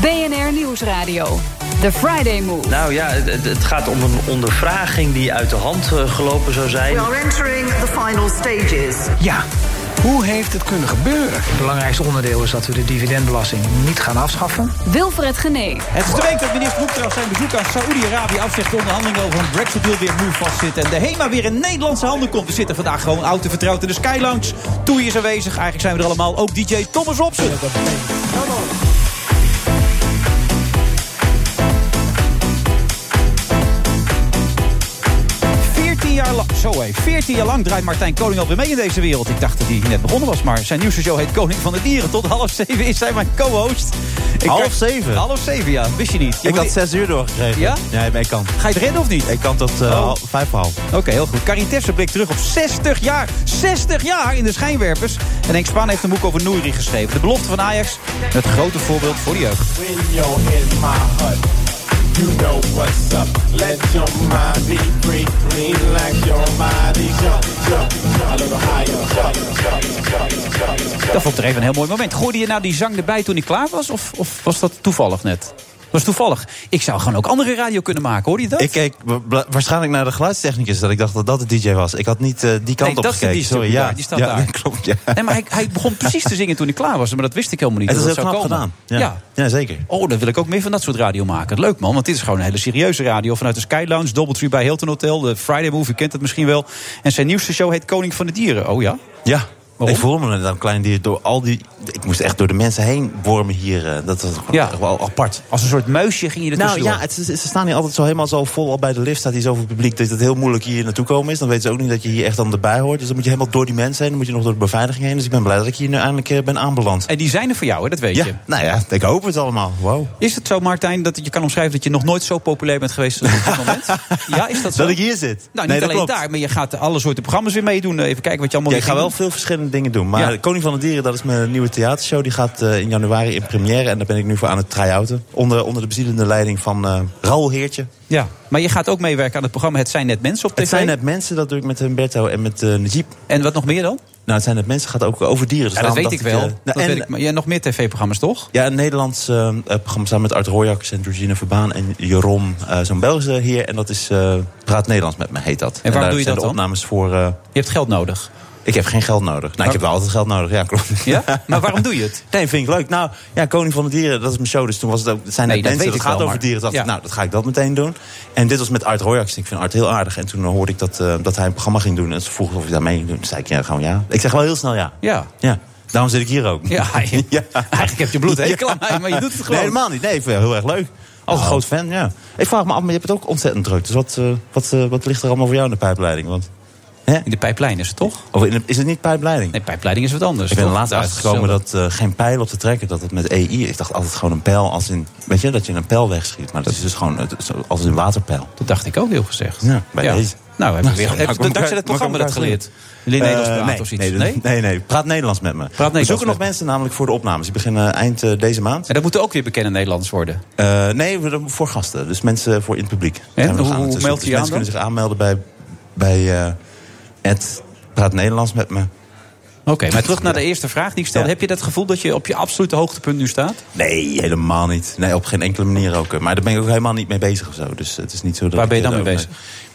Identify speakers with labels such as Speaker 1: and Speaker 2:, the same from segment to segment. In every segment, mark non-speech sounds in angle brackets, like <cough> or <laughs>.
Speaker 1: BNR Nieuwsradio. The Friday Move.
Speaker 2: Nou ja, het, het gaat om een ondervraging die uit de hand eh, gelopen zou zijn.
Speaker 3: We are entering the final stages.
Speaker 4: Ja, hoe heeft het kunnen gebeuren? Het belangrijkste onderdeel is dat we de dividendbelasting niet gaan afschaffen.
Speaker 1: Wilfred Genee.
Speaker 5: Het is de week dat minister Hoekstra zijn bezoek aan Saoedi-Arabië afzegt. De onderhandelingen over een Brexit-deal weer nu vastzitten. En de HEMA weer in Nederlandse handen komt. We zitten vandaag gewoon oud en vertrouwd in de Sky Lounge. Toei is aanwezig. Eigenlijk zijn we er allemaal. Ook DJ Thomas Robson. jaar lang, zo hé, 14 jaar lang draait Martijn Koning alweer mee in deze wereld. Ik dacht dat hij net begonnen was, maar zijn nieuwste show heet Koning van de Dieren. Tot half zeven is hij mijn co-host. Ik
Speaker 6: Half
Speaker 5: krijg-
Speaker 6: zeven?
Speaker 5: Half zeven, ja. Wist je niet. Je
Speaker 6: Ik
Speaker 5: moet-
Speaker 6: had zes uur doorgekregen.
Speaker 5: Ja?
Speaker 6: Nee, maar ik kan.
Speaker 5: Ga je het redden of niet?
Speaker 6: Ik kan tot eh,
Speaker 5: Oh.
Speaker 6: hal- vijf voor half.
Speaker 5: Oké, heel goed. Karin Terpsen blikt terug op 60 jaar. 60 jaar in de schijnwerpers. En Henk Spaan heeft een boek over Nouri geschreven. De belofte van Ajax. Het grote voorbeeld voor de jeugd.
Speaker 7: When you're in my hut, you know what's up. Let your mind be free, clean like your body. Jump, jump, jump a little higher. Jump, jump, jump, jump, jump.
Speaker 5: Dat vond ik er even een heel mooi moment. Gooide je nou die zang erbij toen hij klaar was? Of, of was dat toevallig net? Dat was toevallig. Ik zou gewoon ook andere radio kunnen maken, hoorde je dat?
Speaker 6: Ik keek wa- bla- waarschijnlijk naar de geluidstechnicus dat ik dacht dat dat de DJ was. Ik had niet eh, die kant
Speaker 5: Nee,
Speaker 6: op
Speaker 5: dat is de
Speaker 6: gekeken.
Speaker 5: DJ,
Speaker 6: Sorry,
Speaker 5: ja,
Speaker 6: ja.
Speaker 5: die staat
Speaker 6: ja,
Speaker 5: daar.
Speaker 6: <laughs> Klopt, ja.
Speaker 5: Nee, maar hij, hij begon precies te zingen toen hij klaar was. Maar dat wist ik helemaal niet.
Speaker 6: Het is
Speaker 5: dat
Speaker 6: heel
Speaker 5: dat
Speaker 6: knap
Speaker 5: zou
Speaker 6: gedaan.
Speaker 5: komen.
Speaker 6: Ja.
Speaker 5: ja.
Speaker 6: Ja. zeker.
Speaker 5: Oh, dan wil ik ook meer van dat soort radio maken. Leuk man, want dit is gewoon een hele serieuze radio. Vanuit de Sky Lounge, Doubletree bij Hilton Hotel. De Friday Move, u kent het misschien wel. En zijn nieuwste show heet Koning van de Dieren. Oh ja?
Speaker 6: Ja.
Speaker 5: Waarom?
Speaker 6: Ik voel me dan een klein dier door al die... Ik moest echt door de mensen heen wormen hier. eh, dat was
Speaker 5: Ja.
Speaker 6: echt wel apart.
Speaker 5: Als een soort muisje ging je er
Speaker 6: Nou
Speaker 5: tussendoor.
Speaker 6: ja, het, is- ze staan hier altijd zo helemaal zo vol. Al bij de lift staat hier zoveel publiek dat het heel moeilijk hier naartoe komen is. Dan weten ze ook niet dat je hier echt aan erbij hoort. Dus dan moet je helemaal door die mensen heen. Dan moet je nog door de beveiliging heen. Dus ik ben blij dat ik hier nu eindelijk eh, ben aanbeland.
Speaker 5: En die zijn er voor jou, hè? dat weet
Speaker 6: Ja,
Speaker 5: je.
Speaker 6: nou ja, ik hoop het allemaal. Wow.
Speaker 5: Is het zo, Martijn, dat je kan omschrijven dat je nog nooit zo populair bent geweest als op dit
Speaker 6: <laughs>
Speaker 5: moment? Ja, is dat zo?
Speaker 6: Dat ik hier zit.
Speaker 5: Nou,
Speaker 6: Nee,
Speaker 5: niet
Speaker 6: dat
Speaker 5: alleen
Speaker 6: klopt.
Speaker 5: daar, maar je gaat alle soorten programma's weer meedoen. Eh, Even kijken wat je allemaal
Speaker 6: Ja,
Speaker 5: weer
Speaker 6: ik
Speaker 5: gaat
Speaker 6: ga wel
Speaker 5: doen.
Speaker 6: veel verschillende dingen doen. Maar
Speaker 5: Ja.
Speaker 6: Koning van de Dieren, dat is mijn nieuwe theatershow. Die gaat eh, in januari in première. En daar ben ik nu voor aan het try-outen. Onder, onder de bezielende leiding van eh Raoul Heertje.
Speaker 5: Ja, maar je gaat ook meewerken aan het programma Het zijn net mensen op tv.
Speaker 6: Het zijn net mensen, dat doe ik met Humberto en met eh Najib.
Speaker 5: En wat nog meer dan?
Speaker 6: Nou, het zijn net mensen, gaat ook over dieren. Dus
Speaker 5: Ja, dat
Speaker 6: daarom
Speaker 5: weet ik
Speaker 6: dacht
Speaker 5: wel.
Speaker 6: eh, nou,
Speaker 5: dat
Speaker 6: en-
Speaker 5: weet ik. Maar jij hebt nog meer tv-programma's, toch?
Speaker 6: Ja, een Nederlands eh, eh, programma samen met Art Royax en Georgina Verbaan en Jeroen. eh, Zo'n Belgische heer. En dat is eh, Praat Nederlands met me, heet dat. En,
Speaker 5: waarom
Speaker 6: daar
Speaker 5: doe je
Speaker 6: zijn
Speaker 5: dat
Speaker 6: de
Speaker 5: dan?
Speaker 6: opnames voor... eh,
Speaker 5: Je hebt geld nodig.
Speaker 6: ik heb geen geld nodig. Nou, ik heb wel altijd geld nodig, ja, klopt.
Speaker 5: Ja? Maar waarom doe je het?
Speaker 6: <laughs> Nee, vind ik leuk. Nou, ja, Koning van de Dieren, dat is mijn show. Dus toen was het ook, het zijn
Speaker 5: Nee,
Speaker 6: net
Speaker 5: dat
Speaker 6: mensen,
Speaker 5: weet
Speaker 6: dat
Speaker 5: ik
Speaker 6: gaat
Speaker 5: wel,
Speaker 6: over
Speaker 5: maar-
Speaker 6: dieren. Dacht
Speaker 5: ja.
Speaker 6: ik, nou, dat ga ik dat meteen doen. En dit was met Art Royax. Ik vind Art heel aardig. En toen hoorde ik dat, eh, dat hij een programma ging doen. En ze vroegen of ik daar mee ging doen. Toen zei ik, ja, gewoon ja. Ik zeg wel heel snel ja.
Speaker 5: Ja.
Speaker 6: Ja. Daarom zit ik hier ook. <laughs>
Speaker 5: Ja, je- eigenlijk heb je bloed hekel aan mij, maar je doet het gewoon. Oh.
Speaker 6: Nee, helemaal niet. Nee, ik vind het heel erg leuk. Als een groot fan, ja. Ik vraag me af, maar je hebt het ook ontzettend druk. Dus wat, eh, wat, eh, wat ligt er allemaal voor jou in de pijpleiding? Want, hè?
Speaker 5: In de pijplijn is het toch?
Speaker 6: Of in de- is het niet pijpleiding?
Speaker 5: Nee, pijpleiding is wat anders.
Speaker 6: Ik ben er
Speaker 5: toch?
Speaker 6: laatst
Speaker 5: Ja, het is
Speaker 6: achtergekomen
Speaker 5: hetzelfde.
Speaker 6: dat eh, geen pijl op te trekken, dat het met EI. Ik dacht altijd gewoon een pijl als in. Weet je, dat je een pijl wegschiet. Maar dat is dus gewoon eh, zo- als een waterpijl.
Speaker 5: Dat dacht ik ook heel gezegd.
Speaker 6: Ja, bij deze.
Speaker 5: Nou, we hebben
Speaker 6: Nou,
Speaker 5: weer,
Speaker 6: zo,
Speaker 5: heb,
Speaker 6: nou, kom
Speaker 5: dankzij
Speaker 6: elkaar-
Speaker 5: dat programma dat
Speaker 6: elkaar
Speaker 5: geleerd.
Speaker 6: zien.
Speaker 5: Jullie Nederlands
Speaker 6: Eh,
Speaker 5: praten
Speaker 6: nee,
Speaker 5: of
Speaker 6: nee,
Speaker 5: zoiets.
Speaker 6: dat-
Speaker 5: Nee?
Speaker 6: nee, nee. Praat Nederlands met me.
Speaker 5: Nederlands
Speaker 6: We zoeken
Speaker 5: met
Speaker 6: nog
Speaker 5: me.
Speaker 6: mensen namelijk voor de opnames. Die beginnen eind eh, deze maand.
Speaker 5: En dat moeten ook weer bekende Nederlands worden.
Speaker 6: Eh, nee, we- voor gasten. Dus mensen voor in het publiek. Zijn we
Speaker 5: hoe-
Speaker 6: nog aan het
Speaker 5: hoe
Speaker 6: zoeken.
Speaker 5: meld je je
Speaker 6: Dus Mensen
Speaker 5: aan
Speaker 6: kunnen zich aanmelden bij, bij eh Ed Praat Nederlands met me.
Speaker 5: Oké, maar terug naar de eerste vraag die ik stelde.
Speaker 6: Ja.
Speaker 5: Heb je dat gevoel dat je op je absolute hoogtepunt nu staat?
Speaker 6: Nee, helemaal niet. Nee, op geen enkele manier ook. Maar daar ben ik ook helemaal niet mee bezig of zo. Dus het is niet zo dat
Speaker 5: Waar ben je
Speaker 6: ik,
Speaker 5: dan
Speaker 6: eh,
Speaker 5: mee
Speaker 6: daar-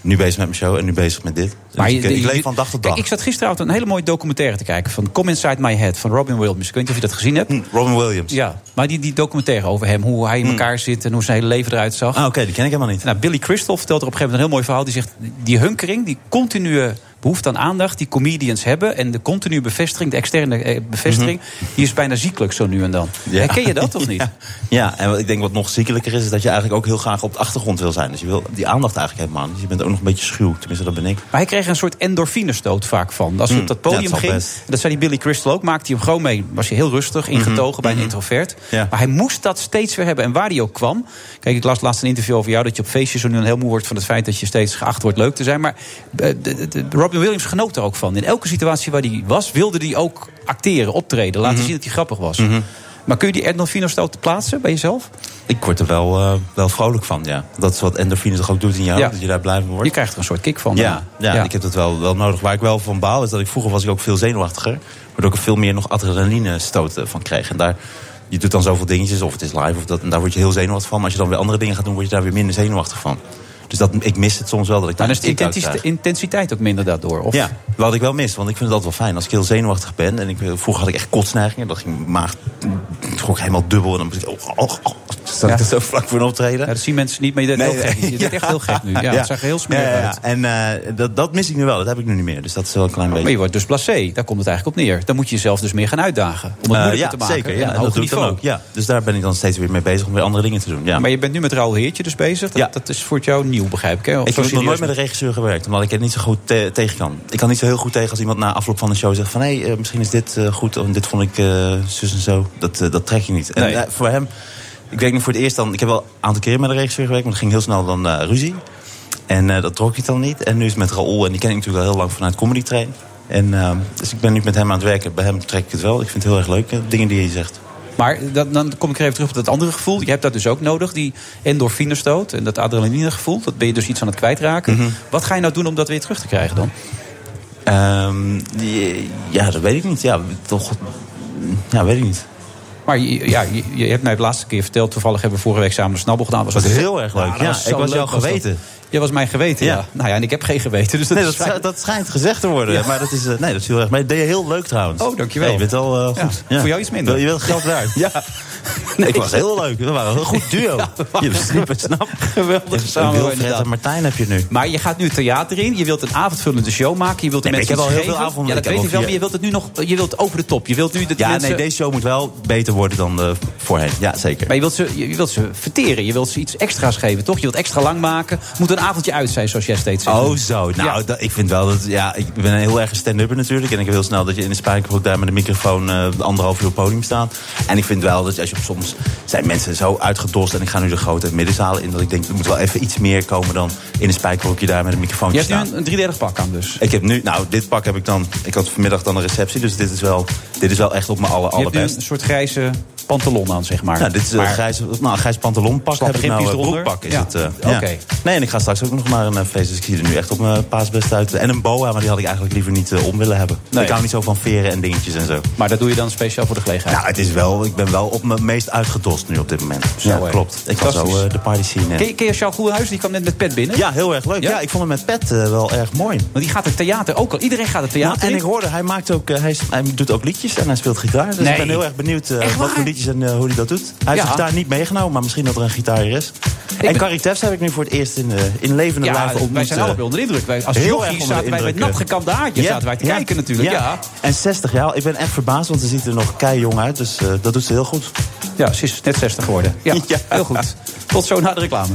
Speaker 6: Nu bezig met mijn show en nu bezig met dit. Dus ik,
Speaker 5: je-
Speaker 6: ik
Speaker 5: je-
Speaker 6: leef van dag tot dag.
Speaker 5: Kijk, ik zat gisteravond een hele mooie documentaire te kijken van Come Inside My Head van Robin Williams. Ik weet niet of je dat gezien hebt.
Speaker 6: Hm, Robin Williams.
Speaker 5: Ja, maar die, die documentaire over hem, hoe hij in elkaar zit en hoe zijn hele leven eruit zag.
Speaker 6: Ah, oké, die ken ik helemaal niet.
Speaker 5: Nou, Billy Crystal vertelt er op een gegeven moment een heel mooi verhaal. Die zegt, die hunkering, die continue behoefte aan aandacht die comedians hebben. En de continue bevestiging, de externe eh, bevestiging, die is bijna ziekelijk zo nu en dan.
Speaker 6: Hm. Ja.
Speaker 5: Herken je dat of niet?
Speaker 6: <laughs> Ja. Ja, en wat ik denk wat nog ziekelijker is, is dat je eigenlijk ook heel graag op de achtergrond wil zijn. Dus je wil die aandacht eigenlijk helemaal niet. Dus je bent ook nog een beetje schuw. Tenminste, dat ben ik.
Speaker 5: Maar hij kreeg er een soort endorfinestoot vaak van. Als hij op
Speaker 6: Hmm,
Speaker 5: dat
Speaker 6: ja,
Speaker 5: podium
Speaker 6: dat zal
Speaker 5: ging,
Speaker 6: best. Mhm.
Speaker 5: en dat zei die Billy Crystal ook, maakte hij hem gewoon mee. Was hij heel rustig, ingetogen bij een introvert.
Speaker 6: Ja.
Speaker 5: Maar hij moest dat steeds weer hebben. En waar hij ook kwam. Kijk, ik las laatst een interview over jou dat je op feestjes zo nu dan heel moe wordt van het feit dat je steeds geacht wordt leuk te zijn. Maar eh, de- de- de- Robin Williams genoot er ook van. In elke situatie waar hij was, wilde hij ook acteren, optreden,
Speaker 6: Mhm.
Speaker 5: laten zien dat hij grappig was. Maar kun je die endorfinestoot plaatsen bij jezelf?
Speaker 6: Ik word er wel, eh, wel vrolijk van, ja. Dat is wat endorfine toch ook doet in jou,
Speaker 5: Ja.
Speaker 6: dat je daar blij van wordt.
Speaker 5: Je krijgt er een soort kick van.
Speaker 6: Ja,
Speaker 5: daarna.
Speaker 6: ja, ik heb dat wel, wel nodig. Waar ik wel van baal is dat ik vroeger was ik ook veel zenuwachtiger. Waardoor ik er veel meer nog adrenaline stoten van kreeg. En daar, je doet dan zoveel dingetjes, of het is live, of dat, en daar word je heel zenuwachtig van. Maar als je dan weer andere dingen gaat doen, word je daar weer minder zenuwachtig van. Dus dat, ik mis het soms wel dat ik daar
Speaker 5: Maar Nou, dan is de
Speaker 6: een kick uit
Speaker 5: intensi-
Speaker 6: krijg.
Speaker 5: intensiteit ook minder daardoor. Of
Speaker 6: Ja, wat ik wel mis, want ik vind het altijd wel fijn. Als ik heel zenuwachtig ben, en ik, vroeger had ik echt kotsneigingen. Dat ging mijn maag, het trok helemaal dubbel. En dan moest ik, oh, oh, oh, zat
Speaker 5: Ja.
Speaker 6: ik er zo vlak voor een optreden.
Speaker 5: Ja, dat zien mensen niet, maar je deed heel gek.
Speaker 6: <laughs>
Speaker 5: Je deed echt heel gek nu. Ja, Het zag er heel smerig
Speaker 6: Ja, ja, ja.
Speaker 5: uit.
Speaker 6: En eh, dat, dat mis ik nu wel. Dat heb ik nu niet meer. Dus dat is wel een klein beetje.
Speaker 5: Maar je wordt dus blasé. Daar komt het eigenlijk op neer. Dan moet je jezelf dus meer gaan uitdagen. Om het
Speaker 6: Eh,
Speaker 5: moeilijker
Speaker 6: ja,
Speaker 5: te maken.
Speaker 6: zeker.
Speaker 5: en
Speaker 6: Ja,
Speaker 5: een
Speaker 6: en dat
Speaker 5: hoger
Speaker 6: doe ik dan
Speaker 5: niveau.
Speaker 6: ook. Ja. Dus daar ben ik dan steeds weer mee bezig om weer andere dingen te doen. Ja.
Speaker 5: Maar je bent nu met Raoul Heertje dus bezig. Dat,
Speaker 6: Ja.
Speaker 5: dat is voor jou nieuw, begrijp ik. Hè? Of
Speaker 6: ik
Speaker 5: zo
Speaker 6: heb nog nooit
Speaker 5: serieus
Speaker 6: met een regisseur gewerkt, omdat ik het niet zo goed te- tegen kan. Ik kan niet zo heel goed tegen als iemand na afloop van een show zegt van... hé, eh, misschien is dit eh, goed, of dit vond ik eh, zus en zo. Dat, eh, dat trek je niet. En
Speaker 5: Nee.
Speaker 6: eh, voor hem, ik weet niet voor het eerst dan... Ik heb wel een aantal keren met een regisseur gewerkt, maar het ging heel snel dan eh, ruzie. En eh, dat trok ik dan niet. En nu is het met Raoul, en die ken ik natuurlijk al heel lang vanuit Comedy Train. En, eh, dus ik ben nu met hem aan het werken. Bij hem trek ik het wel. Ik vind het heel erg leuk,
Speaker 5: Dus
Speaker 6: eh, dingen die hij zegt.
Speaker 5: Maar dan, dan kom ik er even terug op dat andere gevoel. Je hebt dat dus ook nodig, die endorfinestoot en dat adrenalinegevoel. Dat ben je dus iets aan het kwijtraken.
Speaker 6: Mhm.
Speaker 5: Wat ga je nou doen om dat weer terug te krijgen dan?
Speaker 6: Ehm, die- ja, dat weet ik niet. Ja, toch... Ja, weet ik niet.
Speaker 5: Maar je, ja, je, je hebt mij de laatste keer verteld, toevallig hebben we vorige week samen de snabbel gedaan. Was
Speaker 6: Dat was
Speaker 5: een-
Speaker 6: heel erg leuk.
Speaker 5: dat
Speaker 6: Ja,
Speaker 5: zo
Speaker 6: ik was
Speaker 5: leuk,
Speaker 6: jouw
Speaker 5: dat.
Speaker 6: geweten.
Speaker 5: Jij was mijn geweten, ja.
Speaker 6: Ja.
Speaker 5: Nou ja, en ik heb geen geweten, dus dat
Speaker 6: Nee,
Speaker 5: is fijn.
Speaker 6: dat, dat schijnt gezegd te worden. Maar dat is, eh, nee, dat viel erg mee. Dat deed je heel leuk trouwens.
Speaker 5: Oh, dankjewel.
Speaker 6: Nee, je bent al eh, goed.
Speaker 5: Ja, voor jou iets minder.
Speaker 6: Je bent geld
Speaker 5: <laughs>
Speaker 6: waard. ja. <laughs> ik was heel leuk. We waren een goed duo. je sliep het snap.
Speaker 5: Geweldig samen,
Speaker 6: Wilfred
Speaker 5: inderdaad.
Speaker 6: en Martijn heb je nu.
Speaker 5: Maar je gaat nu het theater in, je wilt een avondvullende show maken, je wilt de
Speaker 6: Nee, maar
Speaker 5: mensen
Speaker 6: ik heb al
Speaker 5: iets
Speaker 6: heel veel
Speaker 5: geven.
Speaker 6: avonden-
Speaker 5: Ja, dat
Speaker 6: ik
Speaker 5: weet
Speaker 6: heb al
Speaker 5: ik wel,
Speaker 6: vier-
Speaker 5: maar je wilt het nu nog, je wilt over de top. Je wilt nu dat de
Speaker 6: Ja,
Speaker 5: mensen...
Speaker 6: nee, deze show moet wel beter worden dan de voorheen. Ja, zeker.
Speaker 5: Maar je wilt, ze, je, je wilt ze verteren, je wilt ze iets extra's geven, toch? Je wilt extra lang maken, moet een avondje uit zijn, zoals jij steeds zegt.
Speaker 6: Oh zo, nou,
Speaker 5: Ja.
Speaker 6: dat, ik vind wel dat... Ja, ik ben een heel erg stand-upper natuurlijk. En ik heb heel snel dat je in de Spijkerbroek daar met een microfoon... eh, anderhalf uur op het podium staat. En ik vind wel dat als je op soms... zijn mensen zo uitgedost en ik ga nu de grote en middenzalen in... dat ik denk, er moet wel even iets meer komen dan... in een Spijkerbroekje daar met een microfoon
Speaker 5: je hebt nu
Speaker 6: staan.
Speaker 5: een, een driedelig pak aan dus.
Speaker 6: Ik heb nu... Nou, dit pak heb ik dan... Ik had vanmiddag dan een receptie, dus dit is wel, dit is wel echt op mijn aller,
Speaker 5: Je hebt nu
Speaker 6: allerbest.
Speaker 5: een soort grijze pantalon aan, zeg maar.
Speaker 6: Nou, dit is een
Speaker 5: Maar-
Speaker 6: grijs, nou, een grijs pantalonpak.
Speaker 5: Slappe
Speaker 6: Heb ik nou
Speaker 5: gimpies
Speaker 6: een
Speaker 5: eronder?
Speaker 6: broekpak is
Speaker 5: Ja.
Speaker 6: het. eh,
Speaker 5: Oké.
Speaker 6: Nee, en ik ga straks ook nog maar een eh, feest. Dus ik zie er nu echt op mijn paasbest uit. En een boa, maar die had ik eigenlijk liever niet eh, om willen hebben.
Speaker 5: Nee.
Speaker 6: Ik hou niet zo van veren en dingetjes en zo.
Speaker 5: Maar dat doe je dan speciaal voor de gelegenheid.
Speaker 6: Nou, het is wel, ik ben wel op mijn meest uitgedost nu op dit moment.
Speaker 5: Zo,
Speaker 6: ja,
Speaker 5: hè.
Speaker 6: klopt. Ik was zo
Speaker 5: Fantastisch.
Speaker 6: eh, de party scene. in.
Speaker 5: Ken je, ken je Charles Goedenhuizen? Die kwam net met pet binnen.
Speaker 6: Ja, heel erg leuk.
Speaker 5: Ja?
Speaker 6: Ja, ik vond hem met pet eh, wel erg mooi.
Speaker 5: Want die gaat het theater ook al. Iedereen gaat het
Speaker 6: Nou,
Speaker 5: theater
Speaker 6: en
Speaker 5: in.
Speaker 6: ik hoorde, hij, maakt ook, eh, hij, is- hij doet ook liedjes en hij speelt gitaar. Dus
Speaker 5: Nee.
Speaker 6: ik ben heel erg benieuwd eh,
Speaker 5: Echt
Speaker 6: wat
Speaker 5: waar?
Speaker 6: voor liedjes en eh, hoe hij dat doet. Hij heeft
Speaker 5: Ja.
Speaker 6: de gitaar niet meegenomen, maar misschien dat er een gitaar is. en
Speaker 5: ben-
Speaker 6: Carrie Teffs heb ik nu voor het eerst in, eh, in levende
Speaker 5: Ja,
Speaker 6: lijven ontmoet.
Speaker 5: wij zijn
Speaker 6: eh,
Speaker 5: allebei onder de indruk. Wij, als
Speaker 6: heel erg
Speaker 5: jochies
Speaker 6: onder de
Speaker 5: zaten wij met
Speaker 6: indruk, eh.
Speaker 5: natgekamde haartjes
Speaker 6: Ja,
Speaker 5: zaten wij te
Speaker 6: ja,
Speaker 5: kijken natuurlijk. Ja.
Speaker 6: En 60 jaar, ik ben echt verbaasd, want ze ziet er nog kei jong uit. Dus eh, dat doet ze heel goed.
Speaker 5: ja, ze is net 60 geworden. Ja,
Speaker 6: <laughs> Ja.
Speaker 5: heel goed. Tot zo na de reclame.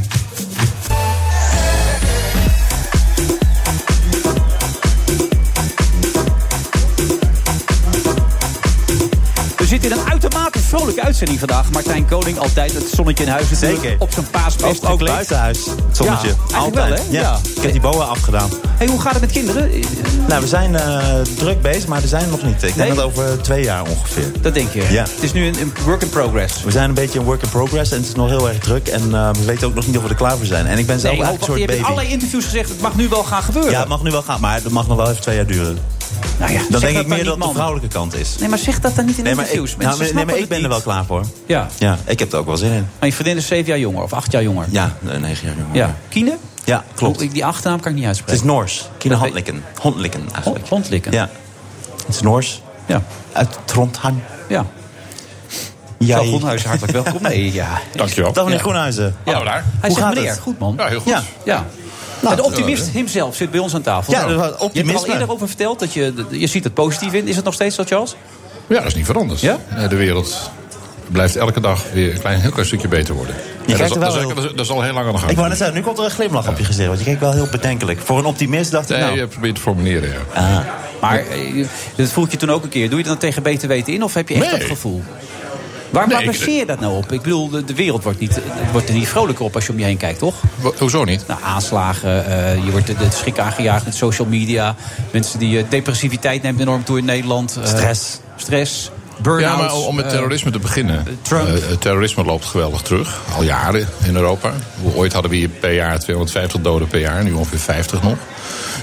Speaker 5: We zitten in een uitermate vrolijke uitzending vandaag. Martijn Koning, altijd het zonnetje in huis. natuurlijk.
Speaker 6: Zeker.
Speaker 5: Op zijn paasbest
Speaker 6: Ook, ook
Speaker 5: gekleed.
Speaker 6: buitenhuis, het zonnetje.
Speaker 5: Ja, eigenlijk
Speaker 6: Altijd.
Speaker 5: wel, hè? Ja.
Speaker 6: Ik heb die boa afgedaan.
Speaker 5: Hey, hoe gaat het met kinderen? Eh,
Speaker 6: Nou, we zijn eh, druk bezig, maar we zijn er nog niet. Ik denk
Speaker 5: Nee?
Speaker 6: dat over twee jaar ongeveer.
Speaker 5: Dat denk je.
Speaker 6: Ja.
Speaker 5: Het is nu een, een work in progress.
Speaker 6: We zijn een beetje in work in progress en het is nog heel erg druk. En eh, we weten ook nog niet of we er klaar voor zijn. En ik ben zelf
Speaker 5: Nee,
Speaker 6: eigenlijk een
Speaker 5: je
Speaker 6: soort
Speaker 5: hebt in
Speaker 6: baby.
Speaker 5: allerlei interviews gezegd, het mag nu wel gaan gebeuren.
Speaker 6: Ja, het mag nu wel gaan, maar het mag nog wel even twee jaar duren.
Speaker 5: nou ja,
Speaker 6: Dan
Speaker 5: zeg maar
Speaker 6: denk ik meer
Speaker 5: niet,
Speaker 6: dat het de
Speaker 5: man.
Speaker 6: vrouwelijke kant is.
Speaker 5: Nee, maar zeg dat dan niet in
Speaker 6: maar
Speaker 5: interviews.
Speaker 6: ik,
Speaker 5: Mensen
Speaker 6: nou, nee, maar
Speaker 5: snappen
Speaker 6: ik ben
Speaker 5: het
Speaker 6: er wel
Speaker 5: niet.
Speaker 6: klaar voor.
Speaker 5: Ja.
Speaker 6: Ja, ik heb er ook wel zin in.
Speaker 5: Maar je vriendin is zeven jaar jonger of acht jaar jonger.
Speaker 6: Ja, eh, negen jaar jonger.
Speaker 5: Ja. Kine?
Speaker 6: Ja, klopt.
Speaker 5: Oh, ik- Die achternaam kan ik niet
Speaker 6: Het is
Speaker 5: uitspreken.
Speaker 6: Noors. Kine
Speaker 5: Dat weet-
Speaker 6: Handlikken. Handlikken eigenlijk.
Speaker 5: Hondlikken.
Speaker 6: Ja. Het is Noors.
Speaker 5: Ja.
Speaker 6: Uit Trondheim.
Speaker 5: ja.
Speaker 6: Ja.
Speaker 5: Nou, Groenhuizen, hartelijk
Speaker 6: <laughs>
Speaker 5: welkom. Nee, ja.
Speaker 8: Dankjewel.
Speaker 6: Dag meneer
Speaker 5: Ja.
Speaker 6: Groenhuizen.
Speaker 8: Hallo daar.
Speaker 5: Hij
Speaker 6: Hoe
Speaker 5: zegt
Speaker 6: gaat
Speaker 5: meneer,
Speaker 6: het?
Speaker 5: goed man.
Speaker 8: Ja, heel goed.
Speaker 6: Ja. Nou, eh,
Speaker 5: Ja. de optimist himself zit bij ons aan tafel. Nou,
Speaker 6: Ja, dat was
Speaker 5: Je hebt er
Speaker 6: optimisme.
Speaker 5: al eerder over verteld dat je, dat- je ziet het positief in. Is het nog steeds zo, Charles?
Speaker 8: Ja, dat is niet veranderd.
Speaker 5: Ja?
Speaker 8: Eh, De wereld blijft elke dag weer een klein, heel klein stukje beter worden. En dat,
Speaker 6: kijkt
Speaker 8: is,
Speaker 6: er
Speaker 8: dat,
Speaker 6: wel
Speaker 8: is,
Speaker 6: heel-
Speaker 8: dat is- dat is al heel lang aan de gang.
Speaker 6: Ik wou net zeggen, nu komt er een glimlach op je gezicht. Want je keek wel heel bedenkelijk. Voor een optimist dacht ik,
Speaker 8: Nee,
Speaker 6: nou...
Speaker 8: je probeert te formuleren, ja.
Speaker 5: Ah. Maar eh, dat voel ik je toen ook een keer. Doe je dat dan tegen beter weten in of heb je echt
Speaker 8: Nee.
Speaker 5: dat
Speaker 9: <laughs>
Speaker 5: gevoel? Waar, waar
Speaker 8: ik-
Speaker 5: baseer je dat nou op? Ik bedoel, de, de wereld wordt, niet, eh, wordt er niet vrolijker op als je om je heen kijkt, toch?
Speaker 8: Wa- Hoezo niet?
Speaker 5: Nou, aanslagen, eh, je wordt de, de schrik aangejaagd met social media. Mensen die eh, depressiviteit neemt enorm toe in Nederland. Eh,
Speaker 6: Stress.
Speaker 5: Stress. Burn-out.
Speaker 8: Ja, maar om met
Speaker 5: eh,
Speaker 8: terrorisme te beginnen.
Speaker 5: Trump.
Speaker 8: Eh, het terrorisme loopt geweldig terug. Al jaren in Europa. Ooit hadden we hier per jaar 250 doden per jaar. Nu ongeveer 50 nog.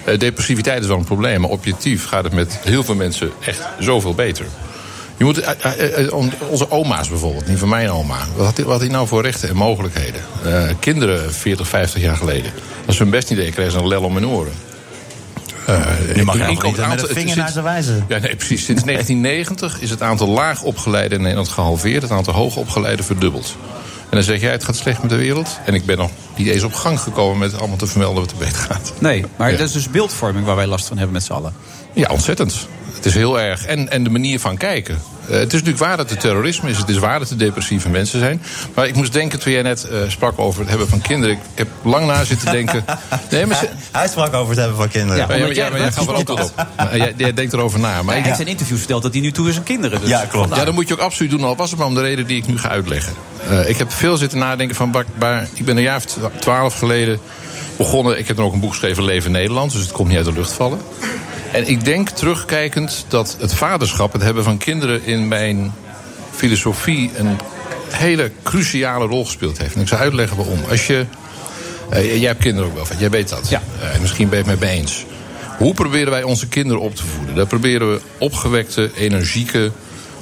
Speaker 8: Eh, depressiviteit is wel een probleem. Maar objectief gaat het met heel veel mensen echt zoveel beter. Je moet, eh, eh, eh, on- onze oma's bijvoorbeeld, niet van mijn oma. Wat had die, wat had die nou voor rechten en mogelijkheden? Eh, kinderen 40, 50 jaar geleden. Als ze hun best niet deden, kregen ze een lel om hun oren. Eh,
Speaker 6: mag je
Speaker 8: inkomen-
Speaker 6: nog niet met een
Speaker 8: aantal-
Speaker 6: vinger
Speaker 8: sinds-
Speaker 6: naar ze wijzen.
Speaker 8: ja, nee, precies. Sinds 1990 is het aantal laag opgeleiden in Nederland gehalveerd. Het aantal hoog opgeleiden verdubbeld. En dan zeg jij, het gaat slecht met de wereld. En ik ben nog niet eens op gang gekomen met allemaal te vermelden wat er beter gaat.
Speaker 5: Nee, maar
Speaker 8: Ja.
Speaker 5: dat is dus beeldvorming waar wij last van hebben met z'n allen.
Speaker 8: Ja, ontzettend. Het is heel erg. En, en de manier van kijken. Eh, het is natuurlijk waar dat het terrorisme is. Het is waar dat er depressieve mensen zijn. Maar ik moest denken toen jij net eh, sprak over het hebben van kinderen. Ik heb lang na
Speaker 5: <laughs>
Speaker 8: zitten denken. Nee, maar ze-
Speaker 6: Hij sprak over het hebben van kinderen.
Speaker 8: Ja,
Speaker 5: Omdat
Speaker 8: maar
Speaker 5: jij
Speaker 8: jij, maar jij
Speaker 5: dat
Speaker 8: gaat er ook
Speaker 5: gesproken
Speaker 8: tot op.
Speaker 6: <laughs>
Speaker 8: Maar Jij, jij denkt erover na. Maar
Speaker 5: Hij
Speaker 8: ik-
Speaker 5: heeft zijn interviews verteld dat hij nu toe is aan kinderen. Dus.
Speaker 6: Ja, klopt.
Speaker 8: Ja, dat moet je ook absoluut doen, al was het maar om de reden die ik nu ga uitleggen. Eh, ik heb veel zitten nadenken van, waar- waar- ik ben een jaar of twaalf geleden begonnen. Ik heb dan ook een boek geschreven, Leven in Nederland, dus het komt niet uit de lucht vallen. En ik denk terugkijkend dat het vaderschap, het hebben van kinderen in mijn filosofie een hele cruciale rol gespeeld heeft. En ik zal uitleggen waarom. Als je, eh, jij hebt kinderen ook wel, van, jij weet dat.
Speaker 5: Ja.
Speaker 8: Eh, misschien ben je het met me eens. Hoe proberen wij onze kinderen op te voeden? Daar proberen we opgewekte, energieke,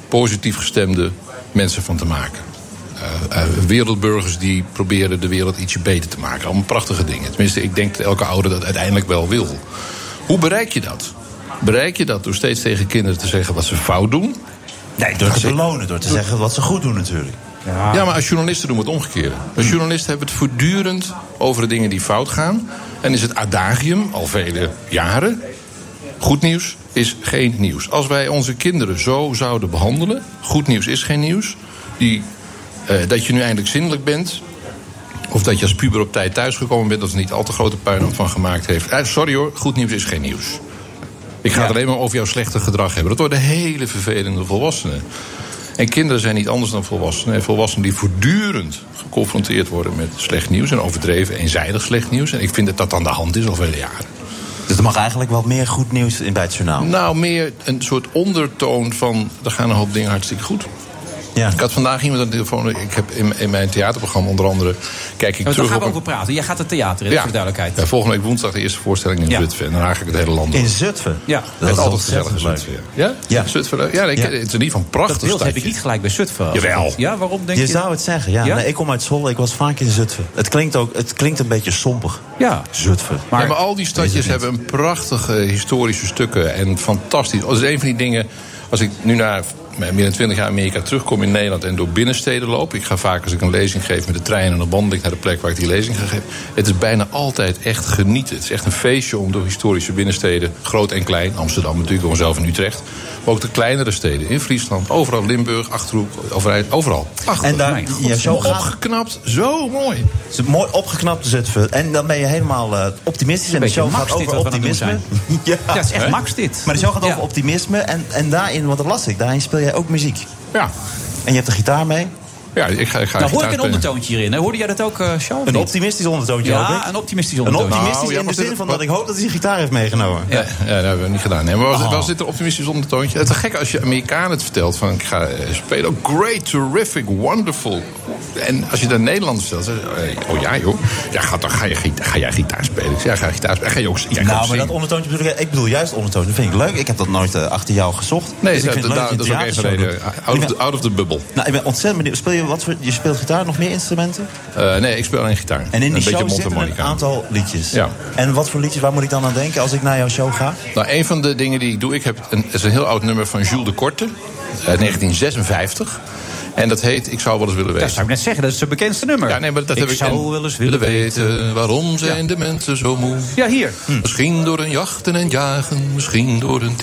Speaker 8: positief gestemde mensen van te maken. Eh, eh, wereldburgers die proberen de wereld ietsje beter te maken. Allemaal prachtige dingen. Tenminste, ik denk dat elke ouder dat uiteindelijk wel wil. Hoe bereik je dat? Bereik je dat door steeds tegen kinderen te zeggen wat ze fout doen?
Speaker 6: Nee, door te belonen, door te zeggen wat ze goed doen natuurlijk.
Speaker 8: Ja, maar als journalisten doen we het omgekeerde. Als journalisten hebben het voortdurend over de dingen die fout gaan. En is het adagium al vele jaren. Goed nieuws is geen nieuws. Als wij onze kinderen zo zouden behandelen. Goed nieuws is geen nieuws. Die, eh, dat je nu eindelijk zindelijk bent. Of dat je als puber op tijd thuisgekomen bent. Of er niet al te grote puinhoop van gemaakt heeft. Eh, sorry hoor, goed nieuws is geen nieuws. Ik ga het alleen maar over jouw slechte gedrag hebben. Dat worden hele vervelende volwassenen. En kinderen zijn niet anders dan volwassenen. En volwassenen die voortdurend geconfronteerd worden met slecht nieuws. En overdreven, eenzijdig slecht nieuws. En ik vind dat dat aan de hand is al vele jaren.
Speaker 6: Dus er mag eigenlijk wat meer goed nieuws in bij het journaal.
Speaker 8: Nou, meer een soort ondertoon van... er gaan een hoop dingen hartstikke goed.
Speaker 6: Ja.
Speaker 8: Ik had vandaag iemand aan de telefoon... Ik heb in, in mijn theaterprogramma onder andere... kijk ik
Speaker 5: Ja, want daar
Speaker 8: terug
Speaker 5: gaan
Speaker 8: op...
Speaker 5: we
Speaker 8: een-
Speaker 5: over praten. Jij gaat het theater in, voor de duidelijkheid.
Speaker 8: Ja, volgende week woensdag de eerste voorstelling in
Speaker 5: Ja.
Speaker 8: Zutphen. En dan haak ik het hele land door.
Speaker 6: In Zutphen.
Speaker 5: Ja.
Speaker 6: dat
Speaker 8: Het
Speaker 6: is
Speaker 8: is altijd
Speaker 6: ontzettend
Speaker 8: gezellig in
Speaker 6: leuk.
Speaker 8: Zutphen. Ja? Ja?
Speaker 6: Ja.
Speaker 8: Zutphen, leuk. ja, nee, ik-
Speaker 6: Ja.
Speaker 8: het is in ieder geval een
Speaker 5: Dat
Speaker 8: prachtig
Speaker 5: beeld heb ik
Speaker 8: stadje.
Speaker 5: niet gelijk bij Zutphen.
Speaker 8: Jawel.
Speaker 5: Ja, waarom denk
Speaker 6: Je
Speaker 5: je...
Speaker 6: zou het zeggen, ja.
Speaker 5: Ja?
Speaker 6: Nee, ik kom uit Zwolle, ik was vaak in Zutphen. Het klinkt, ook, het klinkt een beetje sompig.
Speaker 5: Ja.
Speaker 6: Zutphen.
Speaker 5: Maar-
Speaker 8: Ja, maar al die stadjes hebben een prachtige historische stukken. En fantastisch. Dat is een van die dingen. Als ik nu na meer dan 20 jaar Amerika terugkom in Nederland en door binnensteden loop. Ik ga vaak als ik een lezing geef met de trein en dan wandel ik naar de plek waar ik die lezing ga geven. Het is bijna altijd echt genieten. Het is echt een feestje om door historische binnensteden, groot en klein, Amsterdam natuurlijk, door zelf in Utrecht. Maar ook de kleinere steden in Friesland, overal Limburg, Achterhoek, overheid, overal. Prachtig.
Speaker 6: En daar, ja,
Speaker 8: Zo
Speaker 6: zo gaat
Speaker 8: opgeknapt, zo mooi.
Speaker 6: het. is Mooi opgeknapt Zutphen. En dan ben je helemaal eh, optimistisch. En de
Speaker 5: beetje
Speaker 6: show gaat
Speaker 5: Max dit wat
Speaker 6: over
Speaker 5: we aan het doen
Speaker 6: optimisme. <laughs> ja.
Speaker 5: Ja, het is echt Max dit.
Speaker 6: Maar de show gaat
Speaker 5: Ja.
Speaker 6: over optimisme. En, en daarin, want dat las ik, daarin speel jij ook muziek.
Speaker 8: Ja,
Speaker 6: En je hebt de gitaar mee.
Speaker 8: ja ik ga, ik
Speaker 5: Nou,
Speaker 8: ga
Speaker 5: hoor ik
Speaker 8: gitaar
Speaker 5: een
Speaker 8: spelen.
Speaker 5: ondertoontje hierin. hè? Hoorde jij dat ook, eh Charles?
Speaker 6: Een optimistisch ondertoontje hoop ik.
Speaker 5: Ja, een optimistisch
Speaker 6: Een
Speaker 5: ondertoontje.
Speaker 6: optimistisch
Speaker 8: Nou, ja,
Speaker 6: in de
Speaker 8: maar
Speaker 6: zin
Speaker 8: dit-
Speaker 6: van dat ik hoop dat hij zijn gitaar heeft meegenomen.
Speaker 8: Ja. ja, dat hebben we niet gedaan. Nee, maar was,
Speaker 6: Oh.
Speaker 8: wel zit er optimistisch ondertoontje. Het is gek als je Amerikanen het vertelt van ik ga eh, spelen. Oh, great, terrific, wonderful. En als je dat Nederlanders vertelt, dan zeggen ze, eh, oh ja joh, ja, ga, dan ga, je, gita- ga jij gitaar spelen? Ik zeg, ja, ga gitaar spelen. Ga je ook, jij kan ook
Speaker 6: nou, maar
Speaker 8: zingen.
Speaker 6: dat ondertoontje bedoel ik... Ik bedoel juist ondertoontje, dat vind ik leuk. Ik heb dat nooit eh, achter jou gezocht.
Speaker 8: Nee,
Speaker 6: Dus ik
Speaker 8: dat,
Speaker 6: vind het
Speaker 8: dat,
Speaker 6: leuk
Speaker 8: dat,
Speaker 6: je
Speaker 8: is ook
Speaker 6: een
Speaker 8: een van de
Speaker 6: theatershow doet.
Speaker 8: redenen. Out
Speaker 6: Ik
Speaker 8: of
Speaker 6: ben-
Speaker 8: the, out of the bubble.
Speaker 6: Nou, ik ben ontzettend benieuwd. Speel je, wat voor, je speelt gitaar, nog meer instrumenten?
Speaker 8: Eh, nee, ik speel alleen gitaar.
Speaker 6: En in
Speaker 8: een
Speaker 6: die
Speaker 8: beetje
Speaker 6: show zitten een
Speaker 8: mondharmonica.
Speaker 6: aantal liedjes.
Speaker 8: Ja.
Speaker 6: En wat voor liedjes, waar moet ik dan aan denken als ik naar jouw show ga?
Speaker 8: Nou, een van de dingen die ik doe, ik heb een, het is een heel oud nummer van Jules de Korte, uit eh, 1956. En dat heet Ik zou wel eens willen weten.
Speaker 5: Dat zou ik net zeggen, dat is zijn bekendste nummer.
Speaker 8: Ja, nee, maar dat
Speaker 5: ik
Speaker 8: heb ik
Speaker 5: zou
Speaker 8: en-
Speaker 5: wel eens willen weten.
Speaker 8: Waarom zijn de mensen zo moe?
Speaker 5: Ja, hier. Hm.
Speaker 8: Misschien door een jachten en jagen. Misschien door een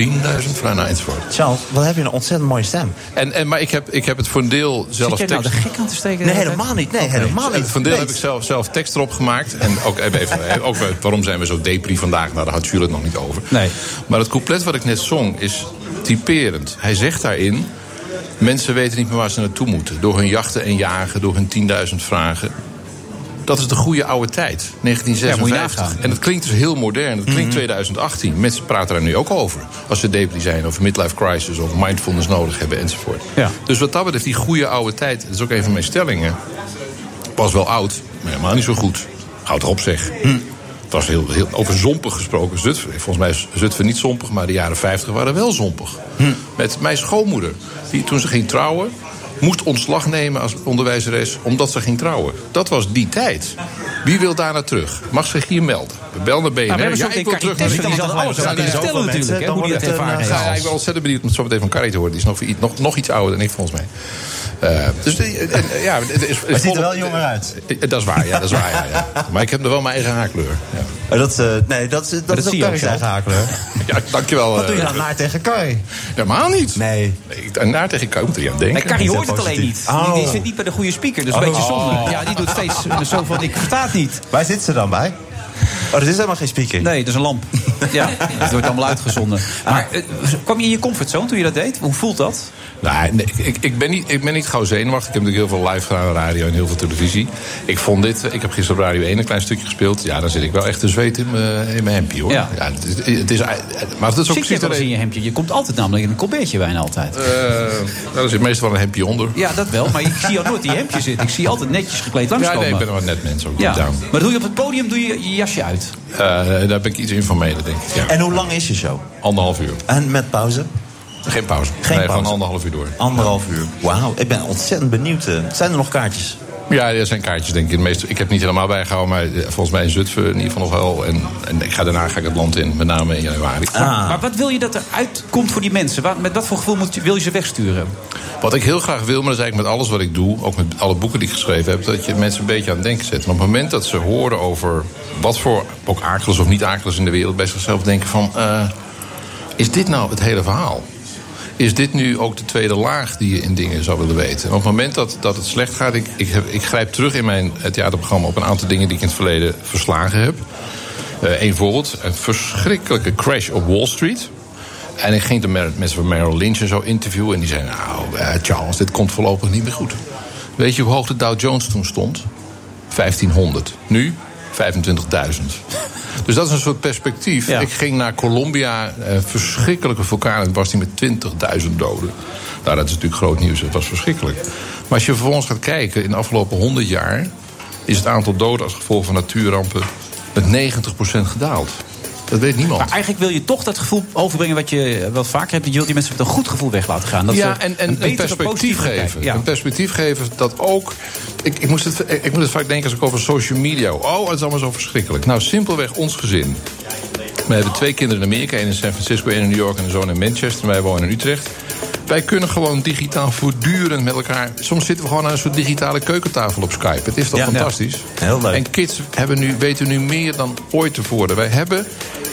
Speaker 8: 10.000 vrouw naar enzovoort.
Speaker 6: Charles, wat heb je een ontzettend mooie stem.
Speaker 8: En, en, maar ik heb, ik heb het voor een deel zelf
Speaker 5: Zit jij nou de
Speaker 8: tekst...
Speaker 5: gek aan te steken?
Speaker 6: Nee, helemaal niet. Nee, helemaal
Speaker 8: En
Speaker 6: niet.
Speaker 8: Van deel
Speaker 6: Nee.
Speaker 8: heb ik zelf, zelf tekst erop gemaakt. En ook, even, even- ook eh, waarom zijn we zo depri vandaag? Nou, daar had Jules het nog niet over.
Speaker 5: Nee.
Speaker 8: Maar het couplet wat ik net zong is typerend. Hij zegt daarin... Mensen weten niet meer waar ze naartoe moeten. Door hun jachten en jagen, door hun 10.000 vragen. Dat is de goede oude tijd,
Speaker 5: Ja, moet je
Speaker 8: 1956.
Speaker 5: nagaan. Mhm.
Speaker 8: en dat klinkt dus heel modern. Dat klinkt 2018. Mensen praten daar nu ook over. Als ze depri zijn of midlife crisis of mindfulness nodig hebben enzovoort.
Speaker 5: Ja.
Speaker 8: Dus wat dat betreft, die goede oude tijd... dat is ook een van mijn stellingen pas wel oud, maar helemaal niet zo goed. Houd erop zeg.
Speaker 5: Hm.
Speaker 8: Het was heel, heel, over zompig gesproken. Zutphen, volgens mij is Zutphen niet zompig, maar de jaren 50 waren wel zompig. Met mijn schoonmoeder, die toen ze ging trouwen... moest ontslag nemen als onderwijzeres omdat ze ging trouwen. Dat was die tijd. Wie wil daar naar terug? Mag zich hier melden? Bel naar BNR.
Speaker 5: Nou, we hebben zo
Speaker 8: ja,
Speaker 5: meteen
Speaker 8: ik wil terug naar
Speaker 5: Caritas,
Speaker 8: de
Speaker 5: die zal alles
Speaker 8: Ja,
Speaker 5: aan
Speaker 8: die
Speaker 5: die
Speaker 8: is ook-
Speaker 5: vertellen natuurlijk. hè,
Speaker 6: dan
Speaker 5: Hoe die
Speaker 6: wordt
Speaker 5: dat
Speaker 6: oh, het, eh,
Speaker 5: ervaren
Speaker 8: ja, ja, ik
Speaker 5: heeft.
Speaker 8: ben ontzettend benieuwd om het zo meteen van Carrie te horen. Die is nog, i- nog, nog iets ouder dan ik, volgens mij. Eh, dus eh, en, eh, ja, het is,
Speaker 6: het ziet er wel jonger uit.
Speaker 8: Eh, Dat is waar, ja, dat is waar, ja, ja. Maar ik heb nog wel mijn eigen haarkleur. Ja,
Speaker 6: Oh, dat, eh, nee, dat, is- dat,
Speaker 5: dat
Speaker 6: is
Speaker 5: zie
Speaker 6: ook
Speaker 5: je
Speaker 6: Carrie's
Speaker 5: ook,
Speaker 6: eigen haarkleur.
Speaker 8: ja dankjewel.
Speaker 6: Wat doe je
Speaker 8: eh,
Speaker 6: dan naar tegen Carrie?
Speaker 8: Helemaal niet.
Speaker 6: Nee.
Speaker 8: ik, en daar tegen kan ik er aan denken.
Speaker 5: Nee, Carrie hoort het alleen niet.
Speaker 6: positief.
Speaker 5: Die, die
Speaker 6: Oh.
Speaker 5: zit niet bij de goede speaker, dus een beetje
Speaker 8: Oh.
Speaker 5: zonde. Ja, die doet steeds eh,
Speaker 6: <laughs>
Speaker 5: zo van, ik versta het niet.
Speaker 6: Waar zit ze dan bij? Oh, dat is helemaal geen speaking. Ah.
Speaker 5: Nee, dat is een
Speaker 6: <laughs>
Speaker 5: lamp. Ja, dat wordt allemaal uitgezonden. Maar eh, kwam je in je comfortzone toen je dat deed? Hoe voelt dat?
Speaker 8: Nou, Nee, nee, ik, ik, ben niet, ik ben niet gauw zenuwachtig. Ik heb natuurlijk heel veel live gedaan, radio en heel veel televisie. Ik vond dit, ik heb gisteren op Radio 1 een klein stukje gespeeld. Ja, dan zit ik wel echt te zweet in mijn in mijn hempje hoor.
Speaker 5: Ja.
Speaker 8: het is, het is, maar dat is ook
Speaker 5: Zit je
Speaker 8: precies
Speaker 5: wel
Speaker 8: de
Speaker 5: eens in
Speaker 8: reden.
Speaker 5: je hemdje? Je komt altijd namelijk in een colbertje bijna altijd.
Speaker 8: Eh, daar zit meestal wel een hempje onder.
Speaker 5: Ja, dat wel, maar ik zie jou nooit in je hemdje zitten. Ik zie je altijd netjes gekleed
Speaker 8: Ja, nee, ik
Speaker 5: langskomen.
Speaker 8: ben wel net mens ook.
Speaker 5: Ja,
Speaker 8: Ja.
Speaker 5: maar doe je op het podium doe je je jasje uit.
Speaker 8: Eh, daar ben ik iets informeler, denk ik. Ja.
Speaker 6: En hoe lang is je show?
Speaker 8: Anderhalf uur.
Speaker 6: En met pauze?
Speaker 8: Geen pauze.
Speaker 6: Geen
Speaker 8: nee,
Speaker 6: pauze.
Speaker 8: gewoon anderhalf uur door.
Speaker 6: Anderhalf uur. Wauw, ik ben ontzettend benieuwd. eh. Zijn er nog kaartjes?
Speaker 8: Ja, er zijn kaartjes, denk ik. De meeste, ik heb niet helemaal bijgehouden, maar eh, volgens mij in Zutphen in ieder geval nog wel. En, en ik ga, daarna ga ik het land in, met name in januari.
Speaker 6: Ah.
Speaker 5: Maar wat wil je dat er uitkomt voor die mensen? Wat- Met wat voor gevoel moet je, wil je ze wegsturen?
Speaker 8: Wat ik heel graag wil, maar dat is eigenlijk met alles wat ik doe, ook met alle boeken die ik geschreven heb, dat je mensen een beetje aan het denken zet. En op het moment dat ze horen over wat voor, ook akelig of niet akelig in de wereld, bij zichzelf denken van, eh, is dit nou het hele verhaal? Is dit nu ook de tweede laag die je in dingen zou willen weten? En op het moment dat, dat het slecht gaat, ik, ik, heb- ik grijp terug in mijn eh, theaterprogramma op een aantal dingen die ik in het verleden verslagen heb. Eh een voorbeeld, een verschrikkelijke crash op Wall Street. En ik ging de mer- mensen van Merrill Lynch en zo interviewen. En die zeiden, nou eh, Charles, dit komt voorlopig niet meer goed. Weet je hoe hoog de Dow Jones toen stond? 1500. Nu 25.000. Dus dat is een soort perspectief.
Speaker 5: Ja.
Speaker 8: Ik ging naar Colombia, eh, verschrikkelijke vulkaan. En was die met 20.000 doden. Nou, dat is natuurlijk groot nieuws. Het was verschrikkelijk. Maar als je vervolgens gaat kijken, in de afgelopen 100 jaar... is het aantal doden als gevolg van natuurrampen met 90% gedaald. Dat weet niemand.
Speaker 5: Maar eigenlijk wil je toch dat gevoel overbrengen wat je eh, wel vaker hebt. Je wilt die mensen met een goed gevoel weg laten gaan. Dat
Speaker 8: ja,
Speaker 5: ze
Speaker 8: en, en een,
Speaker 5: betere,
Speaker 8: perspectief
Speaker 5: positieve kijk-
Speaker 8: geven.
Speaker 5: Ja.
Speaker 8: Een perspectief geven dat ook. Ik, ik, moest het, ik moet het vaak denken als ik over social media. Oh, het is allemaal zo verschrikkelijk. Nou, simpelweg ons gezin. We hebben twee kinderen in Amerika, één in San Francisco, één in New York en een zoon in Manchester. Wij wonen in Utrecht. Wij kunnen gewoon digitaal voortdurend met elkaar. Soms zitten we gewoon aan een soort digitale keukentafel op Skype. Het is toch
Speaker 6: Ja, ja.
Speaker 8: fantastisch?
Speaker 6: Heel leuk.
Speaker 8: En kids hebben nu, weten nu meer dan ooit tevoren. Wij hebben,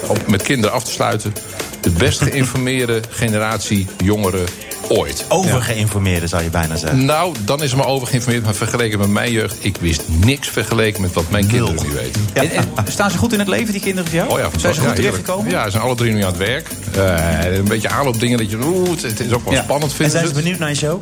Speaker 8: om met kinderen af te sluiten, de
Speaker 6: <laughs>
Speaker 8: best geïnformeerde generatie jongeren ooit.
Speaker 6: Overgeïnformeerden zou je bijna zeggen.
Speaker 8: Nou, dan is het maar overgeïnformeerd. Maar vergeleken met mijn jeugd, ik wist niks vergeleken met wat mijn kinderen nu weten.
Speaker 5: En, en staan ze goed in het leven, die kinderen van jou?
Speaker 8: Oh ja,
Speaker 5: Zijn ze goed
Speaker 8: ja, heerlijk.
Speaker 5: terechtgekomen?
Speaker 8: Ja, ze zijn alle drie nu aan het werk. Eh, een beetje aanloopdingen dat je... Oeh, het, het is ook wel
Speaker 5: Ja.
Speaker 8: spannend,
Speaker 6: En
Speaker 8: vinden
Speaker 6: zijn ze
Speaker 8: het.
Speaker 6: benieuwd naar je show?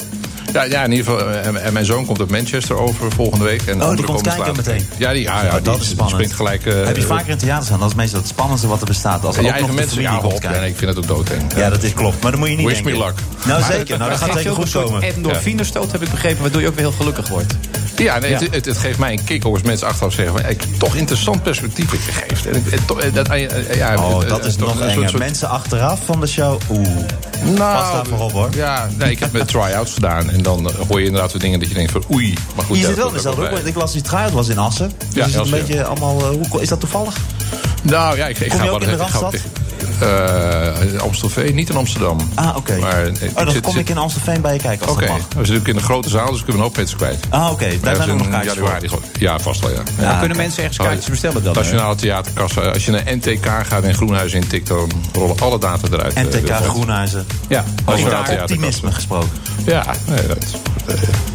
Speaker 8: Ja, ja, in ieder geval. eh, En, en mijn zoon komt uit Manchester over volgende week. En de andere
Speaker 6: Oh, komt
Speaker 8: komen
Speaker 6: kijken
Speaker 8: later.
Speaker 6: meteen.
Speaker 8: Ja, die, ah, ja, ja,
Speaker 6: Oh,
Speaker 8: die,
Speaker 6: dat is
Speaker 8: die
Speaker 6: spannend.
Speaker 8: springt gelijk... eh,
Speaker 6: Heb je vaker in theater staan? Dat is meestal het spannendste wat er bestaat. Als er
Speaker 8: Je
Speaker 6: ook nog
Speaker 8: eigen
Speaker 6: de
Speaker 8: mensen,
Speaker 6: familie
Speaker 8: ja,
Speaker 6: komt
Speaker 8: op.
Speaker 6: kijken.
Speaker 8: En ik vind het ook doodeng.
Speaker 6: Ja, dat is klopt. Maar dat moet je niet
Speaker 8: Wish
Speaker 6: denken.
Speaker 8: me luck.
Speaker 6: Nou, zeker. Nou, dat gaat
Speaker 5: Geeft je
Speaker 6: zeker
Speaker 5: ook een
Speaker 6: goed
Speaker 5: soort
Speaker 6: komen.
Speaker 5: endorfinestoot, heb ik begrepen, waardoor je ook weer heel gelukkig wordt.
Speaker 8: Ja, nee, Het, het, het geeft mij een kick ook als mensen achteraf zeggen... van, eh, toch interessant perspectief wat je geeft. En, ik- en toch, eh, dat, eh, eh, ja,
Speaker 6: Oh,
Speaker 8: eh,
Speaker 6: dat
Speaker 8: eh,
Speaker 6: is
Speaker 8: toch
Speaker 6: nog
Speaker 8: een soort-
Speaker 6: enger.
Speaker 8: soort- Nou,
Speaker 6: Mensen achteraf van de show. Oeh. Pas daarvoor op, hoor.
Speaker 8: Ja, nee, ik heb mijn try-outs gedaan. En dan eh, hoor je inderdaad weer dingen dat je denkt van oei. Maar goed,
Speaker 6: Je zit
Speaker 8: ja,
Speaker 6: wel in
Speaker 8: dat hoort
Speaker 6: dezelfde hoek.
Speaker 8: ook
Speaker 6: want Ik las die trial was in Assen. Dus
Speaker 8: Ja,
Speaker 6: is het een
Speaker 8: Assen, ja.
Speaker 6: beetje allemaal... eh, hoe- Is dat toevallig?
Speaker 8: bij. Nou ja, ik, ik
Speaker 6: Kom
Speaker 8: ga
Speaker 6: je ook
Speaker 8: wat
Speaker 6: in de
Speaker 8: ik ga-
Speaker 6: Randstad?
Speaker 8: ik- eh, in Amstelveen, niet in Amsterdam. Ah, oké.
Speaker 6: Oh, dan kom ik in Amstelveen bij je kijken als
Speaker 8: Oké,
Speaker 6: dat mag.
Speaker 8: we zitten natuurlijk in de grote zaal, dus ik heb een hoop mensen kwijt.
Speaker 6: Ah, oké. Daar
Speaker 8: Maar
Speaker 6: zijn
Speaker 8: dat
Speaker 6: er
Speaker 8: is
Speaker 6: nog
Speaker 8: in
Speaker 6: kaartjes voor.
Speaker 8: januari, geloof ik. Ja, vast wel, ja.
Speaker 5: Ja, kunnen mensen ergens kaartjes bestellen dan, eh? hè?
Speaker 8: Nationale Theaterkassa. Als je naar NTK gaat en Groenhuizen intikt, dan rollen alle data eruit. eh,
Speaker 6: NTK
Speaker 8: Wilfred.
Speaker 6: Groenhuizen.
Speaker 8: Ja,
Speaker 6: Over
Speaker 8: Nationale Theaterkassa.
Speaker 6: Oh, optimisme gesproken.
Speaker 8: Ja, nee, dat...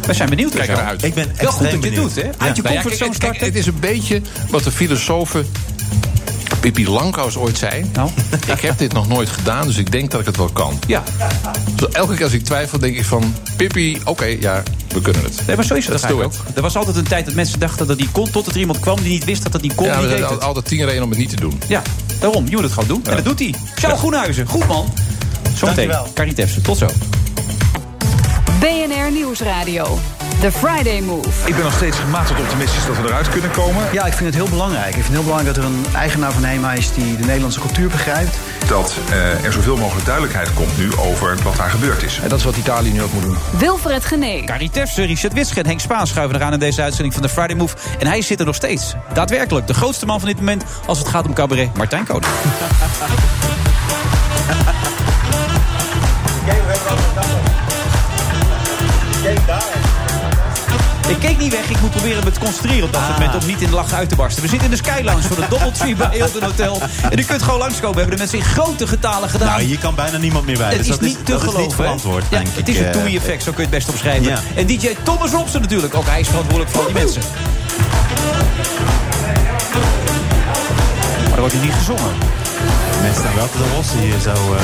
Speaker 5: We zijn benieuwd.
Speaker 8: Kijk
Speaker 5: Rizzo.
Speaker 8: ernaar uit.
Speaker 6: Ik ben
Speaker 5: Wel goed
Speaker 6: extreem
Speaker 5: dat je het
Speaker 6: benieuwd.
Speaker 5: doet, hè?
Speaker 6: Ja.
Speaker 5: Uit je
Speaker 8: Nou ja, kijk,
Speaker 5: comfortzone
Speaker 8: kijk,
Speaker 5: starten.
Speaker 8: Het is een beetje wat de filosofen Pippi Langkous ooit zei.
Speaker 5: Nou.
Speaker 8: <laughs> Ik heb dit nog nooit gedaan, dus ik denk dat ik het wel kan.
Speaker 5: Ja,
Speaker 8: Dus elke keer als ik twijfel, denk ik van... Pippi, oké, ja, we kunnen het.
Speaker 5: nee, maar zo is het
Speaker 8: Let's
Speaker 5: toch
Speaker 8: do
Speaker 5: eigenlijk ook. Er was altijd een tijd dat mensen dachten dat die kon... totdat er iemand kwam die niet wist dat dat die kon.
Speaker 8: Ja,
Speaker 5: die
Speaker 8: we
Speaker 5: deed
Speaker 8: zijn al-
Speaker 5: het.
Speaker 8: altijd tien reden om het niet te doen.
Speaker 5: Ja, daarom. Je moet het gewoon doen. En dat doet hij. Charles Groenhuizen. Goed, man. Zometeen.
Speaker 6: Dankjewel.
Speaker 5: Karin Tefsen. Tot zo.
Speaker 1: BNR Nieuwsradio. The Friday Move.
Speaker 10: Ik ben nog steeds gematigd optimistisch dat we eruit kunnen komen.
Speaker 4: Ja, ik vind het heel belangrijk. Ik vind het heel belangrijk dat er een eigenaar van HEMA is die de Nederlandse cultuur begrijpt.
Speaker 10: Dat eh, er zoveel mogelijk duidelijkheid komt nu over wat daar gebeurd is.
Speaker 4: En dat is wat Italië nu ook moet doen.
Speaker 1: Wilfred Genee.
Speaker 5: Kari Tefse, Richard Witsche en Henk Spaan schuiven eraan in deze uitzending van de Friday Move. En hij zit er nog steeds. Daadwerkelijk, de grootste man van dit moment als het gaat om cabaret, Martijn Koning. Ik keek niet weg, ik moet proberen me te concentreren op dat
Speaker 6: Ah.
Speaker 5: moment om niet in de lachen uit te barsten. We zitten in de Sky Lounge van het Doubletree
Speaker 6: <laughs>
Speaker 5: bij Hilton Hotel. En u kunt gewoon langskomen, We hebben de mensen in grote getalen gedaan.
Speaker 6: Nou, hier kan bijna niemand meer bij.
Speaker 5: Het
Speaker 6: dus
Speaker 5: is
Speaker 6: dat is,
Speaker 5: niet te
Speaker 6: dat
Speaker 5: geloven.
Speaker 6: is niet
Speaker 5: hè?
Speaker 6: verantwoord,
Speaker 5: ja,
Speaker 6: denk ik.
Speaker 5: Het is een
Speaker 6: eh,
Speaker 5: toei-effect, zo kun je het best omschrijven.
Speaker 6: Ja.
Speaker 5: En DJ Thomas Robson natuurlijk, ook hij is verantwoordelijk voor al die mensen. Maar er wordt hier niet gezongen.
Speaker 6: Mensen staan wel te de rossen hier zo. eh.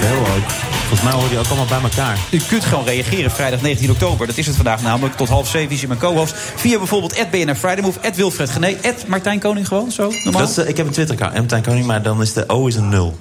Speaker 6: Veel ook. Volgens mij hoor je ook allemaal bij elkaar.
Speaker 5: U kunt gewoon reageren vrijdag 19 oktober. Dat is het vandaag namelijk. Tot half zeven is in mijn co-host. Via bijvoorbeeld BNR FridayMove, Wilfred Genee, Martijn Koning gewoon, zo normaal.
Speaker 6: Dat is, eh, ik heb een Twitter-account, MTijn Koning, maar dan is de O is een nul.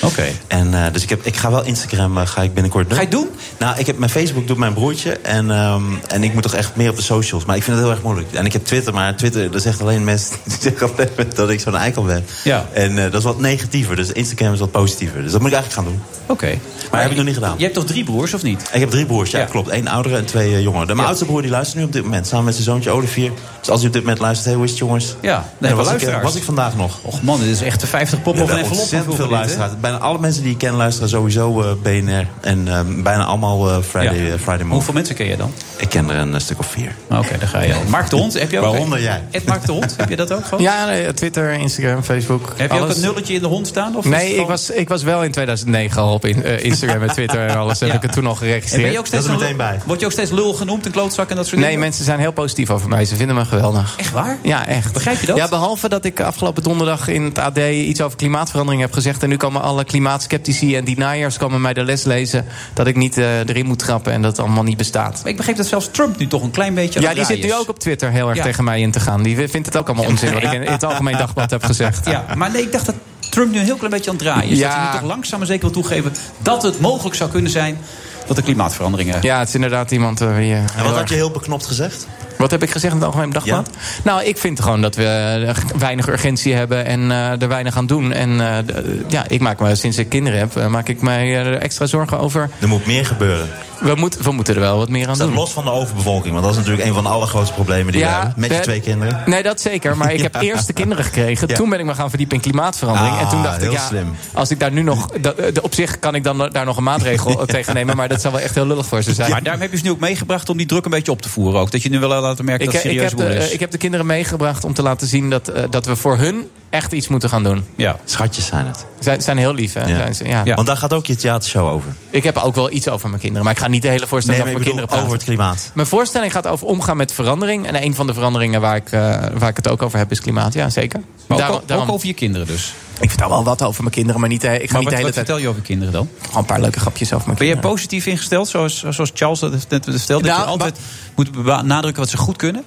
Speaker 5: Oké.
Speaker 6: En, eh, dus ik, heb, ik ga wel Instagram eh, ga ik binnenkort doen.
Speaker 5: Ga je het doen?
Speaker 6: Nou, ik heb, mijn Facebook doet mijn broertje. En, ehm, en ik moet toch echt meer op de socials. Maar ik vind het heel erg moeilijk. En ik heb Twitter, maar Twitter, dat zegt alleen mensen <laughs> die zeggen altijd dat ik zo'n eikel ben.
Speaker 5: Ja.
Speaker 6: En eh, dat is wat negatiever. Dus Instagram is wat positiever. Dus dat moet ik eigenlijk gaan doen.
Speaker 5: Oké.
Speaker 6: Maar heb ik nog niet gedaan.
Speaker 5: Je hebt toch drie broers, of niet?
Speaker 6: Ik heb drie broers, ja,
Speaker 5: Ja.
Speaker 6: klopt. Eén oudere en twee eh, jongere. Mijn
Speaker 5: Ja.
Speaker 6: oudste broer die luistert nu op dit moment, samen met zijn zoontje Olivier. Dus als hij op dit moment luistert, hey, hoe is het jongens?
Speaker 5: Ja,
Speaker 6: En
Speaker 5: nee, we
Speaker 6: was, ik, eh,
Speaker 5: luisteraars.
Speaker 6: was ik vandaag nog.
Speaker 5: Och man, dit is echt de 50 pop of een envelop.
Speaker 6: ontzettend veel
Speaker 5: vroeger dit, hè?
Speaker 6: luisteraars. Bijna alle mensen die ik ken luisteren sowieso eh, BNR. En ehm, bijna allemaal eh, Friday,
Speaker 5: Ja.
Speaker 6: eh, Friday Move.
Speaker 5: Hoeveel mensen ken je dan?
Speaker 6: Ik ken er een eh, stuk of vier.
Speaker 5: Oké, daar ga je al. Mark de Hond, heb je ook?
Speaker 6: Waaronder jij.
Speaker 5: Ed Mark de Hond, heb je dat ook gewoon?
Speaker 11: Ja, nee, Twitter, Instagram, Facebook.
Speaker 5: Heb je
Speaker 11: alles.
Speaker 5: ook een nulletje in de hond staan? Of is het
Speaker 11: Nee, ik
Speaker 5: gewoon-
Speaker 11: was, ik was wel in 2009 al op in, eh, Instagram en Twitter en
Speaker 5: <laughs>
Speaker 11: alles. Heb
Speaker 5: Ja.
Speaker 11: ik het toen al
Speaker 5: En
Speaker 11: geregistreerd.
Speaker 5: ben je ook steeds
Speaker 6: Dat is er
Speaker 5: een lul-
Speaker 6: meteen bij.
Speaker 5: Word je ook steeds lul genoemd, een klootzak en dat soort
Speaker 11: Nee,
Speaker 5: dingen?
Speaker 11: mensen zijn heel positief over mij. Ze vinden me geweldig.
Speaker 5: Echt waar?
Speaker 11: Ja, echt.
Speaker 5: Begrijp je dat?
Speaker 11: Ja, behalve dat ik afgelopen donderdag in het AD iets over klimaatverandering heb gezegd. En nu komen alle klimaatskeptici en deniers komen mij de les lezen. Dat ik niet eh, erin moet trappen en dat het allemaal niet bestaat.
Speaker 5: Maar ik begreep dat zelfs Trump nu toch een klein beetje aan
Speaker 11: Ja,
Speaker 5: het
Speaker 11: die zit
Speaker 5: draaien is.
Speaker 11: nu ook op Twitter heel erg
Speaker 5: Ja.
Speaker 11: tegen mij in te gaan. Die vindt het ook allemaal onzin wat ik in het
Speaker 5: <laughs>
Speaker 11: Algemeen Dagblad heb gezegd.
Speaker 5: Ja, maar nee, ik dacht dat Trump nu een heel klein beetje aan het draaien is. Dat
Speaker 11: Ja.
Speaker 5: hij nu toch langzaam maar zeker wil toegeven dat het mogelijk zou kunnen zijn dat de klimaatveranderingen...
Speaker 11: Ja, het is inderdaad iemand eh, die... eh,
Speaker 6: En
Speaker 11: heel
Speaker 6: wat
Speaker 11: erg-
Speaker 6: had je heel beknopt gezegd?
Speaker 11: Wat heb ik gezegd in het Algemeen Dagblad? Nou, ik vind gewoon dat we eh, weinig urgentie hebben en eh, er weinig aan doen. En eh, d- eh, ja, ik maak me sinds ik kinderen heb, eh, maak ik mij eh, er extra zorgen over.
Speaker 6: Er moet meer gebeuren.
Speaker 11: We, moet, we moeten er wel wat meer aan
Speaker 6: Staat
Speaker 11: doen.
Speaker 6: los van de overbevolking, want dat is natuurlijk een van de allergrootste problemen die we hebben. Met je
Speaker 11: eh,
Speaker 6: twee kinderen.
Speaker 11: Nee, dat zeker. Maar ik
Speaker 6: <laughs>
Speaker 11: heb eerst de kinderen gekregen.
Speaker 6: Ja.
Speaker 11: Toen ben ik me gaan verdiepen in klimaatverandering.
Speaker 6: Ah,
Speaker 11: en toen dacht
Speaker 6: heel
Speaker 11: ik, ja,
Speaker 6: slim.
Speaker 11: als ik daar nu nog... dat- eh, op zich kan ik dan daar nog een maatregel eh, tegen nemen. Maar dat zou wel echt heel lullig voor ze zijn.
Speaker 5: Maar daarom heb je ze nu ook meegebracht om die druk een beetje op te voeren ook. Dat je nu wel laat merken
Speaker 11: Ik,
Speaker 5: dat het
Speaker 11: ik,
Speaker 5: serieus
Speaker 11: heb de,
Speaker 5: boel is.
Speaker 11: eh, ik heb de kinderen meegebracht om te laten zien dat, eh, dat we voor hun echt iets moeten gaan doen.
Speaker 5: Ja.
Speaker 6: Schatjes zijn het.
Speaker 11: Zijn, zijn heel lief, hè?
Speaker 6: Ja.
Speaker 11: Zijn ze, ja.
Speaker 5: Ja.
Speaker 6: Want daar gaat ook je theatershow over.
Speaker 11: Ik heb ook wel iets over mijn kinderen, maar ik ga niet de hele voorstelling
Speaker 6: maar
Speaker 11: over
Speaker 6: ik
Speaker 11: mijn
Speaker 6: bedoel,
Speaker 11: kinderen praten.
Speaker 6: over het klimaat.
Speaker 11: Mijn voorstelling gaat over omgaan met verandering. En een van de veranderingen waar ik, eh, waar ik het ook over heb is klimaat. Ja, zeker.
Speaker 5: Maar ook,
Speaker 11: Daarom-
Speaker 5: ook
Speaker 11: daarom-
Speaker 5: over je kinderen dus.
Speaker 11: Ik vertel wel wat over mijn kinderen, maar niet, eh, ik ga
Speaker 5: Maar
Speaker 11: niet
Speaker 5: wat,
Speaker 11: de hele
Speaker 5: wat
Speaker 11: tijd...
Speaker 5: vertel je over je kinderen dan?
Speaker 11: Gewoon een paar leuke grapjes over mijn
Speaker 5: Ben jij
Speaker 11: kinderen.
Speaker 5: positief ingesteld, zoals, zoals Charles dat net vertelde? Dat
Speaker 11: Nou,
Speaker 5: je altijd moet benadrukken wat ze goed kunnen?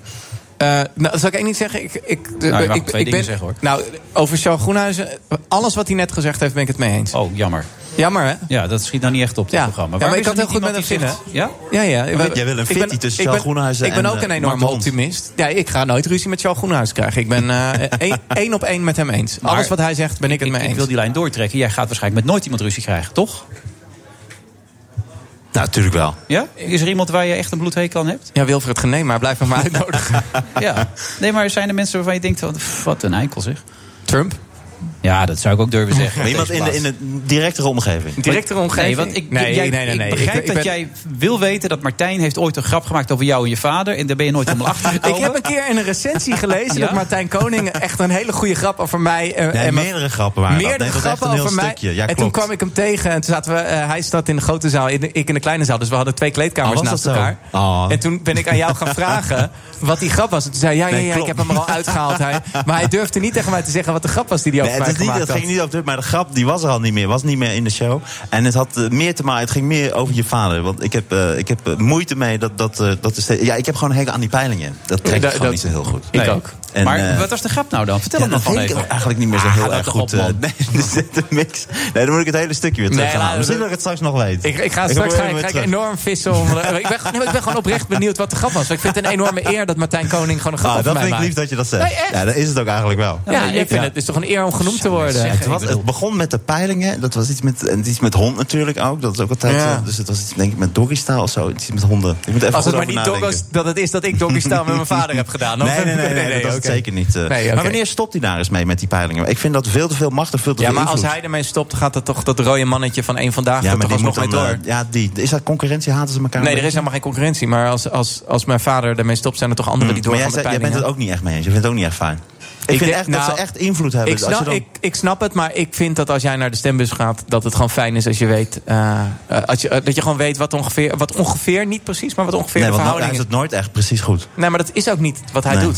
Speaker 11: Eh, nou, zal ik één niet zeggen? Ik, ik,
Speaker 5: je mag
Speaker 11: ik,
Speaker 5: twee dingen zeggen, hoor.
Speaker 11: Nou, over Charles Groenhuizen, alles wat hij net gezegd heeft, ben ik het mee eens.
Speaker 5: Oh, jammer.
Speaker 11: Jammer, hè?
Speaker 5: Ja, dat schiet nou niet echt op, dit
Speaker 11: Ja.
Speaker 5: programma.
Speaker 11: Ja, maar
Speaker 5: Waarom
Speaker 11: ik had
Speaker 5: is er
Speaker 11: heel
Speaker 5: niet
Speaker 11: goed
Speaker 5: iemand
Speaker 11: met
Speaker 5: die
Speaker 11: hem
Speaker 5: zegt-
Speaker 11: Ja, ja. We-
Speaker 6: jij wil een
Speaker 11: ik ben-
Speaker 6: fitty tussen
Speaker 11: ik
Speaker 6: Charles
Speaker 11: ben-
Speaker 6: Groenhuizen
Speaker 11: Ik ben
Speaker 6: en,
Speaker 11: ook
Speaker 6: eh,
Speaker 11: een
Speaker 6: Mark
Speaker 11: enorme
Speaker 6: de Hond.
Speaker 11: optimist. Ja, ik ga nooit ruzie met Charles Groenhuis krijgen. Ik ben <laughs> eh, één- één op één met hem eens.
Speaker 5: Maar-
Speaker 11: Alles wat hij zegt, ben ik het
Speaker 5: Ja?
Speaker 11: mee
Speaker 5: Ik
Speaker 11: eens.
Speaker 5: wil die lijn doortrekken. Jij gaat waarschijnlijk met nooit iemand ruzie krijgen, toch?
Speaker 6: Nou, natuurlijk wel.
Speaker 5: Ja? Is er iemand waar je echt een bloedhekel aan hebt?
Speaker 11: Ja,
Speaker 5: <laughs>
Speaker 11: Wilfred Genee, maar blijf me maar uitnodigen.
Speaker 5: Ja. Nee, maar zijn er mensen waarvan je denkt, wat- pff, wat een eikel zeg.
Speaker 11: Trump?
Speaker 5: Ja, dat zou ik ook durven zeggen.
Speaker 6: Maar iemand in de, in de directere omgeving.
Speaker 11: Directere omgeving?
Speaker 5: Nee, want ik,
Speaker 11: Nee,
Speaker 5: jij-
Speaker 11: nee, nee, nee.
Speaker 5: ik begrijp
Speaker 11: Ik- ik
Speaker 5: dat
Speaker 11: ben-
Speaker 5: jij wil weten dat Martijn heeft ooit een grap gemaakt over jou en je vader. En daar ben je nooit helemaal
Speaker 11: <laughs>
Speaker 5: achter gekomen.
Speaker 11: Ik heb een keer in een <laughs> recensie gelezen dat Martijn Koning echt een hele goede grap over mij. eh,
Speaker 6: Nee,
Speaker 11: en mijn-
Speaker 6: meerdere grappen waren dat.
Speaker 11: meerdere
Speaker 6: Nee, het was echt
Speaker 11: grappen
Speaker 6: een heel
Speaker 11: over mij.
Speaker 6: stukje. Ja,
Speaker 11: en toen
Speaker 6: klopt.
Speaker 11: kwam ik hem tegen en toen zaten we. eh, hij zat in de grote zaal, in de- ik in de kleine zaal. Dus we hadden twee kleedkamers
Speaker 6: Oh, was
Speaker 11: naast
Speaker 6: dat zo?
Speaker 11: elkaar.
Speaker 6: Oh.
Speaker 11: En toen ben ik aan jou
Speaker 6: <laughs>
Speaker 11: gaan vragen wat die grap was. En toen zei hij: Ja, ja,
Speaker 6: Nee,
Speaker 11: ja, ik heb
Speaker 6: klopt.
Speaker 11: hem er al uitgehaald. Hij, maar hij durfde niet tegen mij te zeggen wat de grap was die hij
Speaker 6: Nee,
Speaker 11: over
Speaker 6: het
Speaker 11: mij
Speaker 6: is niet,
Speaker 11: gemaakt
Speaker 6: het
Speaker 11: had.
Speaker 6: ging niet over dit, maar de grap die was er al niet meer. Was niet meer in de show. En het, had, eh, meer te maken, het ging meer over je vader. Want ik heb, eh, ik heb eh, moeite mee dat... dat, eh, dat is de- ja, ik heb gewoon een hekel aan die peilingen. Dat trek ik
Speaker 5: Dat-
Speaker 6: gewoon
Speaker 5: dat-
Speaker 6: niet zo heel goed.
Speaker 5: Ik ook. Maar wat was de grap nou dan? Vertel
Speaker 6: eh, ja,
Speaker 5: hem dan gewoon
Speaker 6: dat weet
Speaker 5: even.
Speaker 6: ik eigenlijk niet meer zo
Speaker 5: Ah,
Speaker 6: heel
Speaker 5: houd
Speaker 6: erg
Speaker 5: toch
Speaker 6: goed.
Speaker 5: op, man.
Speaker 6: eh, <laughs> nee, er zit een mix. Nee, dan moet ik het hele stukje weer terug
Speaker 11: Nee,
Speaker 6: gaan halen.
Speaker 11: laat-
Speaker 6: Misschien dat ik het straks nog weet.
Speaker 11: Ik, ik ga straks
Speaker 6: probeer
Speaker 11: ga, ik-
Speaker 6: weer
Speaker 11: ga ik
Speaker 6: terug.
Speaker 11: enorm vissen. Om, eh, ik, ben, gewoon- nee, maar ik ben gewoon oprecht benieuwd wat de grap was. Want Ik vind het een enorme eer dat Martijn Koning gewoon een grap
Speaker 6: Ah,
Speaker 11: over
Speaker 6: dat
Speaker 11: mij
Speaker 6: vind ik
Speaker 11: maakt.
Speaker 6: lief dat je dat zegt.
Speaker 11: Nee, echt.
Speaker 6: ja, dat is het ook eigenlijk wel.
Speaker 11: Ja, ik vind het is toch een eer om genoemd te worden.
Speaker 6: het, was, het begon met de peilingen. Dat was iets met, en iets met hond natuurlijk ook. Dat is ook altijd.
Speaker 11: Ja.
Speaker 6: eh, dus het was iets, denk ik, met doggystaal of zo. Iets met honden. Ik moet even
Speaker 11: Als het maar
Speaker 6: goed over
Speaker 11: niet
Speaker 6: nadenken.
Speaker 11: doggos, dat het is dat ik doggystyle met mijn vader heb gedaan.
Speaker 6: Nee, nee,
Speaker 11: <laughs>
Speaker 6: nee, nee, dat was het
Speaker 11: oké.
Speaker 6: zeker niet. eh.
Speaker 11: Nee, oké.
Speaker 6: Maar wanneer stopt hij daar eens mee met die peilingen? Ik vind dat veel te veel macht en veel te
Speaker 11: Ja,
Speaker 6: veel
Speaker 11: maar als
Speaker 6: invloed.
Speaker 11: hij ermee stopt, dan gaat dat toch dat rode mannetje van één vandaag
Speaker 6: ja,
Speaker 11: ja,
Speaker 6: maar
Speaker 11: toch
Speaker 6: die
Speaker 11: alsnog
Speaker 6: moet
Speaker 11: mee
Speaker 6: dan,
Speaker 11: door.
Speaker 6: eh, ja, die, is dat concurrentie? Haten ze elkaar?
Speaker 11: nee,
Speaker 6: een
Speaker 11: er is helemaal geen concurrentie. Maar als, als, als mijn vader ermee stopt, zijn er toch anderen die
Speaker 6: Hmm. Mm, maar
Speaker 11: doorgaan
Speaker 6: jij,
Speaker 11: met
Speaker 6: zei- jij bent
Speaker 11: peilingen.
Speaker 6: het ook niet echt mee eens. Je vindt het ook niet echt fijn. Ik, vind
Speaker 11: denk-
Speaker 6: echt dat
Speaker 11: nou,
Speaker 6: ze echt invloed hebben.
Speaker 11: Ik
Speaker 6: Als je
Speaker 11: snap,
Speaker 6: dan-
Speaker 11: ik, ik snap het, maar ik vind dat als jij naar de stembus gaat, dat het gewoon fijn is als je weet. eh, eh, als je, eh, dat je gewoon weet wat ongeveer, wat ongeveer, niet precies, maar wat ongeveer
Speaker 6: nee,
Speaker 11: de
Speaker 6: want nou, hij
Speaker 11: verhouding is.
Speaker 6: heeft het nooit echt precies goed.
Speaker 11: Nee, maar dat is ook niet wat hij
Speaker 6: Nee.
Speaker 11: doet.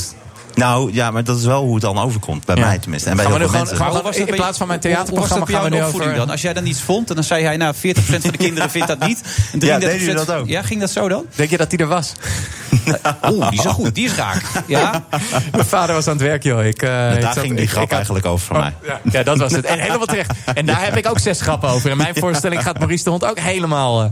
Speaker 6: Nou, ja, maar dat is wel hoe het dan overkomt. Bij mij tenminste. En bij
Speaker 11: Gaan
Speaker 6: heel
Speaker 11: we
Speaker 6: veel
Speaker 11: nu gewoon- gaan
Speaker 6: mensen.
Speaker 5: Hoe
Speaker 11: we
Speaker 5: was dat
Speaker 11: in
Speaker 5: bij-
Speaker 11: plaats van mijn
Speaker 5: hoe- hoe was dat
Speaker 11: theaterprogramma
Speaker 5: bij jou
Speaker 11: gaan we
Speaker 5: in de
Speaker 11: nu
Speaker 5: opvoeding
Speaker 11: over-
Speaker 5: dan? Als jij dan iets vond en dan zei hij, nou, 40% van de kinderen vindt dat niet. En 33%
Speaker 11: Ja, deden jullie dat ook?
Speaker 5: Ja, ging dat zo dan?
Speaker 11: Denk je dat die er was?
Speaker 5: <laughs> Oeh, die is wel goed. Die is
Speaker 11: <laughs>
Speaker 5: raak. Nou, Ja?
Speaker 11: Mijn vader was aan het werk, joh. Ik, eh, ik
Speaker 6: daar
Speaker 11: zat-
Speaker 6: ging die
Speaker 11: ik-
Speaker 6: grap
Speaker 11: ik had- Oh,
Speaker 6: eigenlijk over voor mij.
Speaker 11: Ja, ja, dat was het. En helemaal terecht. En daar heb ik ook zes grappen over. In mijn voorstelling gaat Maurice de Hond ook helemaal... eh,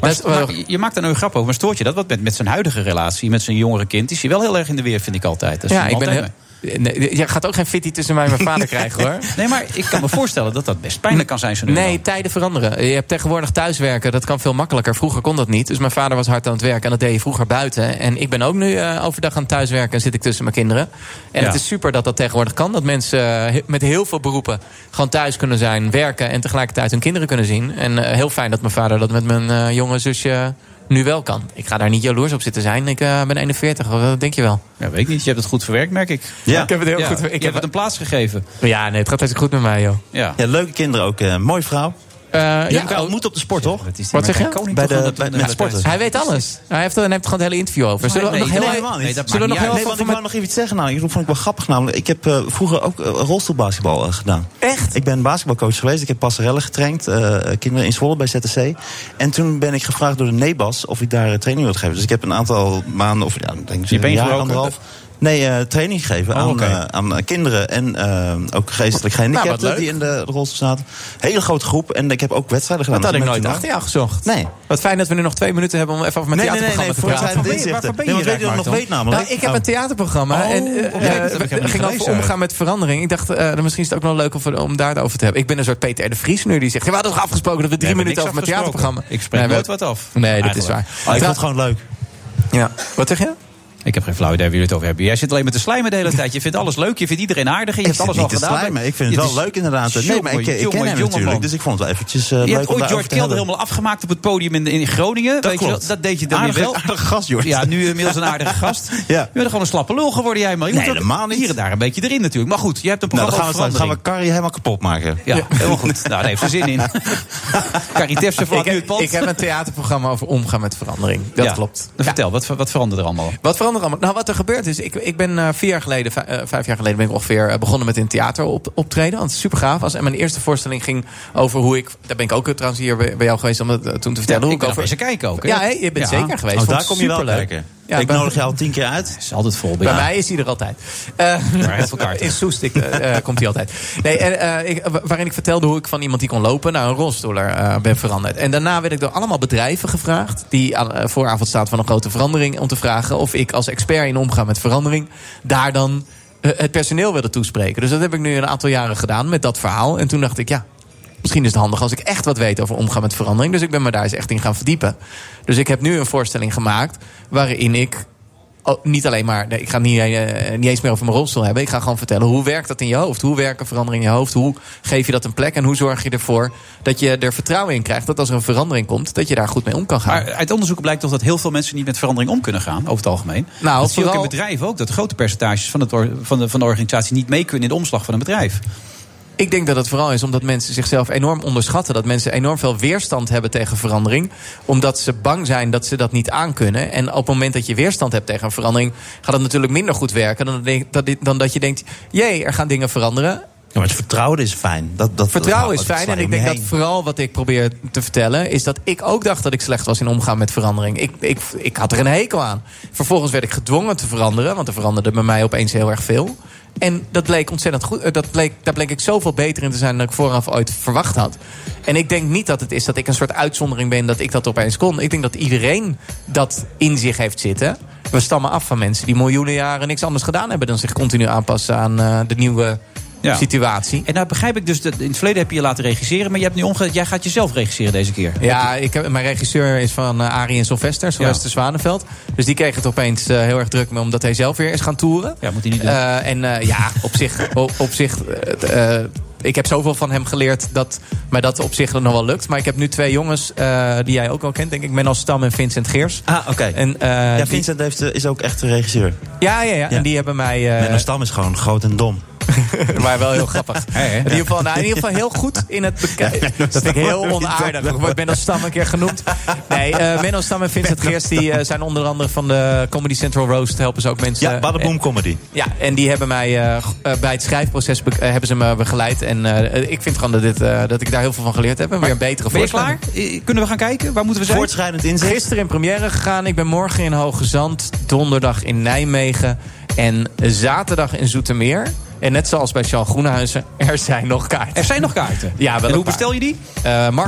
Speaker 5: Maar
Speaker 11: dat-
Speaker 5: st- maar je- je maakt daar nou een grap over, maar stoort je dat? Want met, met zijn huidige relatie, met zijn jongere kind, is hij wel heel erg in de weer, vind ik altijd. Dat is
Speaker 11: ja,
Speaker 5: een
Speaker 11: ik ben...
Speaker 5: altijd
Speaker 11: heel- Nee, jij gaat ook geen fitty tussen mij en mijn vader krijgen, hoor.
Speaker 5: mee. <laughs> Nee, maar ik kan me voorstellen dat dat best pijnlijk kan zijn. Zo nu en dan.
Speaker 11: Nee, tijden veranderen. Je hebt tegenwoordig thuiswerken, dat kan veel makkelijker. Vroeger kon dat niet. Dus mijn vader was hard aan het werk en dat deed je vroeger buiten. En ik ben ook nu eh, overdag aan het thuiswerken en zit ik tussen mijn kinderen. En
Speaker 5: Ja.
Speaker 11: het is super dat dat tegenwoordig kan. Dat mensen eh, he- met heel veel beroepen gewoon thuis kunnen zijn, werken en tegelijkertijd hun kinderen kunnen zien. En eh, heel fijn dat mijn vader dat met mijn eh, jonge zusje nu wel kan. Ik ga daar niet jaloers op zitten zijn. Ik eh, ben 41, wat denk je wel?
Speaker 5: Ja, weet ik niet. Je hebt het goed verwerkt, merk ik.
Speaker 6: Ja.
Speaker 11: Ik heb het heel goed ver-
Speaker 5: Ik
Speaker 11: ik
Speaker 5: heb
Speaker 11: heb-
Speaker 5: het een plaats gegeven.
Speaker 11: Ja, nee, het gaat hartstikke goed met mij, joh.
Speaker 5: Ja.
Speaker 6: Ja, leuke kinderen ook. eh mooie vrouw.
Speaker 11: Eh,
Speaker 6: Ja,
Speaker 11: ja,
Speaker 6: elkaar ontmoet op de sport, toch?
Speaker 11: Wat zeg je?
Speaker 5: Koning
Speaker 6: Bij
Speaker 5: toch aan
Speaker 6: de,
Speaker 5: het-
Speaker 6: bij,
Speaker 5: aan
Speaker 6: met
Speaker 5: het-
Speaker 6: sporten.
Speaker 11: Hij weet alles. Hij heeft, hij heeft gewoon het hele interview over. Zullen we
Speaker 5: Nee,
Speaker 11: nog
Speaker 5: nee,
Speaker 11: heel
Speaker 5: nee,
Speaker 11: even-
Speaker 5: nee, dat
Speaker 11: Zullen we nog
Speaker 5: maakt
Speaker 11: heel
Speaker 5: niet
Speaker 6: Nee,
Speaker 11: even
Speaker 6: want
Speaker 11: van
Speaker 6: ik
Speaker 11: mijn-
Speaker 6: wou nog even iets zeggen. Nou. Ik vond ik wel grappig namelijk. Ik heb eh, vroeger ook eh, rolstoelbasketbal eh, gedaan.
Speaker 11: Echt?
Speaker 6: Ik ben basketbalcoach geweest. Ik heb passerellen getraind. eh, kinderen in Zwolle bij ZTC. En toen ben ik gevraagd door de NEBAS of ik daar eh, training wilde geven. Dus ik heb een aantal maanden of ja, ik denk ik
Speaker 5: Je
Speaker 6: een
Speaker 5: been
Speaker 6: jaar,
Speaker 5: gebroken?
Speaker 6: anderhalf. Nee, eh, training gegeven
Speaker 5: Oh,
Speaker 6: aan,
Speaker 5: oké.
Speaker 6: eh, aan eh, kinderen en eh, ook geestelijk
Speaker 11: Nou,
Speaker 6: gehandicapten
Speaker 11: wat leuk.
Speaker 6: die in de rolstoel zaten. Hele grote groep en ik heb ook wedstrijden gedaan.
Speaker 11: Dat had ik
Speaker 6: Dus
Speaker 11: nooit
Speaker 6: ben
Speaker 11: achter jou gezocht.
Speaker 6: Nee.
Speaker 11: Wat fijn dat we nu nog twee minuten hebben om even over mijn
Speaker 6: Nee, nee, nee, nee,
Speaker 11: theaterprogramma te
Speaker 6: voor zijn
Speaker 11: praten.
Speaker 6: inzichten.
Speaker 5: waarvoor ben je
Speaker 6: Nee, want weet je dat
Speaker 5: raak,
Speaker 6: nog
Speaker 5: Maarten?
Speaker 6: weet namelijk?
Speaker 11: Nou, ik heb een theaterprogramma
Speaker 5: Oh,
Speaker 11: en eh,
Speaker 5: oké, dat heb ik
Speaker 11: eh,
Speaker 5: helemaal niet
Speaker 11: het ging over
Speaker 5: gelezen.
Speaker 11: omgaan met verandering. Ik dacht, eh, misschien is het ook wel leuk om, om daar het over te hebben. Ik ben een soort Peter R. de Vries nu die zegt: ja, We hadden toch afgesproken dat we drie
Speaker 5: Nee,
Speaker 11: minuten over
Speaker 5: niks
Speaker 11: mijn theaterprogramma.
Speaker 5: afgesproken. Ik spreek
Speaker 11: Nee, we-
Speaker 5: nooit wat af.
Speaker 11: Nee, dat is
Speaker 5: Eigenlijk.
Speaker 11: waar.
Speaker 6: Oh, ik vond het
Speaker 11: Trouw-
Speaker 6: gewoon leuk.
Speaker 11: ja. Wat zeg je?
Speaker 5: Ik heb geen flauw idee waar jullie het over hebben. Jij zit alleen met de slijmen de hele tijd. Je vindt alles leuk, je vindt iedereen aardig en je hebt
Speaker 6: Ik zit
Speaker 5: alles
Speaker 6: niet
Speaker 5: al
Speaker 6: te
Speaker 5: gedaan.
Speaker 6: slijmen. Ik vind het
Speaker 5: Ja,
Speaker 6: wel
Speaker 5: dus-
Speaker 6: leuk inderdaad. Nee, maar ik, ik
Speaker 5: Jongen,
Speaker 6: ken hem
Speaker 5: jongen,
Speaker 6: natuurlijk.
Speaker 5: man.
Speaker 6: Dus ik vond het wel eventjes eh,
Speaker 5: Je
Speaker 6: leuk
Speaker 5: hebt
Speaker 6: om
Speaker 5: ooit
Speaker 6: daarover
Speaker 5: George
Speaker 6: te
Speaker 5: Kelder
Speaker 6: hebben.
Speaker 5: helemaal afgemaakt op het podium in, in Groningen.
Speaker 6: Dat
Speaker 5: Weet je wel?
Speaker 6: klopt.
Speaker 5: dat deed je dan weer
Speaker 6: Aardige-
Speaker 5: wel.
Speaker 6: aardige gast, George.
Speaker 5: Ja, nu inmiddels een
Speaker 6: <laughs>
Speaker 5: aardige gast.
Speaker 6: Ja.
Speaker 5: Je bent gewoon een slappe lul geworden, jij man. Je
Speaker 6: Nee,
Speaker 5: moet ook
Speaker 6: helemaal niet.
Speaker 5: Hier en daar een beetje erin natuurlijk. Maar goed, je hebt een
Speaker 6: Nou,
Speaker 5: programma
Speaker 6: dan gaan we,
Speaker 5: over
Speaker 6: straks- gaan we
Speaker 5: verandering.
Speaker 6: Carrie helemaal kapot maken.
Speaker 5: Ja, helemaal goed. Nou, daar heeft ze zin
Speaker 6: <laughs>
Speaker 5: in. Carrie Tefse
Speaker 11: Ik
Speaker 5: vlak nu het
Speaker 11: heb,
Speaker 5: pand.
Speaker 11: ik heb een theaterprogramma over omgaan met verandering. Dat
Speaker 5: <laughs> Ja.
Speaker 11: klopt.
Speaker 5: Dan Vertel, wat, wat verandert er allemaal?
Speaker 11: Wat verandert allemaal? Nou, wat er gebeurd is, ik, ik ben eh, vier jaar geleden, vij- eh, vijf jaar geleden ben ik ongeveer eh, begonnen met in theater op, optreden. Want het super gaaf was. En mijn eerste voorstelling ging over hoe ik. Daar ben ik ook eh, trouwens hier bij, bij jou geweest om het eh, toen te vertellen. hoe
Speaker 5: ik ben
Speaker 11: over.
Speaker 5: eens kijken ook. hè?
Speaker 11: ja, hè, je bent
Speaker 5: Ja.
Speaker 11: zeker geweest.
Speaker 6: Oh,
Speaker 11: Vond
Speaker 6: daar
Speaker 11: het
Speaker 6: kom je wel
Speaker 11: superleuk.
Speaker 6: kijken.
Speaker 11: Ja,
Speaker 6: ik
Speaker 11: ben-
Speaker 6: nodig je al tien keer uit.
Speaker 5: is altijd vol bij,
Speaker 11: bij
Speaker 5: jou.
Speaker 11: mij is hij er altijd. Eh,
Speaker 5: heel veel kaarten.
Speaker 11: in Soest ik, eh, eh, komt hij altijd. Nee, en, eh, ik, wa- waarin ik vertelde hoe ik van iemand die kon lopen naar een rolstoeler eh, ben veranderd. En daarna werd ik door allemaal bedrijven gevraagd. die aan eh, vooravond staat van een grote verandering. om te vragen of ik als expert in omgaan met verandering. daar dan eh, het personeel wilde toespreken. Dus dat heb ik nu een aantal jaren gedaan met dat verhaal. En toen dacht ik, ja, Misschien is het handig als ik echt wat weet over omgaan met verandering. Dus ik ben me daar eens echt in gaan verdiepen. Dus ik heb nu een voorstelling gemaakt waarin ik oh, niet alleen maar, nee, ik ga het niet, eh, niet eens meer over mijn rolstoel hebben. Ik ga gewoon vertellen hoe werkt dat in je hoofd? Hoe werken veranderingen in je hoofd? Hoe geef je dat een plek? En hoe zorg je ervoor dat je er vertrouwen in krijgt dat als er een verandering komt, dat je daar goed mee om kan gaan?
Speaker 5: Maar uit onderzoek blijkt toch dat heel veel mensen niet met verandering om kunnen gaan, over het algemeen.
Speaker 11: Nou,
Speaker 5: dat zie je ook
Speaker 11: vooral-
Speaker 5: in bedrijven ook, dat grote percentages van, het or- van, de, van de organisatie niet mee kunnen in de omslag van een bedrijf.
Speaker 11: Ik denk dat het vooral is omdat mensen zichzelf enorm onderschatten. Dat mensen enorm veel weerstand hebben tegen verandering. Omdat ze bang zijn dat ze dat niet aankunnen. En op het moment dat je weerstand hebt tegen een verandering... gaat het natuurlijk minder goed werken dan, denk- dat dit- dan dat je denkt... jee, er gaan dingen veranderen.
Speaker 6: maar het vertrouwen is fijn. Dat, dat,
Speaker 11: Vertrouwen
Speaker 6: dat-
Speaker 11: is
Speaker 6: dat
Speaker 11: fijn.
Speaker 6: sla
Speaker 11: En
Speaker 6: je
Speaker 11: ik
Speaker 6: om je
Speaker 11: denk dat
Speaker 6: heen.
Speaker 11: vooral wat ik probeer te vertellen... is dat ik ook dacht dat ik slecht was in omgaan met verandering. Ik, ik, ik had er een hekel aan. Vervolgens werd ik gedwongen te veranderen. Want er veranderde bij mij opeens heel erg veel. En dat bleek ontzettend goed. eh, Dat bleek, daar bleek ik zoveel beter in te zijn... dan ik vooraf ooit verwacht had. En ik denk niet dat het is dat ik een soort uitzondering ben... dat ik dat opeens kon. Ik denk dat iedereen dat in zich heeft zitten. We stammen af van mensen die miljoenen jaren niks anders gedaan hebben... dan zich continu aanpassen aan eh, de nieuwe
Speaker 5: Ja.
Speaker 11: situatie.
Speaker 5: En nou begrijp ik dus, dat in het verleden heb je je laten regisseren, maar je hebt nu omge jij gaat jezelf regisseren deze keer.
Speaker 11: Ja, ik heb, mijn regisseur is van eh, Arie en Sylvester, Sylvester Zwanenveld. Dus die kreeg het opeens eh, heel erg druk mee, omdat hij zelf weer is gaan toeren.
Speaker 5: Ja, moet hij niet doen.
Speaker 11: Eh, en eh, ja, op zich. Op, op zich eh, eh, ik heb zoveel van hem geleerd dat mij dat op zich nog wel lukt. Maar ik heb nu twee jongens eh, die jij ook al kent, denk ik. Menno Stam en Vincent Geers.
Speaker 6: Ah, oké.
Speaker 11: En,
Speaker 6: ja, Vincent heeft, eh, is ook echt een regisseur.
Speaker 11: Ja, ja, ja, En die hebben mij... eh
Speaker 6: Menno Stam is gewoon groot en dom.
Speaker 11: <laughs> maar wel heel grappig. In ieder, geval, nou, in ieder geval heel goed in het
Speaker 6: <laughs>
Speaker 11: bekijken. dat vind ik heel
Speaker 6: Stam.
Speaker 11: onaardig. Ik word Menno Stam een keer genoemd. Nee, eh Menno Stam en Vincent Geers die, eh, zijn onder andere van de Comedy Central Roast. Helpen ze ook mensen.
Speaker 6: Ja, Baddenboom Comedy.
Speaker 11: Ja, en die hebben mij eh, g- eh, bij het schrijfproces be- eh, hebben ze me begeleid. En eh, ik vind gewoon dat, dit, eh, dat ik daar heel veel van geleerd heb. En weer een betere
Speaker 5: Ben je
Speaker 11: voorstelling.
Speaker 5: klaar? Eh, Kunnen we gaan kijken? Waar moeten we zijn?
Speaker 6: Voortschrijdend inzicht.
Speaker 11: Gisteren in première gegaan. Ik ben morgen in Hoge Zand, donderdag in Nijmegen en zaterdag in Zoetermeer. En net zoals bij Charles Groenhuizen, er zijn nog kaarten. Er
Speaker 5: zijn nog kaarten?
Speaker 11: Ja, wel Eh,
Speaker 6: En hoe
Speaker 5: bestel je die?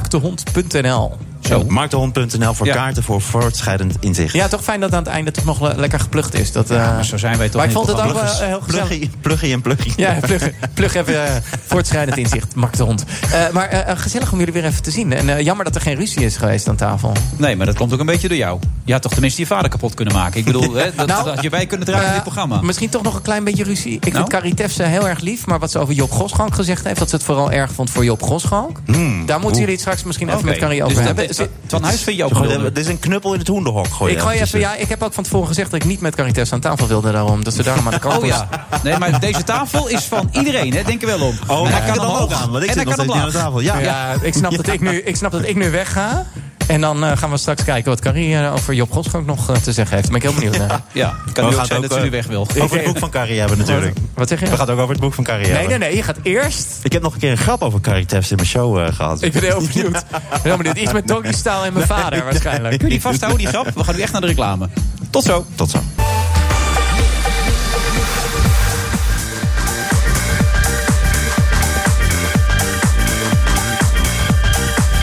Speaker 11: marktdehond.nl
Speaker 6: Zo. Marktehond.nl voor
Speaker 11: Oh. Ja.
Speaker 6: kaarten voor voortschrijdend inzicht.
Speaker 11: Ja, toch fijn dat aan het einde toch nog le- lekker geplucht is. Dat, eh,
Speaker 6: maar zo zijn wij toch Oh,
Speaker 11: Maar ik
Speaker 6: in
Speaker 11: vond
Speaker 6: dit
Speaker 11: het ook wel
Speaker 6: programma.
Speaker 11: eh, heel gezellig.
Speaker 6: Pluggie, pluggie en pluggie.
Speaker 11: Ja, plug, plug even eh, voortschrijdend inzicht, Mark de Hond. Eh, maar eh, eh, gezellig om jullie weer even te zien. En eh, jammer dat er geen ruzie is geweest aan tafel.
Speaker 5: Nee, maar dat komt ook een beetje door jou. Je had toch tenminste je vader kapot kunnen maken. Ik bedoel, hè, dat,
Speaker 11: Nou,
Speaker 5: dat had je bij kunnen dragen in dit
Speaker 11: eh,
Speaker 5: programma. Nou?
Speaker 11: Misschien toch nog een klein beetje ruzie. Ik vind Carrie Tefse heel erg lief. Maar wat ze over Job Goschalk gezegd heeft... dat ze het vooral erg vond voor Job Goschalk. Daar moeten jullie het straks misschien even
Speaker 5: Oké,
Speaker 11: met Carrie
Speaker 5: dus
Speaker 11: over hebben.
Speaker 5: dat- Van Huis vind je ook Oh
Speaker 6: Gooi-
Speaker 5: wel.
Speaker 6: Dit is een knuppel in het hoenderhok. Gooi
Speaker 11: ik, gooi even, ja, ik heb ook van tevoren gezegd dat ik niet met Carrie Tefse aan tafel wilde daarom. Dat ze daarom aan de kant
Speaker 5: Oh
Speaker 11: was.
Speaker 5: ja. Nee, maar deze tafel is van iedereen, hè? Denk er wel om.
Speaker 11: Oh,
Speaker 5: En
Speaker 11: maar ik kan
Speaker 5: omhoog.
Speaker 11: ook aan, want ik
Speaker 5: En
Speaker 11: zit
Speaker 5: hij
Speaker 11: nog
Speaker 5: kan
Speaker 11: steeds
Speaker 5: omlaag.
Speaker 11: niet aan de tafel. Ja. Ja, ik snap dat ik nu- ik snap dat ik nu wegga. En dan eh, gaan we straks kijken wat Carrie eh, over Job Goschalk nog eh, te zeggen heeft. Daar ben ik heel
Speaker 5: <laughs>
Speaker 11: benieuwd naar.
Speaker 5: Ja, het kan nu ook zijn dat ze nu weg wil.
Speaker 6: eh, Over het boek van Carrie hebben natuurlijk.
Speaker 11: Wat zeg je?
Speaker 6: We gaan het ook over het boek van Carrie
Speaker 11: Nee,
Speaker 6: hebben.
Speaker 11: nee, nee. Je gaat eerst...
Speaker 6: Ik heb nog een keer een grap over Carrie Tefs in mijn show eh, gehad.
Speaker 11: Ik ben
Speaker 6: <laughs>
Speaker 11: heel benieuwd. Ik ben heel benieuwd. Iets met Doggy Style en mijn
Speaker 6: Nee,
Speaker 11: vader
Speaker 6: nee.
Speaker 11: waarschijnlijk.
Speaker 6: Kun je die vasthouden, die
Speaker 5: grap? We gaan nu echt naar de reclame. Tot zo.
Speaker 6: Tot zo.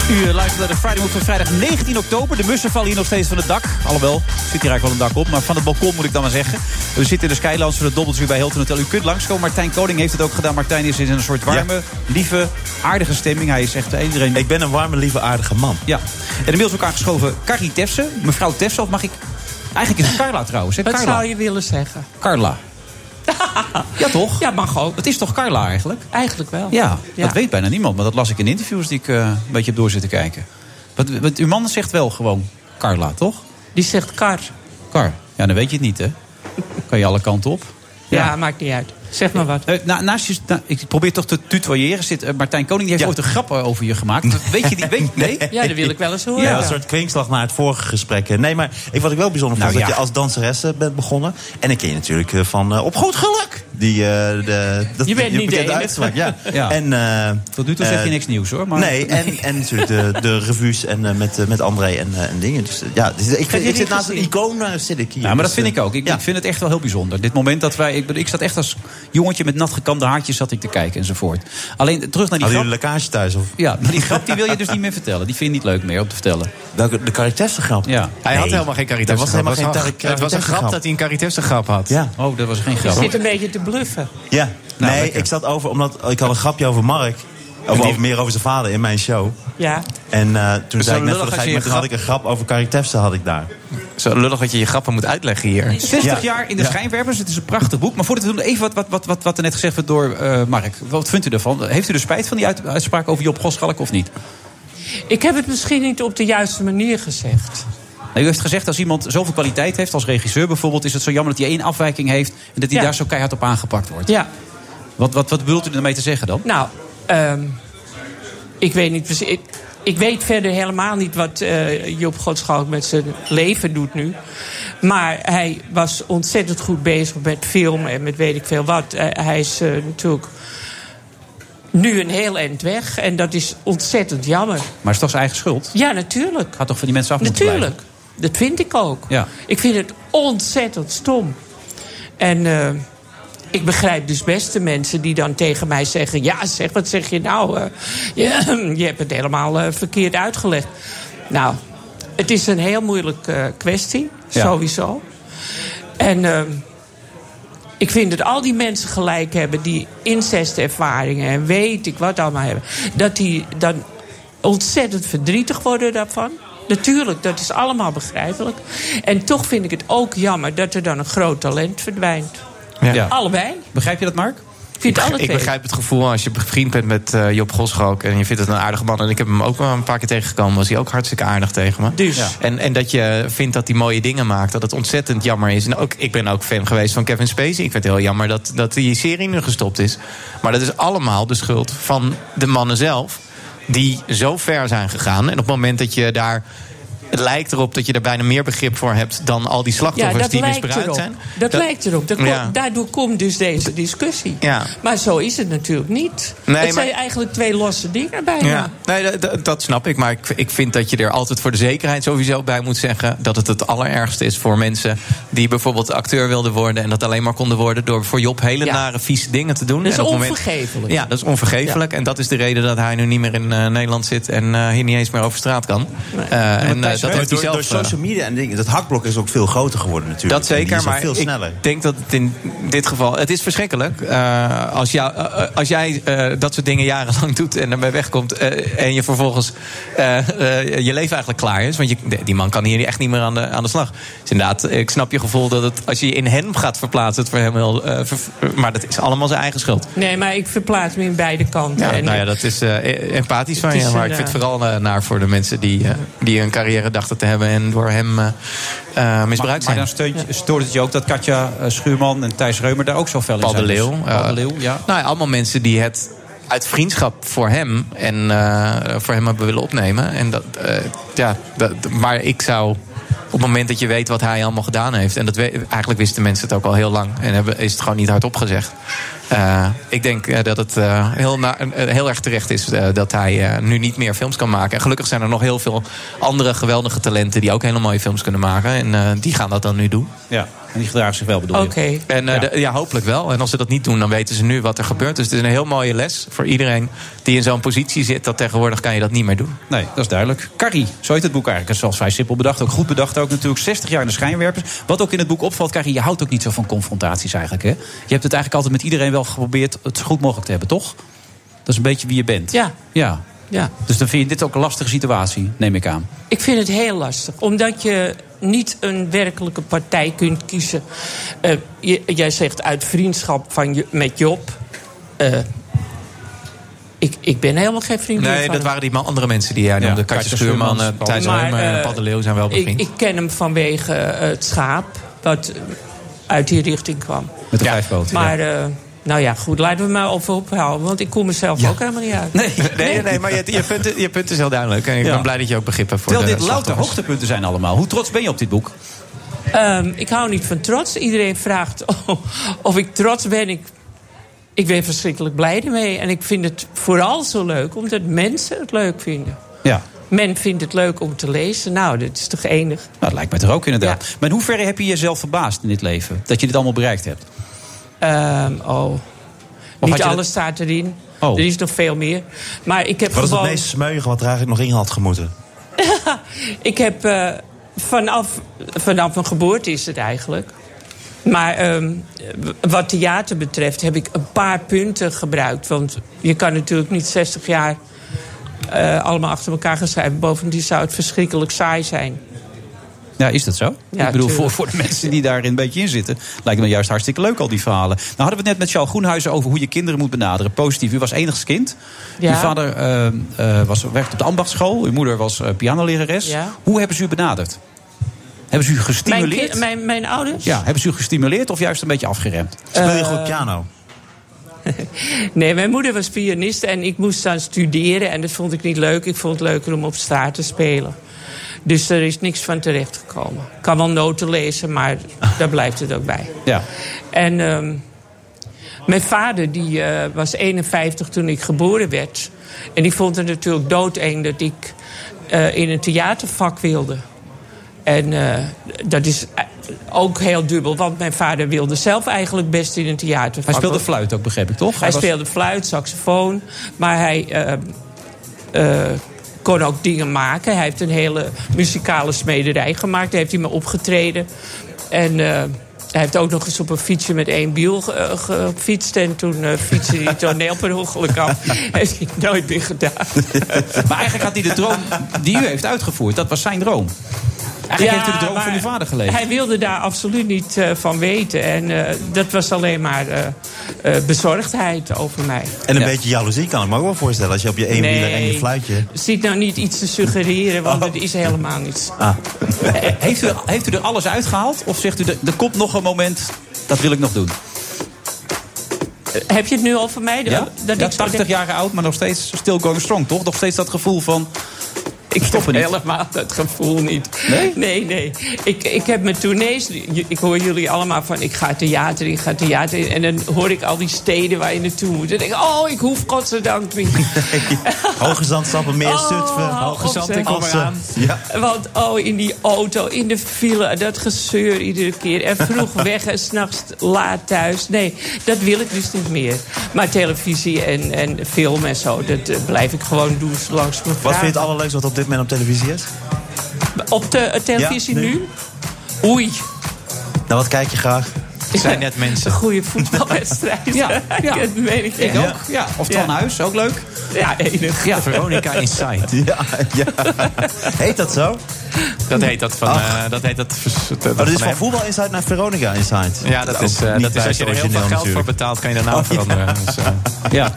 Speaker 5: U eh, luistert naar de Friday Move van vrijdag 19 oktober. De mussen vallen hier nog steeds van het dak. Alhoewel, zit hier eigenlijk wel een dak op. Maar van het balkon moet ik dan maar zeggen. We zitten in de Skylands van het Dobbeltje bij Hilton Hotel. U kunt langskomen. Martijn Koning heeft het ook gedaan. Martijn is in een soort warme, lieve, aardige stemming. Hij is echt eh, iedereen...
Speaker 6: Ik ben een warme, lieve, aardige man.
Speaker 5: Ja. En inmiddels ook aangeschoven Carrie Tefse. Mevrouw Tefse, of mag ik... Eigenlijk is het Carla trouwens. Hè?
Speaker 12: Wat
Speaker 5: Carla.
Speaker 12: zou je willen zeggen?
Speaker 5: Carla. <laughs> ja, toch? Ja, mag ook. Het is toch Carla eigenlijk?
Speaker 12: Eigenlijk wel.
Speaker 5: Ja, dat weet bijna niemand. Maar dat las ik in interviews die ik eh, een beetje heb door zitten kijken. Want, want uw man zegt wel gewoon Carla, toch?
Speaker 12: Die zegt Kar.
Speaker 5: Kar. Ja, dan weet je het niet, hè? Kan je alle kanten op. Eh,
Speaker 12: Ja, maakt niet uit. Zeg maar wat.
Speaker 5: na, naast je, na- ik probeer toch te tutoyeren. Zit, eh, Martijn Koning die heeft ooit een grap eh, over je gemaakt. Weet je die?
Speaker 12: <laughs>
Speaker 5: Weet, nee?
Speaker 12: Ja, dat wil ik wel eens horen.
Speaker 6: Ja, een soort kwinkslag naar het vorige gesprek. hè. Nee, maar ik, wat ik wel bijzonder
Speaker 5: Nou,
Speaker 6: vond, is
Speaker 5: ja.
Speaker 6: dat je als danseres eh, bent begonnen. En ik ken je natuurlijk eh, van eh, Op Groot Geluk. Die, eh, de, dat,
Speaker 5: Je bent
Speaker 6: die
Speaker 5: niet de
Speaker 6: bekende
Speaker 5: enige.
Speaker 6: uitspraak, Ja.
Speaker 5: <laughs> Ja.
Speaker 6: En, eh,
Speaker 5: Tot nu toe zeg je
Speaker 6: eh,
Speaker 5: niks nieuws, hoor, maar-
Speaker 6: Nee, en, en natuurlijk de, de revues en, eh, met, eh, met André en, eh, en dingen. Dus, eh, ja, dus ik,
Speaker 5: Heb
Speaker 6: ik,
Speaker 5: je die
Speaker 6: zit naast een
Speaker 5: gezien?
Speaker 6: icoon eh, zit ik hier.
Speaker 5: Ja, maar dat
Speaker 6: Dus,
Speaker 5: vind
Speaker 6: eh,
Speaker 5: ik ook. Ik, ik vind het echt wel heel bijzonder. Dit moment dat wij... Ik, bedoel, ik zat echt als jongetje met natgekamde haartjes zat ik te kijken enzovoort. Alleen eh, terug naar die
Speaker 6: Hadden
Speaker 5: grap.
Speaker 6: jullie lekkage thuis? Of?
Speaker 5: Ja, maar die grap die wil je dus niet meer vertellen. Die vind je niet leuk meer om te vertellen.
Speaker 6: Welke, de Caritefse grap?
Speaker 5: Ja.
Speaker 11: Hij had helemaal geen Carrie
Speaker 5: Dat
Speaker 11: Tefse
Speaker 5: was
Speaker 11: grap.
Speaker 5: helemaal
Speaker 11: Het was
Speaker 5: geen
Speaker 11: een- Het was een grap dat hij een Carrie Tefse grap had.
Speaker 6: Ja.
Speaker 5: Oh, dat was geen
Speaker 12: Je
Speaker 5: grap.
Speaker 12: zit een beetje te bluffen.
Speaker 6: Ja,
Speaker 5: Nou,
Speaker 6: nee, ik zat over, omdat ik had een grapje over Mark. Of over, meer over zijn vader in mijn show.
Speaker 12: Ja.
Speaker 6: En eh, toen
Speaker 5: Zo
Speaker 6: zei ik net
Speaker 5: lullig als
Speaker 6: van,
Speaker 5: je
Speaker 6: ga ik
Speaker 5: een
Speaker 6: met- toen had ik een grap over Caritefse had ik daar.
Speaker 11: Zo lullig dat je je grappen moet uitleggen hier.
Speaker 5: 60 jaar in de schijnwerpers. Het is een prachtig boek. Maar voordat we doen, even wat, wat, wat, wat, wat er net gezegd werd door eh, Mark. Wat vindt u ervan? Heeft u er spijt van die uit- uitspraak over Job Goschalk of niet?
Speaker 12: Ik heb het misschien niet op de juiste manier gezegd.
Speaker 5: Nou, u heeft gezegd, als iemand zoveel kwaliteit heeft, als regisseur bijvoorbeeld... is het zo jammer dat hij één afwijking heeft... en dat hij
Speaker 12: Ja.
Speaker 5: daar zo keihard op aangepakt wordt.
Speaker 12: Ja,
Speaker 5: Wat, wat, wat bedoelt u ermee te zeggen dan?
Speaker 12: nou, ehm, ik weet niet precies. Ik, ik weet verder helemaal niet wat eh, Job Godschalk met zijn leven doet nu. Maar hij was ontzettend goed bezig met film en met weet ik veel wat. Eh, hij is eh, natuurlijk nu een heel eind weg. En dat is ontzettend jammer.
Speaker 5: Maar het is toch zijn eigen schuld?
Speaker 12: Ja, natuurlijk.
Speaker 5: Gaat toch van die mensen af moeten blijven?
Speaker 12: Natuurlijk. Dat vind ik ook.
Speaker 5: Ja.
Speaker 12: Ik vind het ontzettend stom. En eh, ik begrijp dus best de mensen die dan tegen mij zeggen... ja, zeg, wat zeg je nou? eh, <clears throat> je, je hebt het helemaal eh, verkeerd uitgelegd. Nou, het is een heel moeilijke eh, kwestie,
Speaker 13: Ja.
Speaker 12: sowieso. En eh, ik vind dat al die mensen gelijk hebben... die incestervaringen en weet ik wat allemaal hebben... dat die dan ontzettend verdrietig worden daarvan. Natuurlijk, dat is allemaal begrijpelijk. En toch vind ik het ook jammer dat er dan een groot talent verdwijnt.
Speaker 11: Ja. Ja.
Speaker 12: Allebei.
Speaker 5: Begrijp je dat, Mark?
Speaker 12: Ik vind alle
Speaker 11: Ik
Speaker 12: twee.
Speaker 11: begrijp het gevoel als je bevriend bent met eh, Job Goschalk... en je vindt het een aardige man. En ik heb hem ook wel een paar keer tegengekomen. Was hij ook hartstikke aardig tegen me.
Speaker 12: Dus.
Speaker 11: Ja. En, en dat je vindt dat hij mooie dingen maakt. Dat het ontzettend jammer is. En ook, ik ben ook fan geweest van Kevin Spacey. Ik vind het heel jammer dat, dat die serie nu gestopt is. Maar dat is allemaal de schuld van de mannen zelf... die zo ver zijn gegaan. En op het moment dat je daar... Het lijkt erop dat je er bijna meer begrip voor hebt... dan al die slachtoffers die misbruikt
Speaker 12: erop.
Speaker 11: zijn.
Speaker 12: Dat, lijkt erop. Dat
Speaker 11: Ja.
Speaker 12: komt- Daardoor komt dus deze discussie.
Speaker 11: Ja.
Speaker 12: Maar zo is het natuurlijk niet.
Speaker 11: Nee,
Speaker 12: het
Speaker 11: maar-
Speaker 12: zijn eigenlijk twee losse dingen bijna.
Speaker 11: Ja, nee, dat- dat, dat snap ik. Maar ik, ik vind dat je er altijd voor de zekerheid sowieso bij moet zeggen... dat het het allerergste is voor mensen die bijvoorbeeld acteur wilden worden... en dat alleen maar konden worden door voor Job hele nare, vieze dingen te doen.
Speaker 12: Dat is
Speaker 11: En op het moment-
Speaker 12: onvergeeflijk.
Speaker 11: Ja, dat is onvergeeflijk. En dat is de reden dat hij nu niet meer in eh, Nederland zit... en eh, hier niet eens meer over straat kan. Eh, en eh,
Speaker 6: Maar
Speaker 11: dat heeft hij
Speaker 6: door,
Speaker 11: zelf...
Speaker 6: door
Speaker 11: eh,
Speaker 6: social media en dingen. Dat hakblok is ook veel groter geworden natuurlijk.
Speaker 11: dat
Speaker 6: En die
Speaker 11: zeker,
Speaker 6: is al
Speaker 11: maar
Speaker 6: veel
Speaker 11: ik
Speaker 6: sneller.
Speaker 11: denk dat het in dit geval... Het is verschrikkelijk. eh, als, jou, eh, eh, als jij eh, dat soort dingen jarenlang doet en ermee wegkomt... eh, en je vervolgens eh, eh, je leven eigenlijk klaar is... want je, die man kan hier echt niet meer aan de, aan de slag. Dus inderdaad, ik snap je gevoel dat het, als je je in hem gaat verplaatsen... het voor hem heel... eh, ver- maar dat is allemaal zijn eigen schuld.
Speaker 12: Nee, maar ik verplaats me in beide kanten.
Speaker 11: Ja,
Speaker 12: En,
Speaker 11: nou ja,
Speaker 12: eh,
Speaker 11: dat is eh, empathisch van
Speaker 12: Het
Speaker 11: je.
Speaker 12: is
Speaker 11: Maar
Speaker 12: een,
Speaker 11: ik vind het
Speaker 12: eh,
Speaker 11: vooral eh, naar voor de mensen die, eh, die een carrière dachten te hebben... en door hem eh, eh, misbruikt
Speaker 5: Maar, maar
Speaker 11: zijn.
Speaker 5: dan steunt, stoort het je ook dat Katja eh, Schuurman en Thijs Reumer daar ook zo fel in
Speaker 11: Paul de
Speaker 5: zijn.
Speaker 11: Leeuw.
Speaker 5: Dus
Speaker 11: eh,
Speaker 5: Paul de Leeuw, ja.
Speaker 11: Nou ja, allemaal mensen die het uit vriendschap voor hem en eh, voor hem hebben willen opnemen. En dat, eh, ja, dat, maar ik zou op het moment dat je weet wat hij allemaal gedaan heeft... en dat we, eigenlijk wisten mensen het ook al heel lang... en hebben, is het gewoon niet hardop gezegd. Eh, ik denk eh, dat het eh, heel, na- eh, heel erg terecht is eh, dat hij eh, nu niet meer films kan maken. En gelukkig zijn er nog heel veel andere geweldige talenten... die ook hele mooie films kunnen maken. En eh, die gaan dat dan nu doen.
Speaker 5: Ja, en die gedragen zich wel, bedoel je?
Speaker 12: Oké.
Speaker 11: En eh, de- ja. hopelijk wel. En als ze dat niet doen, dan weten ze nu wat er gebeurt. Dus het is een heel mooie les voor iedereen die in zo'n positie zit. Dat tegenwoordig kan je dat niet meer doen.
Speaker 5: Nee, dat is duidelijk. Carrie, zo heet het boek eigenlijk. Het is wel vrij simpel bedacht. Ook goed bedacht ook natuurlijk. 60 jaar in de schijnwerpers. Wat ook in het boek opvalt, Carrie, je houdt ook niet zo van confrontaties eigenlijk. Hè? Je hebt het eigenlijk altijd met iedereen wel geprobeerd het zo goed mogelijk te hebben, toch? Dat is een beetje wie je bent.
Speaker 12: Ja.
Speaker 5: Ja.
Speaker 12: ja.
Speaker 5: Dus dan vind je dit ook een lastige situatie, neem ik aan.
Speaker 12: Ik vind het heel lastig. Omdat je niet een werkelijke partij kunt kiezen. Eh, je- jij zegt uit vriendschap van je, met Job. Eh, ik, ik ben helemaal geen vriend meer
Speaker 11: Nee,
Speaker 12: van
Speaker 11: dat
Speaker 12: hem.
Speaker 11: waren die ma- andere mensen die jij noemde. Katja
Speaker 5: Katja
Speaker 11: Schuurman,
Speaker 5: Schuurman,
Speaker 11: eh, Thijs
Speaker 12: Maar,
Speaker 11: Reumer en
Speaker 12: eh,
Speaker 11: Paul de Leeuw zijn Nou, wel
Speaker 12: ik,
Speaker 11: bevriend.
Speaker 12: ik ken hem vanwege eh, het schaap. Wat uit die richting kwam.
Speaker 5: Met de vijfboot.
Speaker 12: Maar eh, nou ja, goed, laten we maar over ophouden. Want ik kom mezelf ook helemaal niet uit.
Speaker 11: Nee, nee, maar je, je, punt, is- je punt is heel duidelijk. En ik
Speaker 5: Ja.
Speaker 11: ben blij dat je ook begrip hebt voor
Speaker 5: Terwijl
Speaker 11: de
Speaker 5: dit louter
Speaker 11: slachtoffers.
Speaker 5: hoogtepunten zijn allemaal. Hoe trots ben je op dit boek?
Speaker 12: Ehm, ik hou niet van trots. Iedereen vraagt <laughs> of- of ik trots ben. Ik, ik ben verschrikkelijk blij ermee. En ik vind het vooral zo leuk omdat mensen het leuk vinden.
Speaker 5: Ja. nou,
Speaker 12: Men vindt het leuk om te lezen. Nou, dat is toch enig.
Speaker 5: Nou, dat lijkt mij toch ook inderdaad. Maar in hoeverre heb je jezelf verbaasd in dit leven? Dat je dit allemaal bereikt hebt?
Speaker 12: Ehm, oh.
Speaker 5: had je
Speaker 12: niet
Speaker 5: dat-
Speaker 12: alles staat erin.
Speaker 6: Oh.
Speaker 12: Er is nog veel meer. Maar ik heb
Speaker 6: Wat is het
Speaker 12: gewoon...
Speaker 6: meest smeuïge wat er eigenlijk nog in had gemoeten?
Speaker 12: ik heb eh, vanaf, vanaf mijn geboorte is het eigenlijk. Maar ehm, w- wat theater betreft heb ik een paar punten gebruikt. Want je kan natuurlijk niet 60 jaar eh, allemaal achter elkaar gaan schrijven. Bovendien zou het verschrikkelijk saai zijn.
Speaker 5: Ja, is dat zo?
Speaker 12: Ja,
Speaker 5: ik bedoel, voor,
Speaker 12: tuurlijk.
Speaker 5: voor de mensen die daar een beetje in zitten, lijkt me juist hartstikke leuk al die verhalen. Nou hadden we het net met Charles Groenhuizen over hoe je kinderen moet benaderen. Positief, u was enigst kind.
Speaker 12: Ja.
Speaker 5: Uw vader eh, eh, was, werkte op de ambachtsschool, uw moeder was eh, pianolerares.
Speaker 12: Ja.
Speaker 5: Hoe hebben ze u benaderd? Hebben ze u
Speaker 12: Mijn,
Speaker 5: gestimuleerd?
Speaker 12: ki- mijn, mijn Eh, ouders?
Speaker 5: Ja, hebben ze u gestimuleerd of juist een beetje afgeremd?
Speaker 12: Speel je goed
Speaker 5: piano?
Speaker 12: Nee, mijn moeder was pianiste en ik moest dan studeren. En dat vond ik niet leuk. Ik vond het leuker om op straat te spelen. Dus er is niks van terechtgekomen. Ik kan wel noten lezen, maar daar blijft het ook bij.
Speaker 5: Ja.
Speaker 12: En ehm, mijn vader die, eh, was 51 toen ik geboren werd. En die vond het natuurlijk doodeng dat ik eh, in een theatervak wilde. En eh, dat is eh, ook heel dubbel, want mijn vader wilde zelf eigenlijk best in een theatervak.
Speaker 5: Hij speelde
Speaker 12: Want-
Speaker 5: fluit ook, begreep ik toch?
Speaker 12: hij
Speaker 5: was-
Speaker 12: speelde fluit, saxofoon. Maar hij eh, eh, kon ook dingen maken. Hij heeft een hele muzikale smederij gemaakt. Daar heeft hij me opgetreden. En eh, hij heeft ook nog eens op een fietsje met één biel ge- eh, gefietst. En toen eh, fietste hij het toneel per
Speaker 5: <laughs>
Speaker 12: ongeluk af. Heeft hij nooit meer gedaan.
Speaker 5: Maar eigenlijk had hij de droom die u heeft uitgevoerd, dat was zijn droom. Eigenlijk
Speaker 12: Ja,
Speaker 5: heeft u de droom
Speaker 12: maar
Speaker 5: van uw vader geleefd.
Speaker 12: Hij wilde daar absoluut niet eh, van weten. En eh, dat was alleen maar eh, eh, bezorgdheid over mij.
Speaker 6: En een beetje jaloezie kan ik me ook wel voorstellen. Als je op je één wieler en je
Speaker 12: Nee. <laughs>
Speaker 6: fluitje...
Speaker 12: Zit nou niet iets te suggereren, want het is helemaal niets.
Speaker 5: Ah. <laughs> Heeft u, heeft u er alles uitgehaald? Of zegt u, er er komt nog een moment, dat wil ik nog doen?
Speaker 12: Heb je het nu al van mij?
Speaker 5: Ja?
Speaker 12: Dat
Speaker 5: Ja,
Speaker 12: ik zo
Speaker 5: 80
Speaker 12: denk-
Speaker 5: jaar oud, maar nog steeds still going strong, toch? Nog steeds dat gevoel van, ik stop er niet.
Speaker 12: Helemaal dat gevoel niet. Nee? Nee, nee. Ik, ik heb mijn tournees... j- Ik hoor jullie allemaal van, ik ga theater in, ik ga theater in. En dan hoor ik al die steden waar je naartoe moet. En denk ik, oh, ik hoef godzijdank niet.
Speaker 6: Hoge zandstappen, meer
Speaker 12: Oh,
Speaker 6: Zutphen.
Speaker 12: hou op, zeg.
Speaker 6: Assen. Ja.
Speaker 12: Want oh, in die auto, in de file, dat gezeur iedere keer. En vroeg weg en s'nachts laat thuis. Nee, dat wil ik dus niet meer. Maar televisie en, en film en zo, dat eh, blijf ik gewoon doen langs me
Speaker 6: Wat
Speaker 12: vragen.
Speaker 6: vind je het allerleukste wat op dit moment op televisie is?
Speaker 12: Op de eh, televisie
Speaker 6: Ja, nee.
Speaker 12: nu? Oei.
Speaker 6: Nou, wat kijk je graag?
Speaker 12: Zijn
Speaker 6: net mensen.
Speaker 12: Een goede
Speaker 5: <laughs>
Speaker 12: voetbalwedstrijd.
Speaker 5: Ja, ja.
Speaker 12: dat weet <laughs> ik.
Speaker 5: Ik ook, ja. Of Twan Huis, ook leuk.
Speaker 12: Ja, enig.
Speaker 5: Ja,
Speaker 12: <laughs>
Speaker 5: Veronica Inside.
Speaker 6: Ja, ja. Heet dat zo?
Speaker 11: Dat heet dat van... eh, dat heet dat... vers- dat-
Speaker 6: Oh, dat is
Speaker 11: van
Speaker 6: van
Speaker 11: hem.
Speaker 6: Voetbal Inside naar Veronica Inside.
Speaker 11: Ja,
Speaker 5: Nou,
Speaker 11: dat is, eh,
Speaker 6: Niet
Speaker 11: dat is
Speaker 6: bij
Speaker 11: als je er heel veel geld
Speaker 6: natuurlijk.
Speaker 11: voor betaalt, kan je de naam veranderen. Dus, eh,
Speaker 5: Oh, Ja.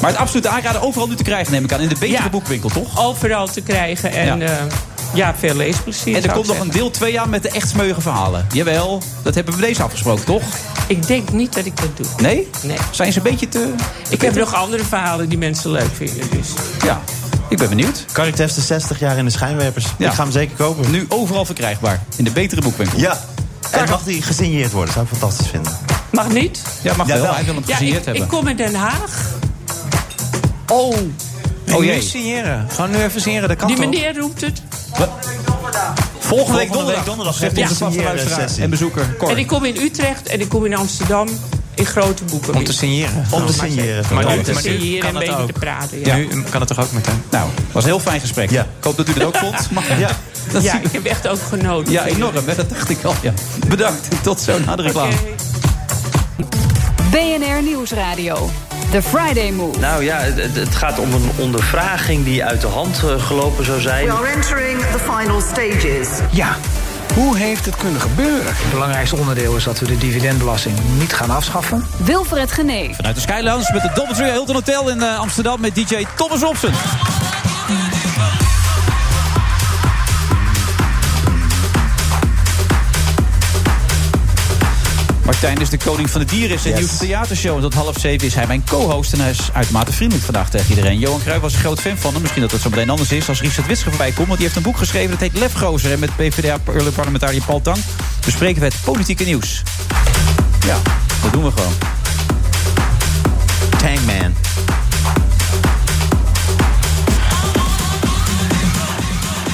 Speaker 5: Maar het absolute aanraden overal nu te krijgen, neem ik aan. In de betere
Speaker 12: Ja.
Speaker 5: boekwinkel, toch?
Speaker 12: Overal te krijgen en
Speaker 5: Ja.
Speaker 12: ja, ja veel leesplezier.
Speaker 5: En er
Speaker 12: zou
Speaker 5: komt
Speaker 12: ik
Speaker 5: nog een
Speaker 12: zeggen.
Speaker 5: deel 2 aan met de echt smeuïge verhalen. Jawel, dat hebben we deze afgesproken, toch?
Speaker 12: Ik denk niet dat ik dat doe.
Speaker 5: Nee?
Speaker 12: Nee.
Speaker 5: Zijn ze een beetje te...
Speaker 12: Ik heb nog andere verhalen die mensen leuk vinden. Dus.
Speaker 5: Ja, ik ben benieuwd.
Speaker 6: Carrie Tefs de 60 jaar in de schijnwerpers.
Speaker 5: Ja.
Speaker 6: Ik ga hem zeker kopen.
Speaker 5: Nu overal verkrijgbaar. In de betere boekwinkel.
Speaker 6: Ja. En mag die gesigneerd worden? Zou ik fantastisch vinden.
Speaker 12: Mag niet?
Speaker 5: Ja, mag
Speaker 6: Ja,
Speaker 5: wel.
Speaker 6: wel.
Speaker 5: Hij wil hem
Speaker 12: Ja,
Speaker 5: gesigneerd
Speaker 12: ik,
Speaker 5: hebben.
Speaker 12: ik kom in Den Haag. Oh,
Speaker 5: Oh
Speaker 11: nu
Speaker 5: jee.
Speaker 11: signeren. Gewoon nu even signeren, dat kan
Speaker 12: die
Speaker 11: toch?
Speaker 12: meneer roept het.
Speaker 5: Volgende week
Speaker 6: Volgende week
Speaker 5: donderdag,
Speaker 6: donderdag
Speaker 5: zegt
Speaker 6: heeft
Speaker 5: onze
Speaker 6: hij
Speaker 5: vaste
Speaker 6: een
Speaker 5: luisteraar
Speaker 6: sessie.
Speaker 5: en bezoeker. Cor.
Speaker 12: En ik kom in Utrecht en ik kom in Amsterdam in grote boeken.
Speaker 11: Om te signeren.
Speaker 6: Om te signeren.
Speaker 11: Maar
Speaker 12: Om
Speaker 11: nu-
Speaker 12: te
Speaker 11: maar nu
Speaker 12: signeren en
Speaker 11: kan
Speaker 12: een beetje
Speaker 11: dat
Speaker 12: te
Speaker 11: ook.
Speaker 12: praten. Ja.
Speaker 11: Nu
Speaker 6: eh,
Speaker 11: kan het toch ook meteen?
Speaker 5: Nou, was een heel fijn gesprek.
Speaker 6: Ja.
Speaker 5: Ik hoop dat u dat
Speaker 6: <laughs>
Speaker 5: ook vond. Maar-
Speaker 6: Ja.
Speaker 5: Dat
Speaker 12: Ja,
Speaker 5: zie-
Speaker 12: ik heb echt ook genoten.
Speaker 5: ja, enorm. hè, Dat dacht ik al. Ja. Bedankt. Tot zo na de reclame.
Speaker 12: Oké.
Speaker 1: BNR Nieuwsradio. The Friday Move.
Speaker 2: Nou ja, het, het gaat om een ondervraging die uit de hand eh, gelopen zou zijn.
Speaker 6: Oh,
Speaker 3: We are entering the final stages.
Speaker 4: Ja, hoe heeft het kunnen gebeuren? Het belangrijkste onderdeel is dat we de dividendbelasting niet gaan afschaffen.
Speaker 1: Wilfred Genee.
Speaker 5: Vanuit de Skylands met het Doubletree Hilton Hotel in eh, Amsterdam met DJ Thomas Robson. Martijn is de koning van de dieren. Zijn
Speaker 6: Yes.
Speaker 5: nieuwste theatershow. En tot half zeven is hij mijn co-host. En hij is uitermate vriendelijk vandaag tegen iedereen. Johan Cruijff was een groot fan van hem. Misschien dat het zo meteen anders is als Richard Witsche voorbij komt. Want die heeft een boek geschreven. Dat heet Lefgozer. En met PvdA-parlementariër Paul Tang bespreken we het politieke nieuws. Ja, dat doen we gewoon.
Speaker 6: Tangman.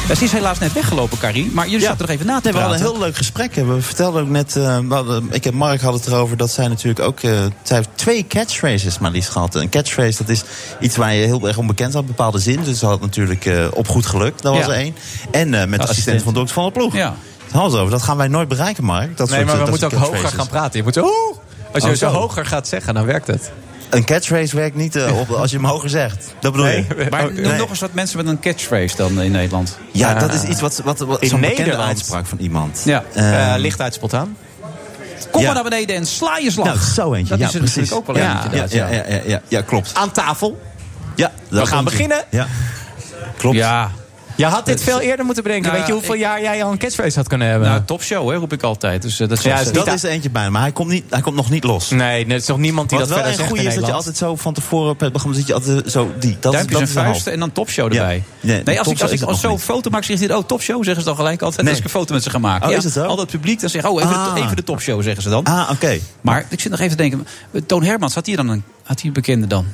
Speaker 5: Ja, ze is helaas net weggelopen, Carrie. Maar jullie zaten nog even na te
Speaker 6: Nee, we hadden
Speaker 5: praten.
Speaker 6: een heel leuk gesprek. hebben. We vertelden ook net, eh, we hadden- ik en Mark hadden het erover dat zij natuurlijk ook. eh, zij heeft twee catchphrases maar liefst gehad. Een catchphrase dat is iets waar je heel erg onbekend had, bepaalde zin. Dus ze had natuurlijk eh, op goed geluk, dat was
Speaker 5: Ja.
Speaker 6: er één. En eh, met de assistent van Dr. van der Ploeg.
Speaker 5: Ja.
Speaker 6: Daar hadden we het over. Dat gaan wij nooit bereiken, Mark. Dat
Speaker 11: Nee,
Speaker 6: soort,
Speaker 11: maar
Speaker 6: eh,
Speaker 11: we
Speaker 6: dat
Speaker 11: moeten ook
Speaker 6: soort
Speaker 11: hoger
Speaker 6: catchphrases.
Speaker 11: gaan praten. Je moet zo... Oeh! Als je
Speaker 6: Oh,
Speaker 11: zo
Speaker 6: zo.
Speaker 11: hoger gaat zeggen, dan werkt het.
Speaker 6: Een catchphrase werkt niet eh, op als je hem hoger zegt. Dat bedoel je?
Speaker 11: oh,
Speaker 6: Oh,
Speaker 5: Maar
Speaker 6: Nee.
Speaker 5: noem nog eens wat mensen met een catchphrase dan in Nederland.
Speaker 6: Ja,
Speaker 11: Ah.
Speaker 6: dat is iets wat, wat, wat zo'n bekende uitspraak van iemand.
Speaker 5: Ja.
Speaker 6: Eh,
Speaker 11: licht uit spontaan.
Speaker 5: Kom
Speaker 6: Ja.
Speaker 5: maar naar beneden en sla je slag.
Speaker 6: Nou, zo eentje.
Speaker 5: Dat
Speaker 6: ja,
Speaker 5: is er
Speaker 6: precies.
Speaker 5: natuurlijk ook wel
Speaker 6: ja,
Speaker 5: eentje.
Speaker 6: ja,
Speaker 5: inderdaad,
Speaker 6: ja, ja, ja, ja, ja, klopt.
Speaker 11: Aan tafel.
Speaker 6: Ja, daar
Speaker 11: We gaan
Speaker 6: komt-ie.
Speaker 11: beginnen.
Speaker 6: Ja. Klopt.
Speaker 5: Ja.
Speaker 11: Je had dit veel eerder moeten bedenken.
Speaker 5: Nou,
Speaker 11: Weet je hoeveel jaar jij al een catchphrase had kunnen hebben?
Speaker 5: Nou, topshow hè, roep ik altijd. Dus, eh, dat
Speaker 11: Ja,
Speaker 5: is
Speaker 11: dat
Speaker 6: Dat is er eentje bijna, maar hij komt, niet, hij komt nog niet los.
Speaker 11: Nee, er is nog niemand
Speaker 5: die
Speaker 6: Wat
Speaker 5: dat
Speaker 6: wel
Speaker 5: verder zegt
Speaker 6: een goede
Speaker 5: in
Speaker 6: is dat je
Speaker 5: Nederland.
Speaker 6: altijd zo van tevoren op het programma zit je altijd zo die. Dat is,
Speaker 5: Duimpjes en
Speaker 6: dat is een half.
Speaker 5: vuisten en dan topshow
Speaker 6: Ja.
Speaker 5: erbij.
Speaker 6: Nee,
Speaker 5: Nee, als ik,
Speaker 6: topshow
Speaker 5: als ik
Speaker 6: is er
Speaker 5: als
Speaker 6: nog
Speaker 5: zo'n
Speaker 6: niet.
Speaker 5: foto maak, zegt dit, oh, topshow, zeggen ze dan gelijk altijd. Als ik een foto met ze ga maken.
Speaker 6: Oh, is het zo?
Speaker 5: Al dat publiek, dan zeggen, oh, even,
Speaker 6: Ah.
Speaker 5: de, even de topshow, zeggen ze dan.
Speaker 6: Ah, oké.
Speaker 5: Maar ik zit nog even te denken, Toon Hermans, had hij dan een, had hij een bekende dan?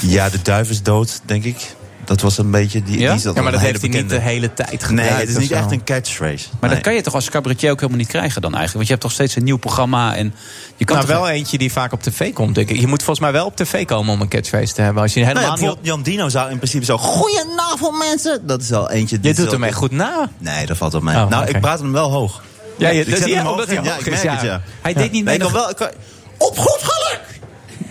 Speaker 6: Ja, de duif is dood, denk ik. Dat was een beetje die.
Speaker 5: Ja?
Speaker 6: die is dat
Speaker 5: Ja, maar
Speaker 6: wel
Speaker 5: dat
Speaker 6: een
Speaker 5: heeft
Speaker 6: hele
Speaker 5: hij niet de
Speaker 6: bekende.
Speaker 5: hele tijd
Speaker 6: Nee,
Speaker 5: gebruikt
Speaker 6: het is
Speaker 5: of
Speaker 6: niet
Speaker 5: zo.
Speaker 6: echt een catchphrase.
Speaker 5: Maar
Speaker 6: nee.
Speaker 5: dat kan je toch als cabaretier ook helemaal niet krijgen dan eigenlijk? Want je hebt toch steeds een nieuw programma en je kan
Speaker 11: Nou,
Speaker 5: toch-
Speaker 11: wel eentje die vaak op tv komt, denk ik. Je moet volgens mij wel op tv komen om een catchphrase te hebben. Als je
Speaker 6: Nou ja,
Speaker 11: helemaal niet...
Speaker 6: bijvoorbeeld Jan Dino zou in principe zo. Goedenavond mensen! Dat is wel eentje. die
Speaker 11: Je doet
Speaker 6: zo-
Speaker 11: hem echt goed na.
Speaker 6: Nee, dat valt wel mee.
Speaker 11: Oh,
Speaker 6: nou,
Speaker 11: oké.
Speaker 6: ik praat hem wel hoog.
Speaker 11: Ja, je-
Speaker 6: Ik
Speaker 11: dat-
Speaker 6: zet
Speaker 11: ja,
Speaker 6: hem
Speaker 11: omdat hij
Speaker 6: in.
Speaker 11: hoog
Speaker 6: Ja, ik
Speaker 11: is,
Speaker 6: merk
Speaker 11: ja.
Speaker 6: het, ja.
Speaker 5: Hij deed niet
Speaker 6: Nee, ik
Speaker 5: mee.
Speaker 6: kan wel, ik kan- Op goed geluk!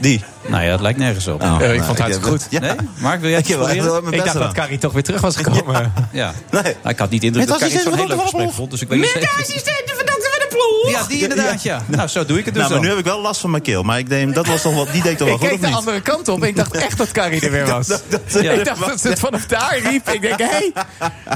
Speaker 6: Die.
Speaker 5: Nou ja, dat lijkt nergens op.
Speaker 6: Oh,
Speaker 11: Eh, ik
Speaker 6: nou,
Speaker 11: vond het hartstikke
Speaker 6: heb-
Speaker 11: goed.
Speaker 6: <laughs> Ja.
Speaker 5: Nee? Mark, wil jij het
Speaker 6: Ik heb wel echt
Speaker 5: proberen?
Speaker 6: wel mijn
Speaker 11: Ik
Speaker 6: best
Speaker 11: dacht dat
Speaker 6: gedaan.
Speaker 11: Carrie toch weer terug was gekomen.
Speaker 5: Ja.
Speaker 6: Nee.
Speaker 5: Nou, ik had niet de indruk
Speaker 6: Net
Speaker 5: dat
Speaker 6: als
Speaker 5: Karin
Speaker 6: die
Speaker 5: zo'n heel leuk
Speaker 6: zeven
Speaker 5: gesprek vond. Dus ik weet niet
Speaker 6: Met
Speaker 5: zeker.
Speaker 7: assistenten verdachte van de ploeg.
Speaker 5: Ja, die inderdaad, ja. Nou, zo doe ik het dus
Speaker 6: Nou, maar nu
Speaker 5: dan.
Speaker 6: heb ik wel last van mijn keel. Maar ik denk, dat was toch wel, die deed ik toch wel
Speaker 11: Ik
Speaker 6: goed,
Speaker 11: keek
Speaker 6: of
Speaker 11: de
Speaker 6: niet?
Speaker 11: andere kant op en ik dacht echt <laughs> dat Carrie er weer was. Ik dacht dat ze het vanaf daar riep. Ik denk, hé, hey,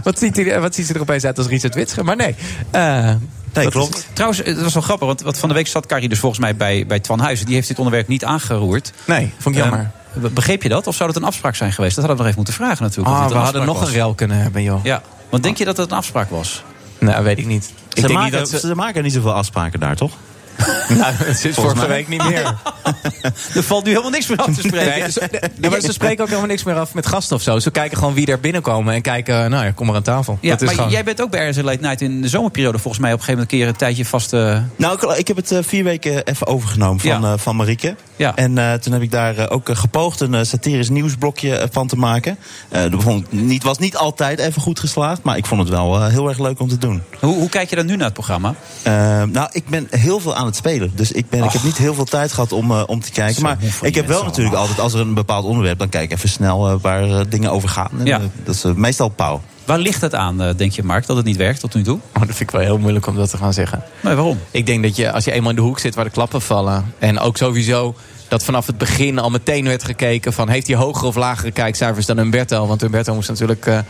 Speaker 11: wat, ziet hij- wat ziet ze er opeens uit als Richard Witscher? Maar nee. eh,
Speaker 6: Nee,
Speaker 11: dat
Speaker 6: klopt.
Speaker 11: is-
Speaker 5: Trouwens, het was wel grappig, want, want van de week zat Carrie dus volgens mij bij, bij Twan Huizen. Die heeft dit onderwerp niet aangeroerd.
Speaker 11: nee, vond ik jammer.
Speaker 5: Ehm, be- begreep je dat? Of zou dat een afspraak zijn geweest? Dat hadden we nog even moeten vragen natuurlijk.
Speaker 11: Ah,
Speaker 5: of dit
Speaker 11: we
Speaker 5: een
Speaker 11: hadden
Speaker 5: afspraak
Speaker 11: nog een rel kunnen hebben, joh.
Speaker 5: was. Ja, want denk je dat dat een afspraak was?
Speaker 11: Nou, weet ik niet. Ik
Speaker 6: Ze
Speaker 11: denk
Speaker 6: maken,
Speaker 11: niet dat
Speaker 6: ze...
Speaker 11: ze...
Speaker 6: maken niet zoveel afspraken daar, toch?
Speaker 11: <laughs> Nou, het zit vorige week niet <laughs> meer.
Speaker 5: <laughs> Er valt nu helemaal niks meer af te spreken.
Speaker 11: Nee, Oh, ze, nee, maar ze spreken ook helemaal niks meer af met gasten of zo. Ze kijken gewoon wie er binnenkomen en kijken, nou ja, kom maar aan tafel.
Speaker 5: <laughs> Ja,
Speaker 11: dat is
Speaker 5: maar
Speaker 11: gewoon...
Speaker 5: jij bent ook bij RTL Late Night in de zomerperiode volgens mij op een gegeven moment een keer een tijdje vast... eh,
Speaker 6: Nou, ik, ik heb het eh, vier weken even overgenomen van,
Speaker 5: Ja.
Speaker 6: eh, van Marieke.
Speaker 5: Ja.
Speaker 6: En eh, toen heb ik daar eh, ook eh, gepoogd een eh, satirisch nieuwsblokje eh, van te maken. Eh dat vond ik niet, was niet altijd even goed geslaagd, maar ik vond het wel eh, heel erg leuk om te doen.
Speaker 5: hoe, hoe kijk je dan nu naar het programma?
Speaker 6: Eh, nou, ik ben heel veel aan het spelen. Dus ik, ben, ik heb niet heel veel tijd gehad om, eh, om te kijken. maar ik heb wel natuurlijk altijd, als er een bepaald onderwerp... dan kijk ik even snel eh, waar eh, dingen over gaan. En,
Speaker 5: Ja.
Speaker 6: eh, dat is eh, meestal pauw.
Speaker 5: Waar ligt het aan, eh, denk je Mark, dat het niet werkt tot nu toe?
Speaker 11: Oh, dat vind ik wel heel moeilijk om dat te gaan zeggen.
Speaker 5: Nee, waarom?
Speaker 11: Ik denk dat je, als je eenmaal in de hoek zit waar de klappen vallen. En ook sowieso dat vanaf het begin al meteen werd gekeken van... heeft hij hogere of lagere kijkcijfers dan Humberto? Want Humberto moest natuurlijk eh, eh,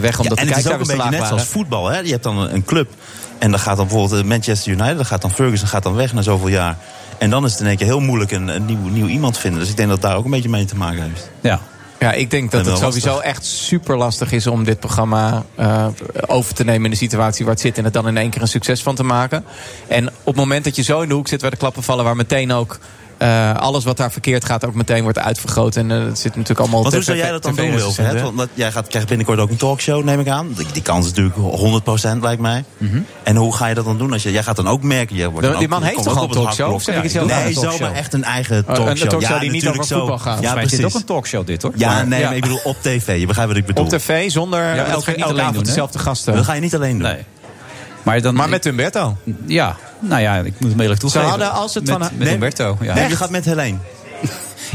Speaker 11: weg omdat
Speaker 6: en
Speaker 11: de
Speaker 6: het is ook een
Speaker 11: kijkcijfers te
Speaker 6: beetje
Speaker 11: laag
Speaker 6: net zoals
Speaker 11: waren.
Speaker 6: voetbal. Hè? Je hebt dan een, een club. En dan gaat dan bijvoorbeeld eh, Manchester United, dan gaat dan Ferguson gaat dan weg na zoveel jaar. En dan is het in één keer heel moeilijk een, een nieuw, nieuw iemand vinden. Dus ik denk dat het daar ook een beetje mee te maken heeft.
Speaker 5: Ja.
Speaker 11: Ja, ik denk dat
Speaker 6: En
Speaker 11: het
Speaker 6: wel
Speaker 11: sowieso echt super lastig is om dit programma eh, over te nemen in de situatie waar het zit en het dan in één keer een succes van te maken. En op het moment dat je zo in de hoek zit waar de klappen vallen, waar meteen ook eh, alles wat daar verkeerd gaat ook meteen wordt uitvergroot. En eh, het zit natuurlijk allemaal
Speaker 6: Want hoe
Speaker 11: TV
Speaker 6: zou jij dat dan doen, Wilf?
Speaker 11: recensenten.
Speaker 6: hè? Want dat- jij gaat, krijgt binnenkort ook een talkshow, neem ik aan. Die, die kans is natuurlijk 100% lijkt mij. En hoe ga je dat dan doen? Als je, jij gaat dan ook merken... Jij wordt
Speaker 11: Mhm. Die
Speaker 6: dan ook-
Speaker 11: man
Speaker 6: je
Speaker 11: heeft
Speaker 6: komt
Speaker 11: toch al
Speaker 6: ook op
Speaker 11: een
Speaker 6: het
Speaker 11: talkshow? Of
Speaker 6: hardblok.
Speaker 11: zeg ik iets heel
Speaker 6: Nee,
Speaker 11: anders? Een
Speaker 6: zomaar
Speaker 11: talkshow.
Speaker 6: echt een eigen
Speaker 11: een
Speaker 6: talkshow.
Speaker 11: Oh, talkshow die niet
Speaker 6: natuurlijk
Speaker 11: over voetbal gaat.
Speaker 6: Ja,
Speaker 11: Volgens
Speaker 5: Volgens mij is dit ook
Speaker 6: precies.
Speaker 5: een talkshow dit, hoor.
Speaker 6: Ja, nee,
Speaker 5: Ja.
Speaker 6: maar ik bedoel op tv. Je begrijpt wat ik bedoel.
Speaker 11: Op tv zonder
Speaker 5: maar dat ga
Speaker 11: elke,
Speaker 5: je niet
Speaker 11: elke
Speaker 5: alleen
Speaker 11: avond
Speaker 5: doen, hè?
Speaker 11: dezelfde gasten.
Speaker 6: Dat ga je niet alleen doen.
Speaker 5: Nee. Maar, dan,
Speaker 11: Maar met Humberto.
Speaker 5: Ja, nou ja, ik moet het eerlijk
Speaker 11: Ze
Speaker 5: toegeven.
Speaker 11: hadden als het
Speaker 5: met,
Speaker 11: van...
Speaker 5: met Humberto, ja.
Speaker 6: Nee, je gaat met Helene.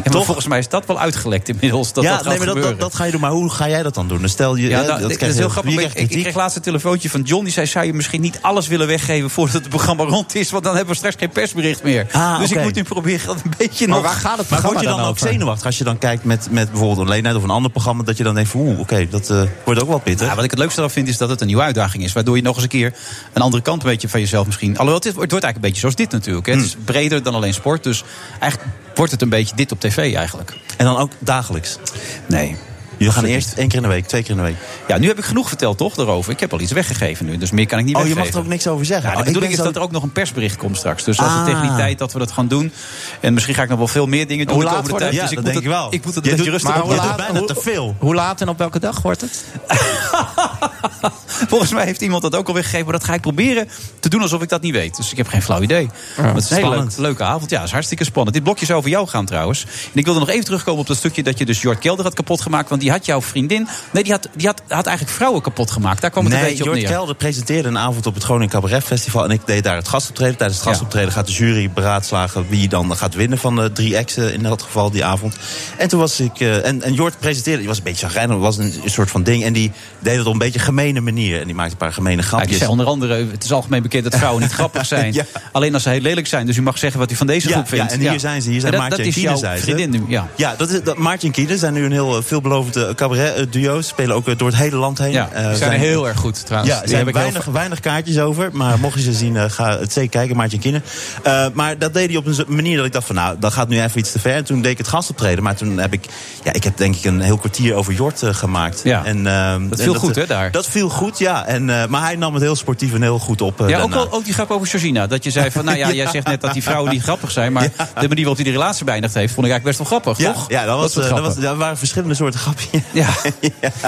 Speaker 5: Ja, maar volgens mij is dat wel uitgelekt inmiddels, dat
Speaker 6: ja,
Speaker 5: dat gaat
Speaker 6: nee, maar dat,
Speaker 5: gebeuren.
Speaker 6: dat, dat ga je doen. Maar hoe ga jij dat dan doen? Dus stel je,
Speaker 5: ja,
Speaker 6: hè,
Speaker 5: nou, dat,
Speaker 6: krijg
Speaker 5: is
Speaker 6: je-
Speaker 5: heel grappig.
Speaker 6: je
Speaker 5: Ik,
Speaker 6: krijgt
Speaker 5: ik
Speaker 6: kritiek.
Speaker 5: kreeg laatst een telefoontje van John. Die zei, zou je misschien niet alles willen weggeven voordat het programma rond is? Want dan hebben we straks geen persbericht meer.
Speaker 6: Ah,
Speaker 5: dus
Speaker 6: oké.
Speaker 5: ik moet nu proberen dat een beetje
Speaker 11: Maar
Speaker 5: nog...
Speaker 11: waar gaat het
Speaker 6: Maar
Speaker 11: programma
Speaker 6: word je dan, ook
Speaker 11: over?
Speaker 6: zenuwachtig als je dan kijkt met, met bijvoorbeeld een leenheid of een ander programma... dat je dan denkt van oeh, oké, dat eh, wordt ook wel pittig.
Speaker 5: Ja, wat ik het leukste ervan vind is dat het een nieuwe uitdaging is. Waardoor je nog eens een keer een andere kant een beetje van jezelf misschien. Alhoewel, het, is- het wordt eigenlijk een beetje zoals dit natuurlijk. Hè. Het
Speaker 6: Hmm.
Speaker 5: is breder dan alleen sport. Dus eigenlijk wordt het een beetje dit op tv eigenlijk.
Speaker 6: En dan ook dagelijks.
Speaker 5: Nee.
Speaker 6: Jullie gaan eerst één keer in de week, twee keer in de week.
Speaker 5: Ja, nu heb ik genoeg verteld toch daarover. Ik heb al iets weggegeven nu. Dus meer kan ik niet
Speaker 6: Oh, je
Speaker 5: weggeven.
Speaker 6: mag er ook niks over zeggen.
Speaker 5: Ja, de
Speaker 6: Oh, ik
Speaker 5: bedoeling is
Speaker 6: ben zo-
Speaker 5: dat er ook nog een persbericht komt straks. Dus dat is
Speaker 6: Ah.
Speaker 5: tegen die tijd dat we dat gaan doen. En misschien ga ik nog wel veel meer dingen doen
Speaker 6: Hoe
Speaker 5: de
Speaker 6: laat
Speaker 5: komende
Speaker 6: wordt
Speaker 5: tijd.
Speaker 6: het? Ja,
Speaker 5: dus ik moet
Speaker 6: dat denk
Speaker 5: het-
Speaker 6: ik dus wel.
Speaker 5: Ik moet het
Speaker 6: Je
Speaker 5: een beetje
Speaker 6: doet-
Speaker 5: rustig
Speaker 6: maar
Speaker 5: op
Speaker 6: hoe
Speaker 5: doen.
Speaker 6: laat- bijna te veel.
Speaker 11: Hoe laat en op welke dag wordt het?
Speaker 5: <laughs> Volgens mij heeft iemand dat ook alweer gegeven. Maar dat ga ik proberen te doen alsof ik dat niet weet. Dus ik heb geen flauw idee. Maar het is een hele
Speaker 13: spannend.
Speaker 5: leuke, leuke avond. Ja, het is hartstikke spannend. Dit blokje zou over jou gaan trouwens. En ik wilde nog even terugkomen op dat stukje dat je dus Jort Kelder had kapot gemaakt. Want die had jouw vriendin... Nee, die had, die had, had eigenlijk vrouwen kapot gemaakt. Daar kwam het
Speaker 6: nee,
Speaker 5: een beetje op
Speaker 6: Jort
Speaker 5: neer.
Speaker 6: Kelder presenteerde een avond op het Groningen Cabaret Festival. En ik deed daar het gastoptreden. Tijdens het gastoptreden gaat de jury beraadslagen wie dan gaat winnen van de drie exen in dat geval die avond. En toen was ik. eh, en, en Jort presenteerde, die was een beetje chagrijnig, het was een, een soort van ding. En die deed het op een beetje gemene manier. En die maakte een paar gemene
Speaker 5: Ja, die
Speaker 6: grapjes.
Speaker 5: zei onder andere, het is algemeen bekend dat vrouwen
Speaker 6: <laughs>
Speaker 5: niet grappig zijn.
Speaker 6: Ja.
Speaker 5: Alleen als ze heel lelijk zijn. Dus u mag zeggen wat u van deze
Speaker 6: Ja,
Speaker 5: groep vindt.
Speaker 6: Ja, en hier zijn ze. Hier zijn
Speaker 5: En dat,
Speaker 6: Maartje
Speaker 5: dat
Speaker 6: en
Speaker 5: is
Speaker 6: Kiede,
Speaker 5: jouw
Speaker 6: zei ze.
Speaker 5: vriendin nu. Ja.
Speaker 6: dat is, dat, Maartje en Kiede zijn nu een heel eh, veelbelovend eh, cabaret-duo. Ze spelen ook eh, door het hele land heen.
Speaker 11: Ja,
Speaker 6: Eh,
Speaker 11: die zijn heel erg goed, trouwens.
Speaker 6: Ja,
Speaker 11: Die
Speaker 6: ze
Speaker 11: heb
Speaker 6: hebben
Speaker 11: ik heel
Speaker 6: weinig, weinig kaartjes over. Maar mocht je ze zien, eh, ga het zeker kijken, Maartje en Kiede. Eh, maar dat deed hij op een zo- manier dat ik dacht van... nou, dat gaat nu even iets te ver. En toen deed ik het gastoptreden. Maar toen heb ik... Ja, ik heb denk ik een heel kwartier over Jort eh, gemaakt.
Speaker 5: Ja.
Speaker 6: En, ehm,
Speaker 5: Dat
Speaker 6: en
Speaker 5: viel goed, hè, daar?
Speaker 6: Dat viel goed, ja. En, eh, maar hij nam het heel sportief en heel goed op. eh,
Speaker 5: Ja, ook,
Speaker 6: daarna.
Speaker 5: wel- ook die grap over Georgina. Dat je zei van,
Speaker 6: <laughs>
Speaker 5: nou ja,
Speaker 6: Ja.
Speaker 5: jij zegt net dat die vrouwen niet grappig zijn. Maar de manier waarop hij die relatie beëindigd heeft, vond ik eigenlijk best wel grappig,
Speaker 6: Ja,
Speaker 5: toch?
Speaker 6: ja dat, was,
Speaker 5: soort
Speaker 6: eh, dat, was,
Speaker 5: grappen.
Speaker 6: dat waren verschillende soorten grapjes. <laughs>
Speaker 5: Ja.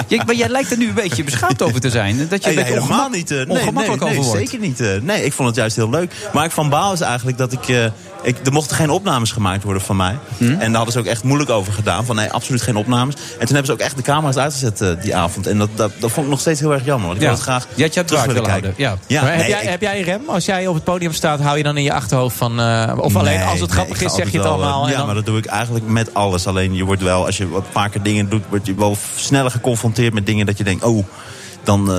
Speaker 5: Ja, maar jij lijkt er nu een beetje beschaamd over te zijn. Dat je een
Speaker 6: Nee,
Speaker 5: beetje
Speaker 6: nee, helemaal
Speaker 5: ongemak-
Speaker 6: niet. eh, nee,
Speaker 5: ongemakkelijk
Speaker 6: nee, nee,
Speaker 5: over wordt.
Speaker 6: zeker niet. eh, nee, ik vond het juist heel leuk. Maar ik van baal is eigenlijk dat ik, eh, ik... Er mochten geen opnames gemaakt worden van mij. En daar hadden ze ook echt moeilijk over gedaan. Van nee, absoluut geen opnames. En toen hebben ze ook echt de camera's uitgezet eh, die avond. En dat, dat, dat vond ik nog steeds heel erg jammer. Want ik
Speaker 5: Ja.
Speaker 6: wilde het graag
Speaker 5: Je had je
Speaker 6: terug
Speaker 5: uiteraard willen
Speaker 6: willen kijken.
Speaker 5: houden.
Speaker 6: Ja,
Speaker 11: Maar heb,
Speaker 6: nee,
Speaker 11: jij,
Speaker 6: ik-
Speaker 11: heb jij een rem? Als jij op het podium staat, hou je dan in je achterhoofd van... eh, of alleen
Speaker 6: Nee,
Speaker 11: als het
Speaker 6: nee,
Speaker 11: grappig
Speaker 6: ik
Speaker 11: is,
Speaker 6: ga
Speaker 11: zeg je het
Speaker 6: altijd wel,
Speaker 11: allemaal.
Speaker 6: eh,
Speaker 11: en
Speaker 6: Ja,
Speaker 11: dan-
Speaker 6: maar dat doe ik eigenlijk met alles. Alleen je wordt wel, als je wat vaker dingen doet, word je wel sneller geconfronteerd met dingen dat je denkt, oh, dan eh,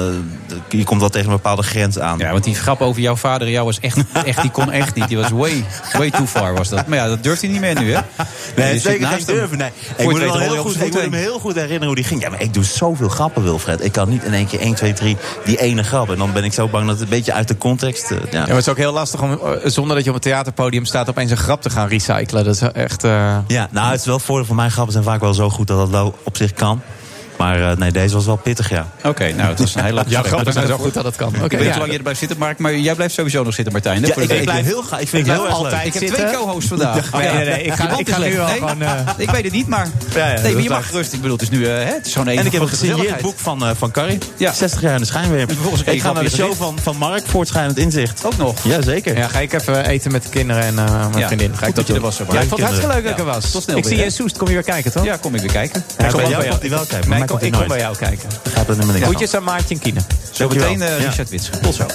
Speaker 6: je komt wel tegen een bepaalde grens aan.
Speaker 5: Ja, want die grap over jouw vader en jou was echt, <laughs> echt die kon echt niet. Die was way, way too far was dat. Maar ja, dat durft hij niet meer nu, hè? Dus
Speaker 6: Nee,
Speaker 5: Je zit
Speaker 6: zeker
Speaker 5: naast
Speaker 6: geen
Speaker 5: hem.
Speaker 6: durven. Nee.
Speaker 5: Voor je
Speaker 6: Ik, moet
Speaker 5: het
Speaker 6: me
Speaker 5: weet rol
Speaker 6: wel
Speaker 5: je
Speaker 6: heel
Speaker 5: op
Speaker 6: goed,
Speaker 5: zijn
Speaker 6: ik moet
Speaker 5: voeten
Speaker 6: me
Speaker 5: heen.
Speaker 6: heel goed herinneren hoe die ging. Ja, maar ik doe zoveel grappen, Wilfred. Ik kan niet in één keer 1, 2, 3 die ene grap. En dan ben ik zo bang dat het een beetje uit de context... eh, ja.
Speaker 11: Ja, maar het is ook heel lastig om, eh, zonder dat je op een theaterpodium staat... opeens een grap te gaan recyclen. Dat is echt... eh,
Speaker 6: ja, nou, het is wel het voordeel van mijn grappen zijn vaak wel zo goed dat dat wel op zich kan. Maar eh, nee, deze was wel pittig, ja.
Speaker 5: Oké, nou, het was een
Speaker 6: <laughs>
Speaker 5: heel leuk
Speaker 6: Ja,
Speaker 5: gesprek. Bedankt
Speaker 6: grappig zijn zo
Speaker 5: daarvoor.
Speaker 6: goed dat het kan.
Speaker 5: ik
Speaker 6: Oké,
Speaker 5: weet niet
Speaker 6: ja.
Speaker 5: hoe lang je erbij zit, Mark, maar jij blijft sowieso nog zitten, Martijn. hè,
Speaker 6: Ja,
Speaker 5: voor de
Speaker 6: ik- ik
Speaker 5: zekerheid.
Speaker 6: blijf heel graag- ik vind het heel erg leuk.
Speaker 5: Ik heb
Speaker 6: Ik zit,
Speaker 5: twee
Speaker 6: hè?
Speaker 5: co-hosts vandaag.
Speaker 6: Ja.
Speaker 5: Maar
Speaker 6: Nee, nee, nee, ik ga-
Speaker 5: je band
Speaker 6: ik
Speaker 5: is
Speaker 6: ga nu
Speaker 5: leeg.
Speaker 6: al
Speaker 5: Nee,
Speaker 6: gewoon, eh,
Speaker 5: Ik weet het niet, maar...
Speaker 6: Ja, ja,
Speaker 5: nee, maar
Speaker 6: dat
Speaker 5: je
Speaker 6: dacht
Speaker 5: mag
Speaker 6: ik.
Speaker 5: rustig. Ik bedoel, het is nu... eh, hè, het is gewoon
Speaker 6: En ik heb een gesigneerd
Speaker 5: gezelligheid.
Speaker 6: boek van, eh van Carrie. 60 jaar in de schijnwerper.
Speaker 5: vervolgens een
Speaker 6: Ik ga
Speaker 5: grap
Speaker 6: naar
Speaker 5: in
Speaker 6: de
Speaker 5: je
Speaker 6: show
Speaker 5: gezicht.
Speaker 6: van, van Mark, voortschrijdend inzicht.
Speaker 5: Ook nog?
Speaker 6: Jazeker.
Speaker 11: Ja, ga ik even eten met de kinderen en eh, mijn
Speaker 6: Ja,
Speaker 11: vriendin. Ga
Speaker 6: goed
Speaker 11: ik
Speaker 6: dat je
Speaker 11: doen.
Speaker 6: er was, hè, Bart.
Speaker 11: Ja, ik vond het hartstikke leuk dat ik
Speaker 5: Ja,
Speaker 11: er was.
Speaker 5: tot snel
Speaker 11: ik
Speaker 5: weer,
Speaker 11: zie je
Speaker 5: hè?
Speaker 11: in Soest. Kom je weer kijken, toch?
Speaker 5: Ja, kom ik weer kijken.
Speaker 11: Ja,
Speaker 6: bij
Speaker 11: ook
Speaker 6: jou komt hij wel kijken, maar
Speaker 11: Nee,
Speaker 6: mij
Speaker 11: kom-
Speaker 6: komt hij
Speaker 11: ik kom
Speaker 6: nooit.
Speaker 11: bij jou kijken.
Speaker 6: Gaat er helemaal niks aan.
Speaker 11: Groetjes aan Maartje en Kine.
Speaker 5: Zo meteen eh, Richard <laughs> Wits. Tot zo.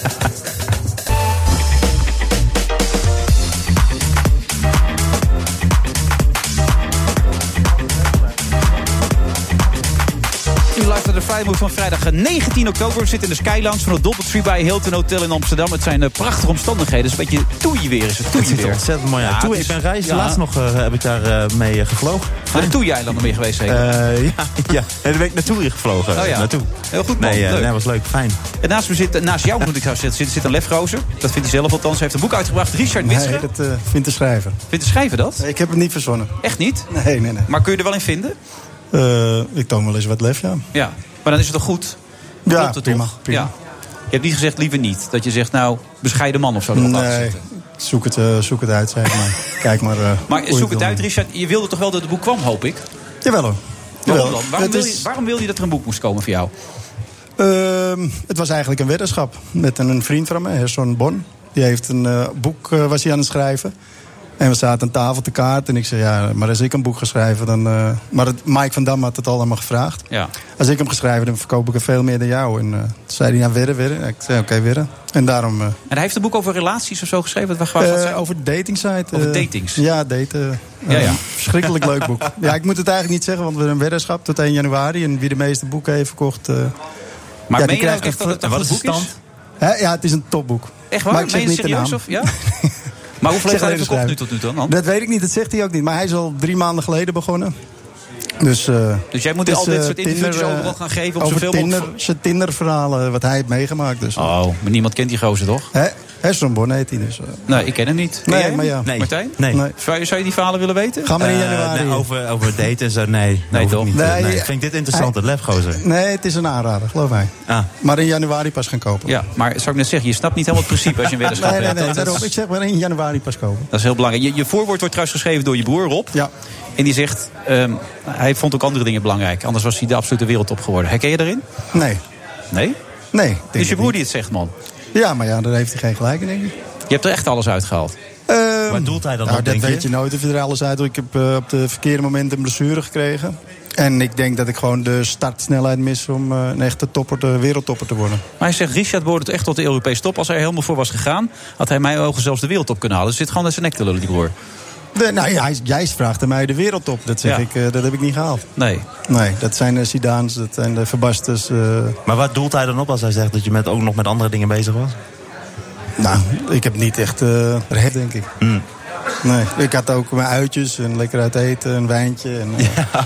Speaker 5: U luistert naar de Vrijmoed van vrijdag 19 oktober. We zitten in de Skylands van het Doubletree bij Hilton Hotel in Amsterdam. Het zijn eh, prachtige omstandigheden. Het is een beetje toei weer. Is het toei
Speaker 6: Het ziet er
Speaker 5: weer.
Speaker 6: ontzettend mooi uit.
Speaker 5: Ja,
Speaker 6: Toen
Speaker 5: het
Speaker 6: ik
Speaker 5: is-
Speaker 6: ben reis,
Speaker 5: ja.
Speaker 6: laatst nog eh, heb ik daar eh, mee eh, gevlogen.
Speaker 5: Naar de Toei-eilanden ben je geweest zeker?
Speaker 6: Eh, ja, <laughs> ja, en daar ben ik naartoe hier gevlogen.
Speaker 5: Oh ja.
Speaker 6: Naartoe.
Speaker 5: Heel goed, man.
Speaker 6: Nee, eh,
Speaker 5: Leuk.
Speaker 6: nee, was leuk, fijn.
Speaker 5: En naast, me zit, naast jou moet ik zou zeggen, zit, zit een lefrozer. Dat vindt hij zelf althans. Hij heeft een boek uitgebracht. Richard Witsche.
Speaker 14: Nee, dat eh, vindt de schrijver.
Speaker 5: Vindt de schrijver dat?
Speaker 14: Ik heb het niet verzonnen.
Speaker 5: Echt niet?
Speaker 14: Nee, nee, nee.
Speaker 5: Maar kun je er wel in vinden?
Speaker 14: Eh, ik toon wel eens wat lef, ja.
Speaker 5: Ja, maar dan is het toch goed?
Speaker 14: Ja,
Speaker 5: Klopt het
Speaker 14: prima,
Speaker 5: toch?
Speaker 14: prima.
Speaker 5: Ja. Je hebt niet gezegd liever niet. Dat je zegt, nou, bescheiden man of zo. erop laten
Speaker 14: nee,
Speaker 5: zetten.
Speaker 14: zoek het, eh, zoek het uit, zeg
Speaker 5: <laughs>
Speaker 14: maar. Kijk maar. eh, hoe
Speaker 5: Maar
Speaker 14: je
Speaker 5: zoek het
Speaker 14: wil.
Speaker 5: uit, Richard. Je wilde toch wel dat het boek kwam, hoop ik?
Speaker 14: Jawel hoor.
Speaker 5: Waarom,
Speaker 14: Jawel.
Speaker 5: dan? Waarom,
Speaker 14: Het
Speaker 5: wil je,
Speaker 14: is-
Speaker 5: waarom wil je dat er een boek moest komen voor jou?
Speaker 14: Ehm, het was eigenlijk een weddenschap met een, een vriend van me, Herson Bon. Die heeft een eh, boek eh, was hij aan het schrijven. En we zaten aan tafel te kaart. En ik zei, ja, maar als ik een boek ga schrijven, dan... eh, Maar het, Mike van Dam had het al aan me gevraagd.
Speaker 5: Ja.
Speaker 14: Als ik hem ga schrijven, dan verkoop ik er veel meer dan jou. En eh, toen zei hij, nou, wedden, wedden. Ik zei, oké, wedden. En daarom... eh,
Speaker 5: En hij heeft een boek over relaties of zo geschreven. Wat, wat, wat
Speaker 14: Eh,
Speaker 5: zijn-
Speaker 14: over dating site.
Speaker 6: eh.
Speaker 5: Over datings?
Speaker 14: Ja, daten.
Speaker 5: Ja,
Speaker 14: ja,
Speaker 5: ja.
Speaker 14: Verschrikkelijk leuk
Speaker 5: <laughs>
Speaker 14: boek. Ja, ik moet het eigenlijk niet zeggen, want we hebben een weddenschap tot 1 januari. En wie de meeste boeken heeft verkocht... eh,
Speaker 5: maar
Speaker 14: ja,
Speaker 5: meen
Speaker 14: die
Speaker 5: je nou
Speaker 14: krijgt
Speaker 5: ook echt dat het een
Speaker 14: een
Speaker 5: goed boek
Speaker 14: stand?
Speaker 5: is?
Speaker 14: Hè? ja, het is een topboek.
Speaker 5: Echt waar?
Speaker 14: Maar ik zeg
Speaker 5: meen je het
Speaker 14: niet de
Speaker 5: serieus?
Speaker 14: naam.
Speaker 5: Of, ja? <laughs> Maar hoeveel
Speaker 14: Ik
Speaker 5: heeft
Speaker 14: zeg
Speaker 5: hij
Speaker 14: alleen de
Speaker 5: verkocht nu
Speaker 14: schrijver.
Speaker 5: tot nu toe dan?
Speaker 14: Dat weet ik niet, dat zegt hij ook niet. Maar hij is al drie maanden geleden begonnen. Dus, eh,
Speaker 5: Dus jij moet
Speaker 14: het
Speaker 5: al
Speaker 14: is,
Speaker 5: dit
Speaker 14: eh,
Speaker 5: soort interviews
Speaker 14: Tinder, eh,
Speaker 5: overal gaan geven op
Speaker 14: over
Speaker 5: zoveel
Speaker 14: Tinder,
Speaker 5: mogelijk-
Speaker 14: Zijn Tinder-verhalen, eh, wat hij heeft meegemaakt. Dus.
Speaker 5: Oh, maar niemand kent die gozer toch?
Speaker 14: Hè? Herson Bon heet hij dus. eh.
Speaker 5: Nee, ik ken hem niet. Ken
Speaker 14: Nee,
Speaker 5: jij hem?
Speaker 14: maar ja.
Speaker 6: Nee.
Speaker 5: Martijn?
Speaker 6: Nee. Nee.
Speaker 5: Zou, je, zou je die verhalen willen weten?
Speaker 14: Ga maar in
Speaker 6: Eh,
Speaker 14: januari.
Speaker 6: nee, over, over daten en zo, nee. Nee, toch? Niet, eh,
Speaker 14: Nee,
Speaker 6: nee,
Speaker 14: je-
Speaker 6: Ik vind dit interessant, het lefgozer.
Speaker 14: Nee, het is een aanrader, geloof mij.
Speaker 6: Ah.
Speaker 14: Maar in januari pas gaan kopen.
Speaker 5: Ja, maar zou ik net zeggen, je snapt niet helemaal het principe als je een weddenschap
Speaker 14: Nee, nee,
Speaker 5: hebt.
Speaker 14: nee,
Speaker 5: Dat- dat,
Speaker 14: daarom.
Speaker 5: is-
Speaker 14: Ik zeg maar in januari pas kopen.
Speaker 5: dat is heel belangrijk. Je, je voorwoord wordt trouwens geschreven door je broer Rob.
Speaker 14: Ja.
Speaker 5: En die zegt, ehm, hij vond ook andere dingen belangrijk. Anders was hij de absolute wereldtop geworden. Herken je daarin?
Speaker 14: Nee.
Speaker 5: Nee?
Speaker 14: Nee. ik denk
Speaker 5: Dus je
Speaker 14: het
Speaker 5: broer die het zegt, man.
Speaker 14: niet. Ja, maar ja, daar heeft hij geen gelijk in, denk ik.
Speaker 5: Je hebt er echt alles uitgehaald.
Speaker 14: Waar doelt hij
Speaker 5: dan
Speaker 14: nou,
Speaker 5: op,
Speaker 14: Dat
Speaker 5: denk je?
Speaker 14: weet je nooit of je er alles uit doet. Ik heb eh, op de verkeerde moment een blessure gekregen. En ik denk dat ik gewoon de startsnelheid mis om eh, een echte topper, de wereldtopper te worden.
Speaker 5: Maar hij zegt, Richard behoort het echt tot de Europese top. Als hij er helemaal voor was gegaan, had hij in mijn ogen zelfs de wereldtop kunnen halen. Dus zit gewoon naar zijn nek te lullen, die broer.
Speaker 14: De- nou ja, hij- jij vraagt aan mij de wereldtop. Dat zeg
Speaker 5: Ja.
Speaker 14: ik, eh, dat heb ik niet gehaald.
Speaker 5: Nee.
Speaker 14: Nee, dat zijn de Sidaans, dat zijn de Verbasters. eh,
Speaker 6: Maar wat doelt hij dan op als hij zegt dat je met, ook nog met andere dingen bezig was?
Speaker 14: nou, ik heb niet echt eh recht, denk ik. Nee, ik had ook mijn uitjes en lekker uit eten, een wijntje. En, eh,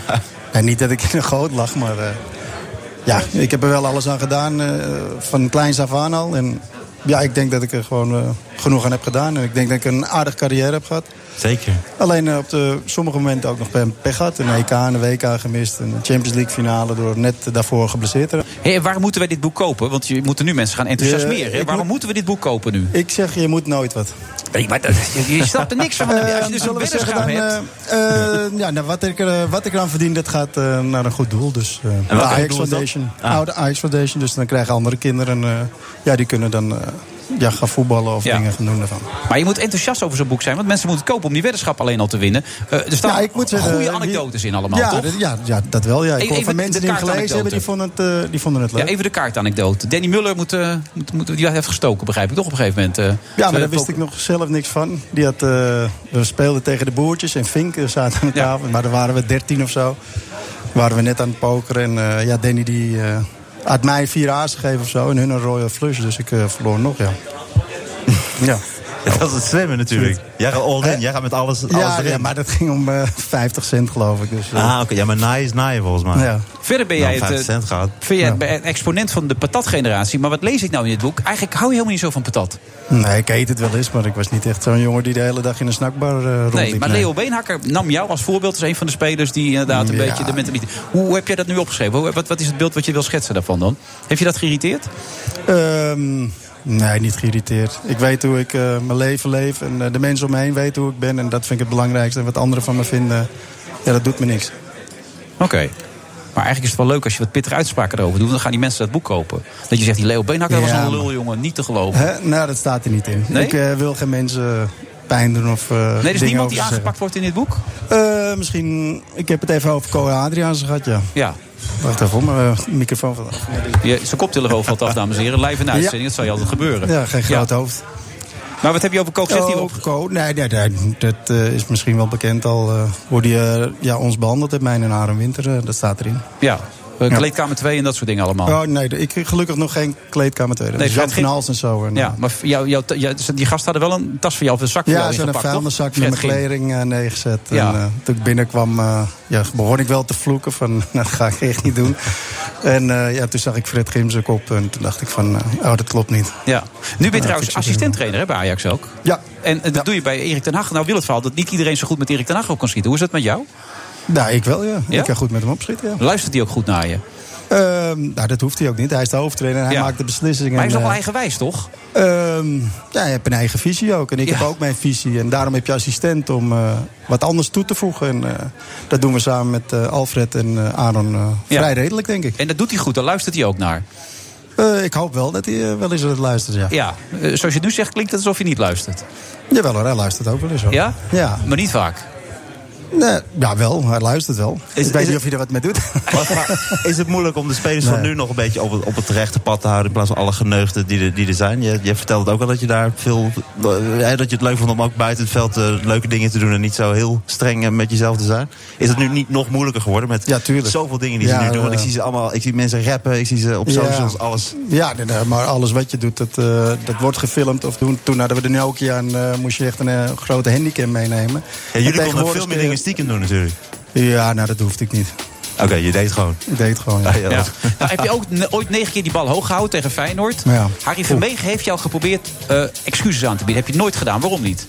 Speaker 14: <laughs> en niet dat ik in een goot lag, maar eh, ja, ik heb er wel alles aan gedaan. eh, van kleins af aan al. En ja, ik denk dat ik er gewoon eh, genoeg aan heb gedaan. En ik denk dat ik een aardige carrière heb gehad.
Speaker 6: Zeker.
Speaker 14: Alleen eh, op de, sommige momenten ook nog pe- pech gehad. Een EK en een WK gemist. Een Champions League finale door net daarvoor geblesseerd te raken.
Speaker 5: Hé, en waarom moeten wij dit boek kopen? Want je moet er nu mensen gaan
Speaker 14: Ja,
Speaker 5: enthousiasmeren. hè?
Speaker 14: ik
Speaker 5: waarom
Speaker 14: moet-
Speaker 5: moeten we dit boek kopen nu?
Speaker 14: Ik zeg, je moet nooit wat.
Speaker 5: Nee, maar dat, je, je snapt er niks
Speaker 14: <laughs>
Speaker 5: van.
Speaker 14: Eh,
Speaker 5: Als je dus een
Speaker 14: zullen we zeggen
Speaker 5: weddenschap
Speaker 14: dan,
Speaker 5: hebt...
Speaker 14: eh, eh, ja, nou, wat, ik, er, eh, wat ik eraan verdien, dat gaat eh, naar een goed doel. Dus, eh,
Speaker 6: welk
Speaker 14: de
Speaker 6: goed
Speaker 14: Ajax
Speaker 6: doel is dat?
Speaker 14: Foundation.
Speaker 6: Ah.
Speaker 14: Oude Ajax Foundation. Dus dan krijgen andere kinderen... eh, ja, die kunnen dan eh, ja, gaan voetballen of
Speaker 5: Ja.
Speaker 14: dingen gaan doen daarvan.
Speaker 5: Maar je moet enthousiast over zo'n boek zijn. Want mensen moeten het kopen om die weddenschap alleen al te winnen. Eh, er staan
Speaker 14: Ja, ik moet zeggen,
Speaker 5: goede
Speaker 14: eh, wie-
Speaker 5: anekdotes in allemaal,
Speaker 14: ja,
Speaker 5: toch?
Speaker 14: dat- ja, ja, dat wel. Ja. Ik
Speaker 5: Even
Speaker 14: hoor van
Speaker 5: de
Speaker 14: mensen die hem gelezen hebben,
Speaker 5: kaartanekdote.
Speaker 14: die vonden het, eh, die vonden het leuk.
Speaker 5: Ja, even de kaartanekdote. Danny Muller moet, eh, moet, moet, die heeft gestoken, begrijp ik toch op een gegeven moment. eh.
Speaker 14: Ja, maar
Speaker 5: Zo-
Speaker 14: daar wist ik nog zelf niks van. Die had, eh, we speelden tegen de boertjes en Fink eh, zaten aan de tafel. Maar daar waren we 13 of zo. Waren we net aan het pokeren. En eh, ja, Danny die eh, had mij vier A's gegeven of zo. En hun een Royal Flush. Dus ik eh, verloor nog, ja. ja.
Speaker 6: <laughs>
Speaker 14: Eh,
Speaker 6: Dat is het zwemmen natuurlijk. Jij gaat all in, jij gaat met alles, alles
Speaker 14: Ja,
Speaker 6: erin.
Speaker 14: ja, maar dat ging om eh, 50 cent, geloof ik. Dus, eh,
Speaker 6: Ah, oké. Ja, maar naaien is naaien volgens mij.
Speaker 14: Ja.
Speaker 5: Verder ben jij
Speaker 6: Nou, 50
Speaker 5: het, eh,
Speaker 6: cent gaat.
Speaker 5: vind jij het be- een exponent van de patatgeneratie. Maar wat lees ik nou in dit boek? Eigenlijk hou je helemaal niet zo van patat.
Speaker 14: Nee, ik eet het wel eens. Maar ik was niet echt zo'n jongen die de hele dag in een snackbar eh rondliep.
Speaker 5: Nee, maar Leo Beenhakker nam jou als voorbeeld als een van de spelers die inderdaad een
Speaker 14: Ja.
Speaker 5: beetje de mentaliteit. Hoe, hoe heb jij dat nu opgeschreven? Hoe- Wat, wat is het beeld wat je wil schetsen daarvan dan? Heeft je dat geïrriteerd?
Speaker 14: Ehm, nee, niet geïrriteerd. Ik weet hoe ik eh, mijn leven leef en eh, de mensen om me heen weten hoe ik ben. En dat vind ik het belangrijkste. En wat anderen van me vinden, ja, dat doet me niks.
Speaker 5: Oké. Maar eigenlijk is het wel leuk als je wat pittige uitspraken erover doet. Dan gaan die mensen dat boek kopen. Dat je zegt, die Leo Beenhakker was
Speaker 14: Ja,
Speaker 5: een lul, jongen. Niet te geloven.
Speaker 14: Hè? Nou, dat staat er niet in.
Speaker 5: Nee?
Speaker 14: Ik eh, wil geen mensen pijn doen of eh
Speaker 5: Nee, er is
Speaker 14: dingen
Speaker 5: niemand
Speaker 14: over
Speaker 5: die
Speaker 14: ze
Speaker 5: aangepakt wordt in dit boek?
Speaker 14: zeggen. Eh, misschien, ik heb het even over Cole Adriaans gehad, ja.
Speaker 5: Ja.
Speaker 14: Wacht even, mijn eh, microfoon van.
Speaker 5: Je, zijn koptelefoon valt af, dames en heren. Live in de uitzending, dat zal je altijd gebeuren.
Speaker 14: Ja, geen groot hoofd.
Speaker 5: Maar wat heb je over Koop? Zegt hij wel-
Speaker 14: Oh, Ko- nee, nee, nee, dat eh, is misschien wel bekend al. eh, hoe die eh, ja, ons behandeld heeft, mijn en haar en winter, eh, dat staat erin.
Speaker 5: Ja, eh, kleedkamer 2 en dat soort dingen allemaal.
Speaker 14: Oh nee, ik heb gelukkig nog geen kleedkamer tweede.
Speaker 5: Nee,
Speaker 14: Nee, Jan
Speaker 5: gaat geen-
Speaker 14: van Hals en zo. En,
Speaker 5: Ja, maar v- jou, jou, jou- die gasten hadden wel een tas voor jou of een zak voor
Speaker 14: ja,
Speaker 5: jou
Speaker 14: zo'n
Speaker 5: ingepakt, toch?
Speaker 14: vuilniszak met mijn
Speaker 5: Fred Grim.
Speaker 14: kleding eh, neergezet.
Speaker 5: Ja.
Speaker 14: En, eh, toen ik binnenkwam, eh, ja, begon ik wel te vloeken van, <laughs> nou, dat ga ik echt niet doen. En eh, ja, toen zag ik Fred Grim zijn kop en toen dacht ik van, eh, oh, dat klopt niet.
Speaker 5: Ja. Nu ben je
Speaker 14: Ja,
Speaker 5: trouwens
Speaker 14: fix-
Speaker 5: assistenttrainer hè, bij Ajax ook.
Speaker 14: Ja.
Speaker 5: En eh, dat doe je bij Erik ten Hag. Nou wil het verhaal dat niet iedereen zo goed met Erik ten Hag op kan schieten. Hoe is dat met jou?
Speaker 14: Nou, ik wel, ja.
Speaker 5: Ja?
Speaker 14: Ik kan goed met hem opschieten, ja.
Speaker 5: Luistert hij ook goed naar je?
Speaker 14: Ehm, nou, dat hoeft hij ook niet. Hij is de hoofdtrainer en hij
Speaker 5: Ja.
Speaker 14: maakt de beslissingen.
Speaker 5: Maar hij is nog
Speaker 14: En,
Speaker 5: wel
Speaker 14: eh,
Speaker 5: eigenwijs, toch?
Speaker 14: Ehm, ja, je hebt een eigen visie ook. En ik heb ook mijn visie. En daarom heb je assistent om eh, wat anders toe te voegen. En eh, dat doen we samen met eh, Alfred en eh, Aaron eh, vrij redelijk, denk ik.
Speaker 5: En dat doet hij goed, daar luistert hij ook naar.
Speaker 14: Eh, ik hoop wel dat hij eh, wel eens het luistert, ja.
Speaker 5: Ja, eh, zoals je het nu zegt klinkt het alsof je niet luistert.
Speaker 14: Jawel hoor, hij luistert ook wel eens hoor.
Speaker 5: Ja?
Speaker 14: Ja.
Speaker 5: Maar niet vaak.
Speaker 14: Nee, ja, wel. Hij luistert wel. ik weet niet of je er wat mee doet.
Speaker 6: Is het moeilijk om de spelers van
Speaker 14: Nee.
Speaker 6: nu nog een beetje op het, op het rechte pad te houden... in plaats van alle geneugden die er, die er zijn? Je, je vertelt ook al dat je daar veel... eh, dat je het leuk vond om ook buiten het veld eh, leuke dingen te doen... en niet zo heel streng eh, met jezelf te zijn. Is het nu niet nog moeilijker geworden met zoveel dingen die
Speaker 14: Ja,
Speaker 6: ze nu doen? Want ik
Speaker 14: eh,
Speaker 6: zie, ze allemaal, ik zie mensen rappen, ik zie ze op socials, alles.
Speaker 14: Ja, nee, nee, maar alles wat je doet, dat, eh, dat wordt gefilmd. Of toen, toen hadden we de Nokia en eh, moest je echt een eh, grote handicap meenemen.
Speaker 6: Ja,
Speaker 14: En
Speaker 6: jullie konden
Speaker 14: tegenwoordig
Speaker 6: veel meer
Speaker 14: kun je-
Speaker 6: dingen stiekem doen natuurlijk.
Speaker 14: Ja, nou dat hoefde ik niet.
Speaker 6: Oké, je deed het gewoon.
Speaker 14: Ik deed het gewoon, ja.
Speaker 6: Ah, ja, dat-
Speaker 5: Nou, heb je ook ne- ooit negen keer die bal hoog gehouden tegen Feyenoord?
Speaker 14: Ja.
Speaker 5: Harry Vermeegen heeft jou geprobeerd eh, excuses aan te bieden. Heb je nooit gedaan, waarom niet?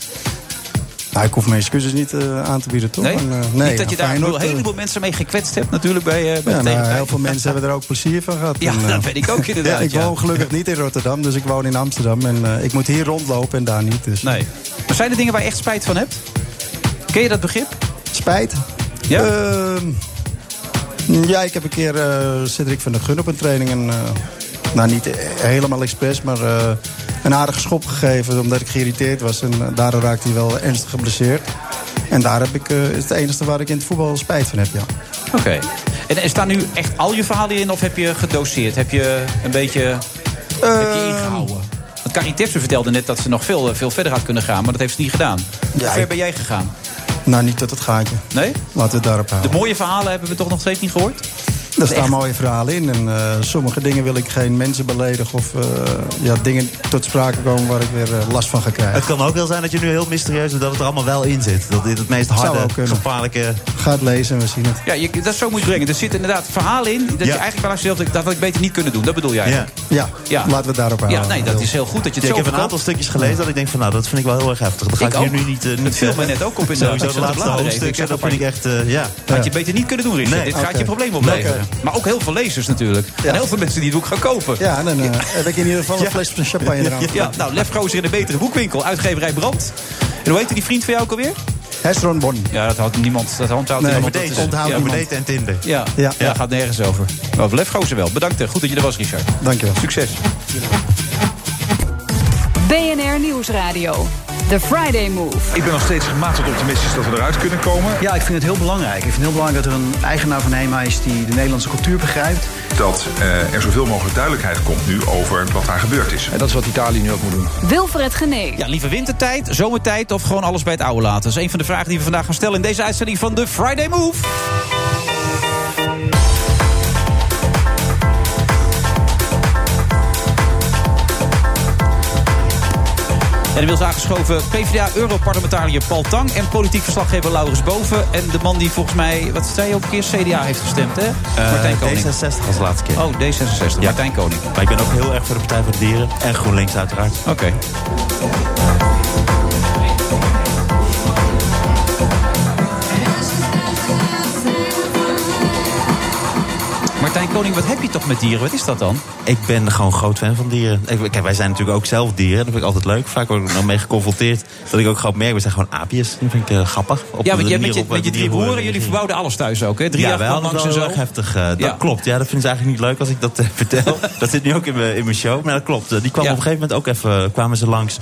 Speaker 14: Nou, ik hoef mijn excuses niet eh, aan te bieden, toch?
Speaker 5: Nee?
Speaker 14: En, eh,
Speaker 5: niet
Speaker 14: ja,
Speaker 5: dat je daar
Speaker 14: Feyenoord,
Speaker 5: een
Speaker 14: eh,
Speaker 5: heleboel mensen mee gekwetst hebt natuurlijk bij, eh, bij
Speaker 14: ja,
Speaker 5: de
Speaker 14: nou,
Speaker 5: tegenpartij.
Speaker 14: heel
Speaker 5: <laughs>
Speaker 14: veel mensen hebben er ook plezier van gehad.
Speaker 5: Ja,
Speaker 14: En, eh,
Speaker 5: <laughs> dat weet ik
Speaker 14: <laughs>
Speaker 5: ook inderdaad,
Speaker 14: ik
Speaker 5: ja.
Speaker 14: woon gelukkig niet in Rotterdam, dus ik woon in Amsterdam. En eh, ik moet hier rondlopen en daar niet. Dus.
Speaker 5: Nee. Maar zijn er dingen waar je echt spijt van hebt? Ken je dat begrip?
Speaker 14: Spijt? Ehm,
Speaker 5: Ja.
Speaker 14: ja, ik heb een keer eh Cedric van der Gun op een training een eh, Nou, niet helemaal expres, maar eh, een aardige schop gegeven. Omdat ik geïrriteerd was. En eh, daardoor raakte hij wel ernstig geblesseerd. En daar heb ik, eh, is het enige waar ik in het voetbal spijt van heb, ja.
Speaker 5: Oké. En, en staan nu echt al je verhalen hierin of heb je gedoseerd? Heb je een beetje, heb je ingehouden? Want Carrie Tepsen vertelde net dat ze nog veel, eh, veel verder had kunnen gaan, maar dat heeft ze niet gedaan. Hoe ver ben jij gegaan?
Speaker 14: Nou, niet tot het gaatje.
Speaker 5: Nee?
Speaker 14: Laten we het daarop
Speaker 5: De
Speaker 14: houden.
Speaker 5: mooie verhalen hebben we toch nog steeds niet gehoord?
Speaker 14: Daar staan mooie verhalen in. En eh, sommige dingen wil ik geen mensen beledigen. Of eh, ja, dingen tot sprake komen waar ik weer eh, last van ga krijgen.
Speaker 6: Het kan ook wel zijn dat je nu heel mysterieus bent dat het er allemaal wel in zit. Dat dit het meest
Speaker 14: Zou
Speaker 6: harde,
Speaker 14: ook kunnen.
Speaker 6: gevaarlijke...
Speaker 14: Ga het lezen en we zien het.
Speaker 5: Ja, je, dat is zo moet je brengen. Er zit inderdaad verhalen in dat je eigenlijk wel zelf denkt, dat had ik beter niet kunnen doen. Dat bedoel jij eigenlijk?
Speaker 14: Ja, laten we het daarop houden.
Speaker 5: Ja, nee, dat is heel goed dat je het
Speaker 6: Ja,
Speaker 5: zo
Speaker 6: ik heb een aantal
Speaker 5: verkoopt.
Speaker 6: stukjes gelezen dat ik denk van nou, dat vind ik wel heel erg heftig. Dat ga
Speaker 5: Ik
Speaker 6: ik, hier
Speaker 5: ook.
Speaker 6: nu niet... eh,
Speaker 5: Dat
Speaker 6: niet
Speaker 5: viel
Speaker 6: eh,
Speaker 5: me net ook op inderdaad. Ik
Speaker 6: Sowieso
Speaker 5: zat te
Speaker 6: de laatste
Speaker 5: bladeren even.
Speaker 6: hoofdstuk,
Speaker 5: Ik zeg
Speaker 6: dat
Speaker 5: ook
Speaker 6: vind ik echt... eh, ja.
Speaker 5: Dat had je beter niet kunnen doen, Richard.
Speaker 6: Nee.
Speaker 5: Dit gaat
Speaker 6: Oké.
Speaker 5: je probleem opleveren. Maar ook heel veel lezers natuurlijk. En heel veel mensen die het boek gaan kopen.
Speaker 14: Ja, en dan eh, heb ik in ieder geval een
Speaker 5: Ja.
Speaker 14: fles champagne eraan.
Speaker 5: Ja, nou, Lef Gozer in de betere boekwinkel. Uitgeverij Brand. En hoe heette die vriend van jou ook alweer?
Speaker 14: Hesron Bon.
Speaker 5: Ja, dat houdt niemand. Dat handhoudt
Speaker 14: Nee,
Speaker 5: niemand.
Speaker 14: over
Speaker 5: Dat
Speaker 14: daten. Onthoudt
Speaker 5: ja,
Speaker 14: niemand.
Speaker 5: over daten
Speaker 6: en Tinder.
Speaker 5: Ja, ja.
Speaker 14: Ja.
Speaker 5: gaat nergens over. Maar over Lef Gozer wel. Bedankt. hè. Goed dat je er was, Richard.
Speaker 14: Dankjewel.
Speaker 5: Succes.
Speaker 1: BNR Nieuwsradio. The Friday Move.
Speaker 10: Ik ben nog steeds gematigd optimistisch dat we eruit kunnen komen.
Speaker 13: Ja, ik vind het heel belangrijk. Ik vind het heel belangrijk dat er een eigenaar van HEMA is die de Nederlandse cultuur begrijpt.
Speaker 10: Dat eh, er zoveel mogelijk duidelijkheid komt nu over wat daar gebeurd is. En dat is wat Italië nu ook moet doen.
Speaker 1: Wilfred Genee.
Speaker 5: Ja, liever wintertijd, zomertijd of gewoon alles bij het oude laten? Dat is een van de vragen die we vandaag gaan stellen in deze uitzending van de Friday Move. En inmiddels aangeschoven PvdA-europarlementariër Paul Tang... en politiek verslaggever Laurens Boven. En de man die volgens mij, wat zei je ook een keer, CDA heeft gestemd, hè? Martijn Koning.
Speaker 6: Eh, D66 als laatste keer.
Speaker 5: Eh, Oh, D66. Martijn Koning.
Speaker 6: Maar ik ben ook heel erg voor de Partij voor de Dieren. En GroenLinks uiteraard. Oké.
Speaker 5: Martijn Koning, wat heb je toch met dieren? Wat is dat dan?
Speaker 6: Ik ben gewoon groot fan van dieren. Ik- Kijk, wij zijn natuurlijk ook zelf dieren. Dat vind ik altijd leuk. Vaak word ik er nog mee geconfronteerd. Dat ik ook gewoon merk, we zijn gewoon aapjes. Dat vind ik eh, grappig. Op
Speaker 5: ja,
Speaker 6: de
Speaker 5: want jij
Speaker 6: manier
Speaker 5: met je,
Speaker 6: op wat
Speaker 5: met je drie
Speaker 6: dieren
Speaker 5: broeren, jullie verbouwden alles thuis ook, hè? Drie
Speaker 6: ja,
Speaker 5: jaar
Speaker 6: wel,
Speaker 5: langs en
Speaker 6: dat is
Speaker 5: zo.
Speaker 6: wel erg heftig. eh, dat klopt. Ja, dat vinden ze eigenlijk niet leuk als ik dat eh, <laughs> vertel. dat zit nu ook in mijn, in mijn show. Maar dat klopt. Eh, Die kwam op een gegeven moment ook even, eh, kwamen ze langs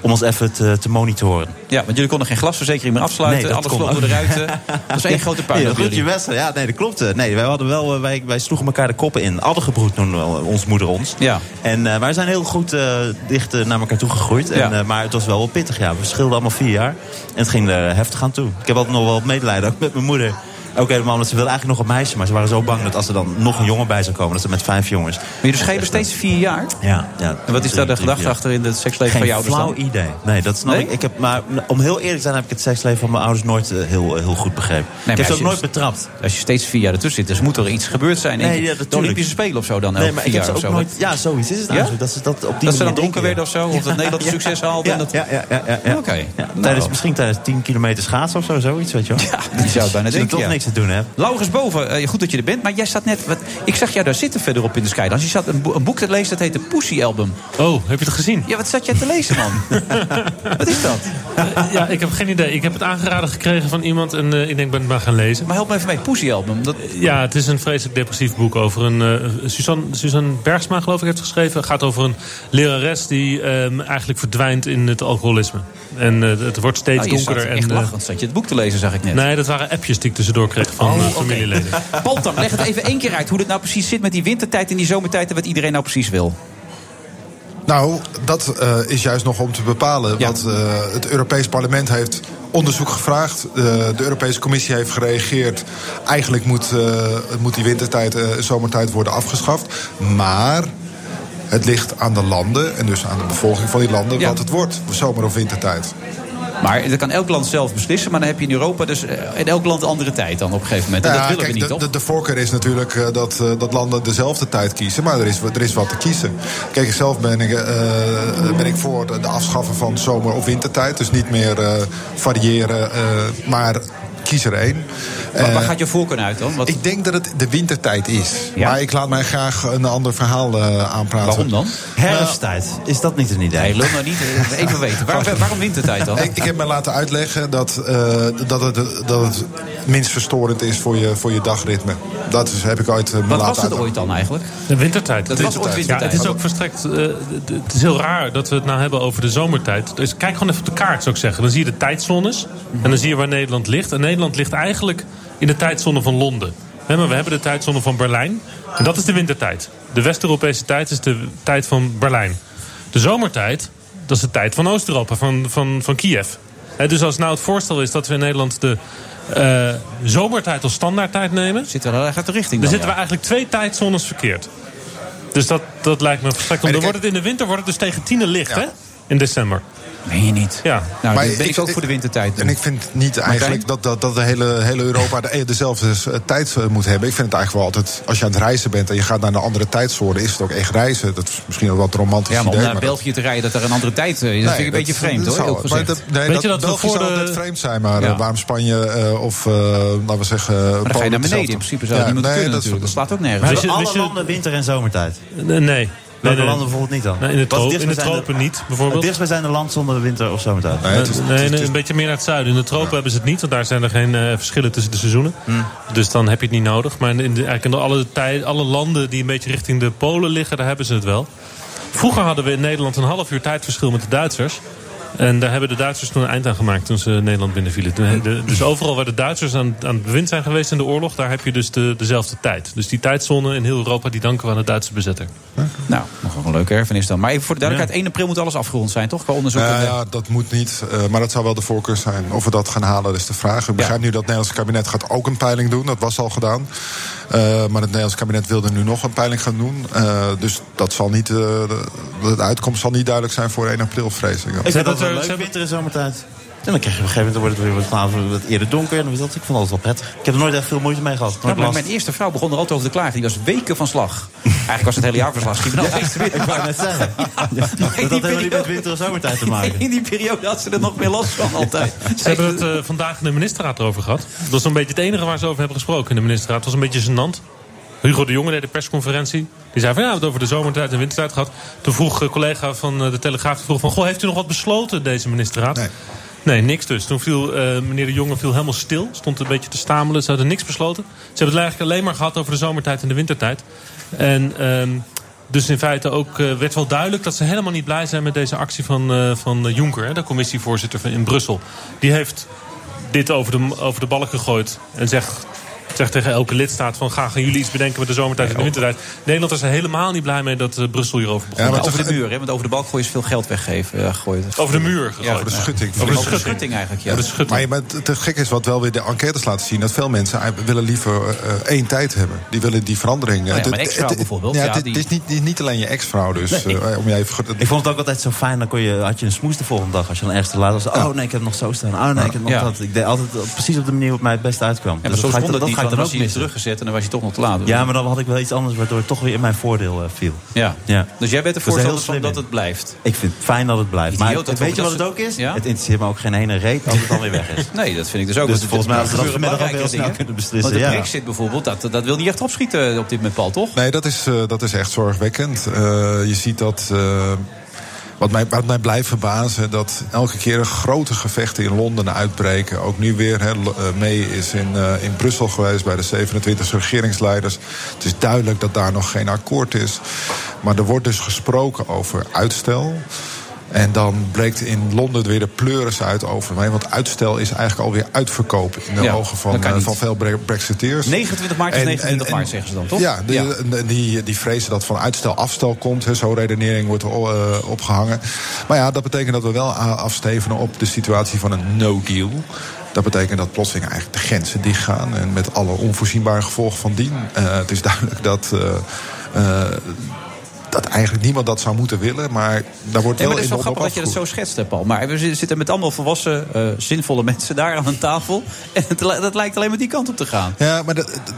Speaker 6: om ons even te, te monitoren.
Speaker 5: Ja, want jullie konden geen glasverzekering meer afsluiten.
Speaker 6: Nee, dat
Speaker 5: alles
Speaker 6: kon
Speaker 5: vloog door de
Speaker 6: ook.
Speaker 5: ruiten.
Speaker 6: <laughs>
Speaker 5: Dat was één
Speaker 6: Ja,
Speaker 5: grote
Speaker 6: nee,
Speaker 5: puinhoop.
Speaker 6: dat
Speaker 5: jullie.
Speaker 6: je wedstrijd. Ja, nee, dat klopt. eh. Nee, wij, hadden wel, eh, wij, wij sloegen elkaar de koppen in. Addengebroed noemde wel, eh, ons moeder ons.
Speaker 5: Ja.
Speaker 6: En eh, wij zijn heel goed eh, dicht eh, naar elkaar toe gegroeid. En, eh, maar het was wel wel pittig. Ja. We scheelden allemaal vier jaar. En het ging er eh, heftig aan toe. Ik heb altijd nog wel wat medelijden, ook met mijn moeder. Ook helemaal, omdat ze wilde eigenlijk nog een meisje. Maar ze waren zo bang dat als er dan nog een jongen bij zou komen... dat ze met vijf jongens... Maar
Speaker 5: jullie schelen steeds vier jaar?
Speaker 6: Ja. dus ja
Speaker 5: En wat is daar de gedachte achter in het seksleven
Speaker 6: Geen
Speaker 5: van jou?
Speaker 6: flauw idee. Nee, dat snap
Speaker 5: Nee?
Speaker 6: ik. ik heb, maar om heel eerlijk te zijn heb ik het seksleven van mijn ouders nooit eh, heel, heel goed begrepen. ik heb ze ook nooit betrapt.
Speaker 5: Als je steeds vier jaar ertussen zit, dus moet er iets gebeurd zijn.
Speaker 6: Nee,
Speaker 5: Ik-
Speaker 6: ja,
Speaker 5: de
Speaker 6: natuurlijk.
Speaker 5: Olympische Spelen of zo Oh, dan.
Speaker 6: Nee,
Speaker 5: elke
Speaker 6: maar
Speaker 5: vier
Speaker 6: ik heb
Speaker 5: jaar
Speaker 6: ze
Speaker 5: of
Speaker 6: ook
Speaker 5: zo.
Speaker 6: nooit... Ja, zoiets is het
Speaker 5: Ja?
Speaker 6: eigenlijk. Dat ze dat op die
Speaker 5: Dat ze dan
Speaker 6: manier
Speaker 5: dronken
Speaker 6: denken,
Speaker 5: werden
Speaker 6: ja.
Speaker 5: of zo? Of dat Nederland
Speaker 6: Ja,
Speaker 5: succes haalde?
Speaker 6: Ja,
Speaker 5: en dat-
Speaker 6: ja, ja, ja, ja, ja.
Speaker 5: Oké.
Speaker 6: Ja, tijdens,
Speaker 5: Nou.
Speaker 6: misschien tijdens 10 kilometer schaatsen of zo, zoiets, weet je wel. Ja,
Speaker 5: Je zou het bijna denken,
Speaker 6: toch
Speaker 5: ja.
Speaker 6: niks te doen, hè?
Speaker 5: Laurens Boven, eh, goed dat je er bent. Maar jij staat net... Wat, ik zag jou daar zitten verderop in de Skylands. Je zat een, bo- een boek te lezen, dat heet de Pussy Album.
Speaker 9: Oh, heb je het gezien?
Speaker 5: Ja, wat zat jij te lezen,
Speaker 9: <laughs>
Speaker 5: man? wat is dat?
Speaker 9: Eh, ja, ik heb geen idee. Ik heb het aangeraden gekregen van iemand en eh, ik denk, ben het maar gaan lezen. Eh,
Speaker 5: Maar help me even mee, Poesie Album. Dat...
Speaker 9: Ja, het is een vreselijk depressief boek over een... eh, Suzanne, Suzanne Bergsma, geloof ik, heeft geschreven. Het gaat over een lerares die ehm, eigenlijk verdwijnt in het alcoholisme. En eh, het wordt steeds
Speaker 5: Nou, je
Speaker 9: donkerder.
Speaker 5: zat echt
Speaker 9: en, eh,
Speaker 5: lachend, zat je het boek te lezen, zag ik net. Oh,
Speaker 9: Nee, dat waren appjes die ik tussendoor kreeg van eh, familieleden.
Speaker 5: Paul Tang, leg het even één keer uit hoe dat nou precies zit met die wintertijd en die zomertijd en wat iedereen nou precies wil.
Speaker 15: Nou, dat eh, is juist nog om te bepalen. Want eh, het Europees Parlement heeft onderzoek gevraagd. Eh, de Europese Commissie heeft gereageerd. Eigenlijk moet, eh, moet die wintertijd en zomertijd worden afgeschaft. Maar het ligt aan de landen en dus aan de bevolking van die landen... wat het wordt, zomer- of wintertijd.
Speaker 5: Maar dat kan elk land zelf beslissen, maar dan heb je in Europa dus eh, in elk land een andere tijd dan op een gegeven moment. En
Speaker 15: Nou
Speaker 5: dat
Speaker 15: ja,
Speaker 5: willen we
Speaker 15: kijk,
Speaker 5: niet,
Speaker 15: de,
Speaker 5: toch?
Speaker 15: De, de voorkeur is natuurlijk eh, dat, eh, dat landen dezelfde tijd kiezen. Maar er is, er is wat te kiezen. Kijk, zelf ben ik, eh, ben ik voor de, de afschaffen van zomer- of wintertijd. Dus niet meer eh, variëren, eh, maar kies er één.
Speaker 5: Waar, waar
Speaker 15: Eh,
Speaker 5: gaat je voorkeur uit dan? Wat,
Speaker 15: ik denk dat het de wintertijd is.
Speaker 5: Ja.
Speaker 15: Maar ik laat mij graag een ander verhaal eh, aanpraten. Nou,
Speaker 5: Waarom dan? Nou.
Speaker 15: Herfsttijd. Is dat niet een idee?
Speaker 5: Nee, lul nou niet.
Speaker 6: <laughs>
Speaker 5: Even weten. Waar- waar- waarom wintertijd dan?
Speaker 15: Ik, ik heb mij laten uitleggen dat, eh, dat, het, dat het minst verstorend is voor je, voor je dagritme. Dat is, heb ik ooit eh, me
Speaker 5: wat
Speaker 15: laten
Speaker 5: was het
Speaker 15: uitleggen.
Speaker 5: ooit dan eigenlijk?
Speaker 9: De wintertijd.
Speaker 5: Dat was ooit wintertijd.
Speaker 9: Ja, het is ook verstrekt. eh, d- d- het is heel raar dat we het nou hebben over de zomertijd. Dus kijk gewoon even op de kaart, zou ik zeggen. Dan zie je de tijdzones. En dan zie je waar Nederland ligt. En Nederland ligt eigenlijk in de tijdzone van Londen. Hè, maar we hebben de tijdzone van Berlijn. En dat is de wintertijd. De West-Europese tijd is de tijd van Berlijn. De zomertijd, dat is de tijd van Oost-Europa, van, van, van Kiev. Hè, dus als nou het voorstel is dat we in Nederland de eh, zomertijd als standaardtijd nemen...
Speaker 5: Zitten we daar eigenlijk de richting
Speaker 9: Dan
Speaker 5: dan,
Speaker 9: zitten
Speaker 5: ja.
Speaker 9: we eigenlijk twee tijdzones verkeerd. Dus dat, dat lijkt me verstrekt. Want
Speaker 5: En
Speaker 9: dan
Speaker 5: ik-
Speaker 9: wordt het in de winter wordt het dus tegen tienen licht,
Speaker 15: Ja.
Speaker 9: hè? In december.
Speaker 5: Meen je niet?
Speaker 9: Ja.
Speaker 5: Nou, dan ben ik ook voor de wintertijd.
Speaker 15: En ik vind niet eigenlijk dat, dat, dat de hele, hele Europa de, dezelfde eh, tijd eh, moet hebben. Ik vind het eigenlijk wel altijd, als je aan het reizen bent en je gaat naar een andere tijdzone, is het ook echt reizen. Dat is misschien wel wat romantisch
Speaker 5: Ja, maar om
Speaker 15: idee.
Speaker 5: naar België te rijden dat er een andere tijd eh, is, dat vind ik een beetje vreemd hoor. heel gezegd.
Speaker 15: nee, dat, België zou altijd vreemd zijn, maar eh,
Speaker 5: Ja.
Speaker 15: waarom Spanje eh, of, eh, laten we zeggen...
Speaker 5: Maar dan ga je naar beneden. In principe zou dat niet moeten kunnen natuurlijk. Dat slaat ook nergens.
Speaker 6: Hebben alle landen winter- en zomertijd?
Speaker 9: Nee. nee.
Speaker 6: Welke
Speaker 9: nee.
Speaker 6: landen bijvoorbeeld niet dan?
Speaker 9: Nee, in de
Speaker 6: Wat
Speaker 9: tro-
Speaker 6: het
Speaker 9: in de
Speaker 6: dichtstbijzijnde-
Speaker 9: tropen niet, bijvoorbeeld?
Speaker 6: Het dichtstbijzijnde land zonder winter of zomertijd.
Speaker 9: Nee, nee, een beetje meer naar het zuiden. In de tropen hebben ze het niet, want daar zijn er geen eh, verschillen tussen de seizoenen. Dus dan heb je het niet nodig. Maar in de, eigenlijk in de- alle, tij- alle landen die een beetje richting de Polen liggen, daar hebben ze het wel. Vroeger hadden we in Nederland een half uur tijdverschil met de Duitsers. En daar hebben de Duitsers toen een eind aan gemaakt toen ze Nederland binnenvielen. Toen- de- dus overal waar de Duitsers aan, aan het bewind zijn geweest in de oorlog, daar heb je dus de, dezelfde tijd. Dus die tijdzone in heel Europa, die danken we aan de Duitse bezetter.
Speaker 5: Nou, nog een leuke erfenis dan. Maar even voor de duidelijkheid, 1 april moet alles afgerond zijn, toch? Qua onderzoek.
Speaker 15: Nou
Speaker 5: en, eh,
Speaker 15: ja, dat moet niet. eh, maar dat zou wel de voorkeur zijn. Of we dat gaan halen, dat is de vraag. Ik begrijp nu dat het Nederlandse kabinet gaat ook een peiling doen. Dat was al gedaan. Eh, maar het Nederlandse kabinet wilde nu nog een peiling gaan doen. Eh, dus dat zal niet, eh, de, de uitkomst zal niet duidelijk zijn voor 1 april, vrees ik.
Speaker 6: Ik vind dat wel leuk, winter en zomertijd. En dan krijg je op een gegeven moment dan wordt het weer wat, later, wat eerder donker. En dan is dat, ik vond dat wel prettig. Ik heb er nooit echt veel moeite mee gehad.
Speaker 5: Nou,
Speaker 6: Nooit
Speaker 5: maar
Speaker 6: last.
Speaker 5: mijn eerste vrouw begon er altijd over te klagen. Die was weken van slag. Eigenlijk was het hele jaar van
Speaker 15: <laughs>
Speaker 5: slag. Schiet me nou
Speaker 6: Ja,
Speaker 5: eens weer.
Speaker 6: <laughs>
Speaker 5: <laughs>
Speaker 6: ik wou net zeggen.
Speaker 5: dat
Speaker 6: helemaal niet met winter en zomertijd te maken.
Speaker 5: In die periode had ze er nog meer last
Speaker 9: <laughs>
Speaker 5: van altijd.
Speaker 9: Ze hebben het eh, vandaag in de ministerraad erover gehad. Dat was een beetje het enige waar ze over hebben gesproken in de ministerraad. Het was een beetje gênant. Hugo de Jonge deed de persconferentie. Die zei van ja, we hebben het over de zomertijd en wintertijd gehad. Toen vroeg een collega van eh, de Telegraaf die vroeg van... Goh, heeft u nog wat besloten, deze ministerraad? Nee. niks dus. Toen viel eh, meneer de Jonge viel helemaal stil. Stond een beetje te stamelen. Ze hadden niks besloten. Ze hebben het eigenlijk alleen maar gehad over de zomertijd en de wintertijd. En ehm, dus in feite ook eh, werd wel duidelijk dat ze helemaal niet blij zijn met deze actie van, eh, van eh, Juncker, hè, de commissievoorzitter van, in Brussel. Die heeft dit over de, over de balk gegooid en zegt, zegt tegen elke lidstaat van ga gaan jullie iets bedenken met de zomertijd en de wintertijd. Nederland was er helemaal niet blij mee dat eh, Brussel hierover begon.
Speaker 5: maar over de muur, hè? want over de balk gooien is veel geld weggeven. eh, gooien.
Speaker 9: Over de muur
Speaker 5: Ja,
Speaker 9: gegooid.
Speaker 5: over de schutting.
Speaker 9: Over de
Speaker 5: Over de
Speaker 9: schutting.
Speaker 5: schutting eigenlijk, ja.
Speaker 15: Maar, je- maar het, het gekke is wat wel weer de enquêtes laten zien... dat veel mensen eigenlijk willen liever eh, één tijd hebben. Die willen die verandering. eh,
Speaker 5: Oh
Speaker 6: Nou ja,
Speaker 15: Het-
Speaker 6: mijn
Speaker 15: het-
Speaker 6: ex-vrouw
Speaker 15: het-
Speaker 6: bijvoorbeeld,
Speaker 15: Ja,
Speaker 6: ja,
Speaker 15: dit,
Speaker 6: die-
Speaker 15: dit is niet, niet alleen je ex-vrouw dus.
Speaker 6: Nee.
Speaker 15: eh, om je even...
Speaker 6: Ik vond het ook altijd zo fijn. Dan kon je, had je een smoes de volgende dag. Als je dan ergens te laat was. Oh nee, ik heb nog zo staan. Oh nee, ik heb nog
Speaker 5: Ja.
Speaker 6: dat. Ik deed altijd op- precies op de manier waarop mij het beste uitkwam. Dus
Speaker 5: Ja, maar zo
Speaker 6: dat ga
Speaker 5: stond
Speaker 6: ik, dan-
Speaker 5: het
Speaker 6: dat
Speaker 5: niet,
Speaker 6: ga ik
Speaker 5: want dan
Speaker 6: dan
Speaker 5: was
Speaker 6: ook
Speaker 5: hij weer
Speaker 6: missen.
Speaker 5: teruggezet en dan was je toch nog te laat.
Speaker 6: Ja, maar dan had ik wel iets anders waardoor het toch weer in mijn voordeel eh, viel.
Speaker 5: Ja.
Speaker 6: Ja.
Speaker 5: Dus jij bent er
Speaker 6: Dat is heel
Speaker 5: voorstander van
Speaker 6: slim
Speaker 5: dat
Speaker 6: in.
Speaker 5: het blijft?
Speaker 6: Ik vind het fijn dat het blijft. Maar
Speaker 5: Idioot dat
Speaker 6: weet je
Speaker 5: dat
Speaker 6: wat het
Speaker 5: ze-
Speaker 6: ook is?
Speaker 5: Ja?
Speaker 6: Het interesseert me ook geen ene reet als het
Speaker 5: <laughs>
Speaker 6: dan weer weg is.
Speaker 5: Nee, dat vind ik dus ook.
Speaker 6: Dus
Speaker 5: Want
Speaker 6: volgens mij hadden ze
Speaker 5: gebeuren
Speaker 6: dat vanmiddag al
Speaker 5: belangrijkere
Speaker 6: heel snel
Speaker 5: dingen.
Speaker 6: kunnen beslissen,
Speaker 5: Want de
Speaker 6: ja.
Speaker 5: brexit bijvoorbeeld, dat, dat wil niet echt opschieten op dit moment, Paul, toch?
Speaker 15: Nee, dat is, eh, dat is echt zorgwekkend. Eh, je ziet dat. eh, wat mij, wat mij blijft verbazen, dat elke keer grote gevechten in Londen uitbreken. Ook nu weer, hè, L- eh, May is in, eh, in Brussel geweest bij de 27 regeringsleiders. Het is duidelijk dat daar nog geen akkoord is. Maar er wordt dus gesproken over uitstel. En dan breekt in Londen weer de pleuris uit over mij. Want uitstel is eigenlijk alweer uitverkoop in de
Speaker 5: Ja,
Speaker 15: ogen
Speaker 5: dat
Speaker 15: van,
Speaker 5: kan
Speaker 15: eh,
Speaker 5: niet.
Speaker 15: van veel bre- brexiteers.
Speaker 5: 29 maart is 29 maart, zeggen ze dan, toch?
Speaker 15: Ja, de-
Speaker 5: Ja.
Speaker 15: en Die, die vrezen dat van uitstel afstel komt. hè. Zo'n redenering wordt er eh, opgehangen. Maar ja, dat betekent dat we wel a- afstevenen op de situatie van een no-deal. Dat betekent dat plotseling eigenlijk de grenzen dichtgaan. En met alle onvoorzienbare gevolgen van dien. Eh, het is duidelijk dat... eh, eh, dat eigenlijk niemand dat zou moeten willen, maar daar wordt
Speaker 5: Nee,
Speaker 15: wel
Speaker 5: maar het is
Speaker 15: in
Speaker 5: wel
Speaker 15: de
Speaker 5: grappig dat je dat
Speaker 15: opgevoerd.
Speaker 5: zo schetst, hè, Paul. Maar we zi- zitten met allemaal volwassen, eh, zinvolle <laughs> mensen daar aan een tafel. En het li- dat lijkt alleen maar die kant op te gaan.
Speaker 15: Ja, maar dat, dat-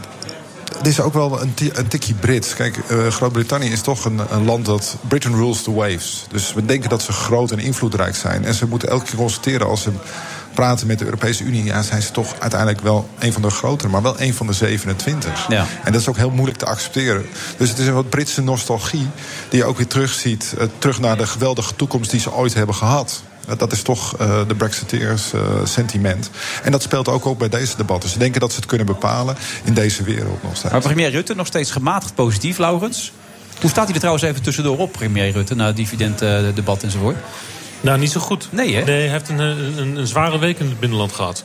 Speaker 15: het is ook wel een, ti- een tikje Brits. Kijk, eh, Groot-Brittannië is toch een, een land dat... Britain rules the waves. Dus we denken dat ze groot en invloedrijk zijn. En ze moeten elke keer constateren als ze praten met de Europese Unie, ja, zijn ze toch uiteindelijk wel een van de grotere, maar wel een van de 27. En dat is ook heel moeilijk te accepteren. Dus het is een wat Britse nostalgie die je ook weer terugziet, eh, terug naar de geweldige toekomst die ze ooit hebben gehad. Eh, Dat is toch eh, de Brexiteers eh, sentiment. En dat speelt ook op bij deze debatten. Ze denken dat ze het kunnen bepalen in deze wereld nog steeds.
Speaker 5: Maar premier Rutte nog steeds gematigd positief, Laurens. Hoe staat hij er trouwens even tussendoor op, premier Rutte, na het dividenddebat enzovoort?
Speaker 9: Nou, niet zo goed.
Speaker 5: Nee, hè?
Speaker 9: Nee, hij heeft een, eh, een, een zware week in het binnenland gehad.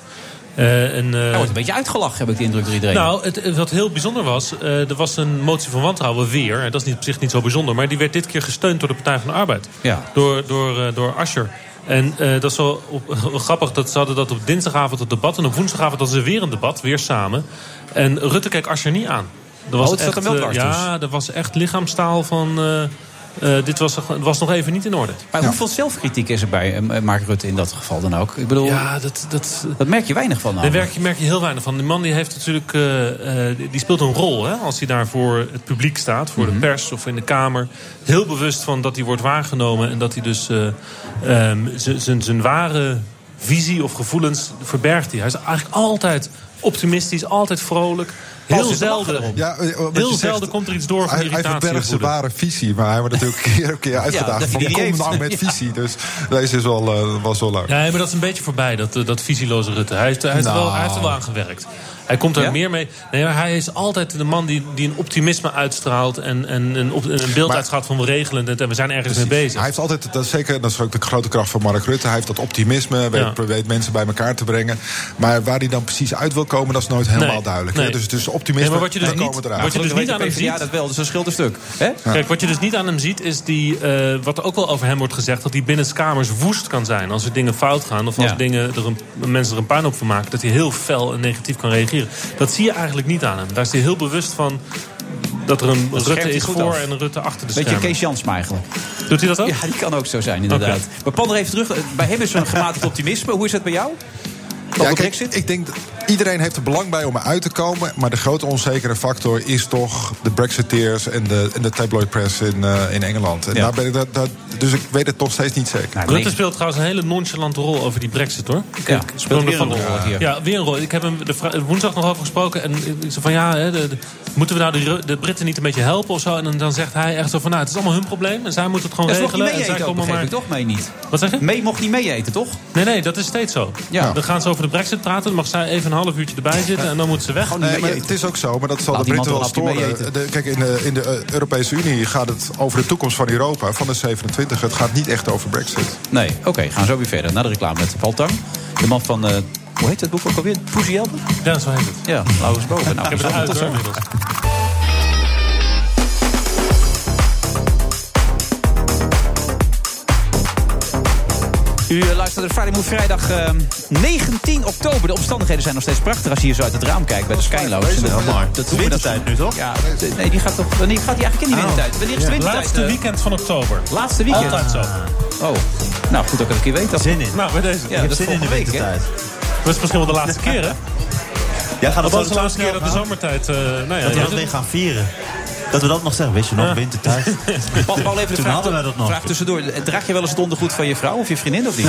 Speaker 9: Eh, en, eh,
Speaker 5: Hij wordt een beetje uitgelachen, heb ik de indruk door iedereen.
Speaker 9: nou, het, het- wat heel bijzonder was, eh, er was een motie van wantrouwen weer. En dat is niet, op zich niet zo bijzonder, maar die werd dit keer gesteund door de Partij van de Arbeid.
Speaker 5: Ja.
Speaker 9: Door, door, eh, door Asscher. En eh, dat is wel op, <laughs> wel grappig, dat ze hadden dat op dinsdagavond het debat. En op woensdagavond hadden ze weer een debat, weer samen. En Rutte keek Asscher niet aan. Er
Speaker 5: Oh, het zat hem wel
Speaker 9: eh,
Speaker 5: dwars dus.
Speaker 9: Ja, er was echt lichaamstaal van... eh, eh, dit was, was nog even niet in orde.
Speaker 5: Maar hoeveel zelfkritiek is er bij eh, Mark Rutte in dat geval dan ook? Ik bedoel,
Speaker 9: Ja, dat, dat,
Speaker 5: dat merk je weinig van.
Speaker 9: Daar
Speaker 5: namelijk.
Speaker 9: merk je, merk je heel weinig van. Die man die heeft natuurlijk, eh, eh, die- die speelt een rol hè, als hij daar voor het publiek staat, voor
Speaker 15: Mhm.
Speaker 9: de pers of in de Kamer. Heel bewust van dat hij wordt waargenomen en dat hij dus eh, ehm, z- z- zijn ware visie of gevoelens verbergt. Hij. hij is eigenlijk altijd optimistisch, altijd vrolijk. Heel zelden,
Speaker 15: Ja, eh, wat je
Speaker 9: heel
Speaker 15: zegt,
Speaker 9: zelden komt er iets door van
Speaker 15: hij,
Speaker 9: irritatie.
Speaker 15: hij verbergt
Speaker 9: of
Speaker 15: zijn
Speaker 9: woede.
Speaker 15: ware visie, maar hij wordt natuurlijk keer op keer
Speaker 9: dat
Speaker 15: uitgedaagd.
Speaker 9: hij
Speaker 15: van,
Speaker 9: die
Speaker 15: kom
Speaker 9: heeft.
Speaker 15: nou met
Speaker 9: Ja.
Speaker 15: visie. Dus deze is wel, eh, was wel leuk.
Speaker 9: Ja, maar dat is een beetje voorbij, dat, eh, dat visieloze Rutte. Hij heeft, hij, heeft er wel,
Speaker 15: Nou.
Speaker 9: hij heeft er wel aan gewerkt. Hij komt er
Speaker 15: Ja?
Speaker 9: meer mee. Nee, maar hij is altijd de man die, die een optimisme uitstraalt. En, en, een op, en een beeld
Speaker 15: Maar-
Speaker 9: uitstraalt van we regelen het en we zijn ergens mee
Speaker 15: Precies.
Speaker 9: bezig.
Speaker 15: Hij heeft altijd, dat is zeker, dat is ook de grote kracht van Mark Rutte. Hij heeft dat optimisme, weet, weet mensen bij elkaar te brengen. Maar waar hij dan precies uit wil komen, dat is nooit helemaal
Speaker 9: Nee,
Speaker 15: duidelijk.
Speaker 9: nee.
Speaker 15: hè. Dus het is optimisme,
Speaker 9: Nee, maar wat je dus
Speaker 15: en
Speaker 9: niet-
Speaker 15: komen
Speaker 9: wat
Speaker 15: eruit.
Speaker 9: je dus Gelukkig niet weet de aan hem PvdA
Speaker 5: Ja,
Speaker 9: ziet-
Speaker 5: dat wel, dus dat scheelt een stuk.
Speaker 9: Kijk, wat je dus niet aan hem ziet, is die, eh, wat er ook wel over hem wordt gezegd... dat hij binnenskamers woest kan zijn als er dingen fout gaan... of als
Speaker 5: Ja.
Speaker 9: dingen er een, mensen er een puinhoop van maken... dat hij heel fel en negatief kan reageren. Dat zie je eigenlijk niet aan hem. Daar is hij heel bewust van dat er een
Speaker 5: Dat schermt
Speaker 9: Rutte
Speaker 5: hij
Speaker 9: is
Speaker 5: goed
Speaker 9: voor
Speaker 5: af.
Speaker 9: en een Rutte achter de
Speaker 5: Beetje
Speaker 9: schermen.
Speaker 5: Kees Jansma eigenlijk.
Speaker 9: Doet hij dat ook?
Speaker 5: Ja, die kan ook zo zijn, inderdaad.
Speaker 9: Oké.
Speaker 5: Maar Pander even terug. eh, Bij hem is zo'n gematigd optimisme. Hoe is dat bij jou?
Speaker 15: Ja, kijk, ik denk dat iedereen heeft er belang bij om eruit te komen. Maar de grote onzekere factor is toch de Brexiteers en de, en de tabloid press in, eh, in Engeland. En
Speaker 9: Ja.
Speaker 15: daar ben ik, dat, dat, dus ik weet het nog steeds niet zeker.
Speaker 9: Rutte speelt trouwens een hele nonchalante rol over die brexit, hoor.
Speaker 15: Ja,
Speaker 9: Ik-
Speaker 15: speelt weer
Speaker 9: Van
Speaker 15: een
Speaker 9: der-
Speaker 15: rol,
Speaker 9: Ja.
Speaker 15: ja.
Speaker 9: Ja, weer een rol. Ik heb hem de vri- woensdag nog over gesproken. En ik zei van ja, hè, de- de- moeten we nou de, Ru- de Britten niet een beetje helpen of zo? En dan- dan zegt hij echt zo van nou, het is allemaal hun probleem. En zij moeten het gewoon
Speaker 5: Ja, ze mocht niet
Speaker 9: regelen.
Speaker 5: mee
Speaker 9: en zij
Speaker 5: eten ook, begreep ik toch? Mee niet.
Speaker 9: Wat zeg je?
Speaker 5: Mee mocht niet mee eten, toch?
Speaker 9: Nee, nee, dat is steeds zo.
Speaker 5: Ja.
Speaker 9: Dan gaan ze over de brexit praten. Dan mag zij even een half uurtje erbij zitten. En dan moeten ze weg.
Speaker 15: Nee, maar het is ook zo, maar dat zal
Speaker 9: Laat
Speaker 15: de
Speaker 9: die
Speaker 15: Britten wel
Speaker 9: man toch een hapje
Speaker 15: storen. De- kijk, in de, in de eh, Europese Unie gaat het over de toekomst van Europa, van de 27. Het gaat niet echt over Brexit.
Speaker 5: Nee, oké. gaan we zo weer verder. Na de reclame met Paul Tang. De man van, eh, hoe heet dat boek ook alweer? Poesie Helden?
Speaker 9: Ja, zo heet het.
Speaker 5: Ja, Laurens Boven. Nou,
Speaker 9: Ik heb het
Speaker 5: tot
Speaker 9: uit,
Speaker 5: zo.
Speaker 9: hoor, inmiddels.
Speaker 5: U eh, luistert naar Friday Move vrijdag ehm, 19 oktober. De omstandigheden zijn nog steeds prachtig als je hier zo uit het raam kijkt bij de Skylounge.
Speaker 6: Wel mooi.
Speaker 5: Dat, dat wintertijd nu toch? Ja, d- nee, die gaat, toch, wanneer gaat die
Speaker 6: Oh.
Speaker 5: eigenlijk in die wintertijd? Wanneer is de wintertijd?
Speaker 9: Laatste
Speaker 5: eh?
Speaker 9: weekend van oktober.
Speaker 5: Laatste weekend?
Speaker 9: Altijd zo.
Speaker 5: Oh, nou goed dat ik het een keer weet. Zin in.
Speaker 9: Nou, bij deze.
Speaker 5: Ja, dat is volgende week, hè?
Speaker 9: Dat is misschien wel de laatste keer,
Speaker 6: <laughs>
Speaker 9: hè?
Speaker 6: Ja, gaat
Speaker 9: dat
Speaker 6: het
Speaker 9: was de
Speaker 6: zo
Speaker 9: laatste keer
Speaker 6: snel
Speaker 9: dat de
Speaker 6: gaan?
Speaker 9: zomertijd... eh, nou ja,
Speaker 6: dat we
Speaker 9: ja,
Speaker 6: dat weer gaan vieren. Dat we dat nog zeggen. Weet je nog,
Speaker 9: Ja.
Speaker 5: <laughs>
Speaker 6: wintertijd.
Speaker 5: Paul, Paul, even de
Speaker 6: Toen
Speaker 5: vraag,
Speaker 6: hadden wij dat nog.
Speaker 5: vraag tussendoor. Draag je wel eens het ondergoed van je vrouw of je vriendin of
Speaker 6: <laughs>
Speaker 5: niet?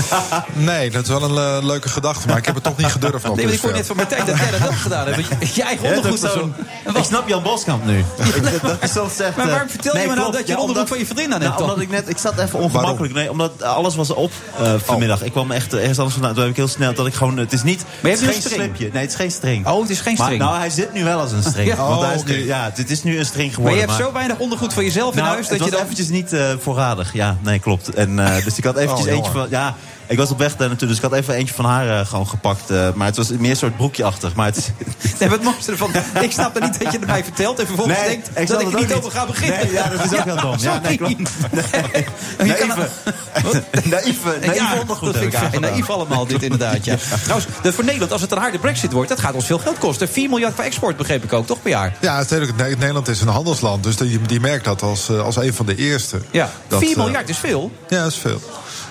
Speaker 15: Nee, dat is wel een eh, leuke gedachte, maar ik heb het toch niet gedurfd.
Speaker 5: <laughs>
Speaker 15: nog dus, eh.
Speaker 5: Nee, want ik vond
Speaker 15: dusver.
Speaker 5: net van mijn tijd dat jij dat wel
Speaker 6: <laughs>
Speaker 5: gedaan hebt. Je- <laughs> Je eigen
Speaker 6: Ja, dat
Speaker 5: ondergoed
Speaker 6: is
Speaker 5: was
Speaker 6: zo'n- Ik snap Jan
Speaker 5: <laughs>
Speaker 6: Boskamp nu. Ik- dat- dat is soms echt,
Speaker 5: Maar
Speaker 6: eh,
Speaker 5: waarom vertel je me nou
Speaker 6: klopt.
Speaker 5: dat je
Speaker 6: Ja,
Speaker 5: onderbroek
Speaker 6: omdat-
Speaker 5: van je vriendin aan hebt
Speaker 6: Nou,
Speaker 5: dan?
Speaker 6: omdat ik net, ik zat even ongemakkelijk. Nee, omdat eh, alles was op eh, vanmiddag. Ik kwam echt eh, ergens anders vandaan. Toen heb ik heel snel dat ik gewoon, het is niet,
Speaker 5: Oh. je
Speaker 6: het
Speaker 5: hebt
Speaker 6: is geen
Speaker 5: nu een string.
Speaker 6: slipje. Nee, het is geen string.
Speaker 5: Oh, het is geen
Speaker 6: Maar-
Speaker 5: string.
Speaker 6: nou, hij zit nu wel als een string.
Speaker 5: <laughs> Ja.
Speaker 6: Want hij is
Speaker 5: Oh,
Speaker 6: nu-
Speaker 5: oké.
Speaker 6: ja, dit is nu een string
Speaker 5: Maar
Speaker 6: geworden.
Speaker 5: je hebt zo weinig ondergoed van jezelf in
Speaker 6: Nou,
Speaker 5: huis
Speaker 6: het
Speaker 5: dat je
Speaker 6: was
Speaker 5: dan...
Speaker 6: eventjes niet eh, voorradig. Ja, nee, klopt. En, <laughs> eh, dus ik had eventjes
Speaker 5: Oh,
Speaker 6: eentje
Speaker 5: jammer.
Speaker 6: van... Ja, ik was op weg daar naartoe, dus ik had even eentje van haar eh, gewoon gepakt. eh, maar het was meer een soort broekje-achtig. Maar <laughs> het,
Speaker 5: nee, wat mooiste ervan... Ik snap er niet dat je het mij vertelt en vervolgens
Speaker 6: Nee,
Speaker 5: denkt
Speaker 6: ik
Speaker 5: dat
Speaker 6: snap
Speaker 5: ik er
Speaker 6: het
Speaker 5: niet
Speaker 6: ook
Speaker 5: over
Speaker 6: niet.
Speaker 5: ga beginnen.
Speaker 6: Nee, ja, dat is ook heel
Speaker 5: <laughs>
Speaker 6: dom. Ja, nee,
Speaker 5: sorry. <laughs> Naïeve.
Speaker 6: <laughs> Naïeve, naïeve ondergoed
Speaker 5: dat vind
Speaker 6: heb ik
Speaker 5: ik vrij
Speaker 6: aangedaan.
Speaker 5: naïef allemaal dit inderdaad.
Speaker 6: <laughs>
Speaker 5: Ja. Trouwens, de, voor Nederland, als het een harde brexit wordt, dat gaat ons veel geld kosten. 4 miljard voor export begreep ik ook, toch per jaar?
Speaker 15: <laughs> Ja, natuurlijk. Ne- Nederland is een handelsland, dus die, die merkt dat als, eh, als een van de eerste.
Speaker 5: Ja,
Speaker 15: Dat,
Speaker 5: 4
Speaker 15: eh,
Speaker 5: miljard is veel.
Speaker 15: Ja, dat is veel.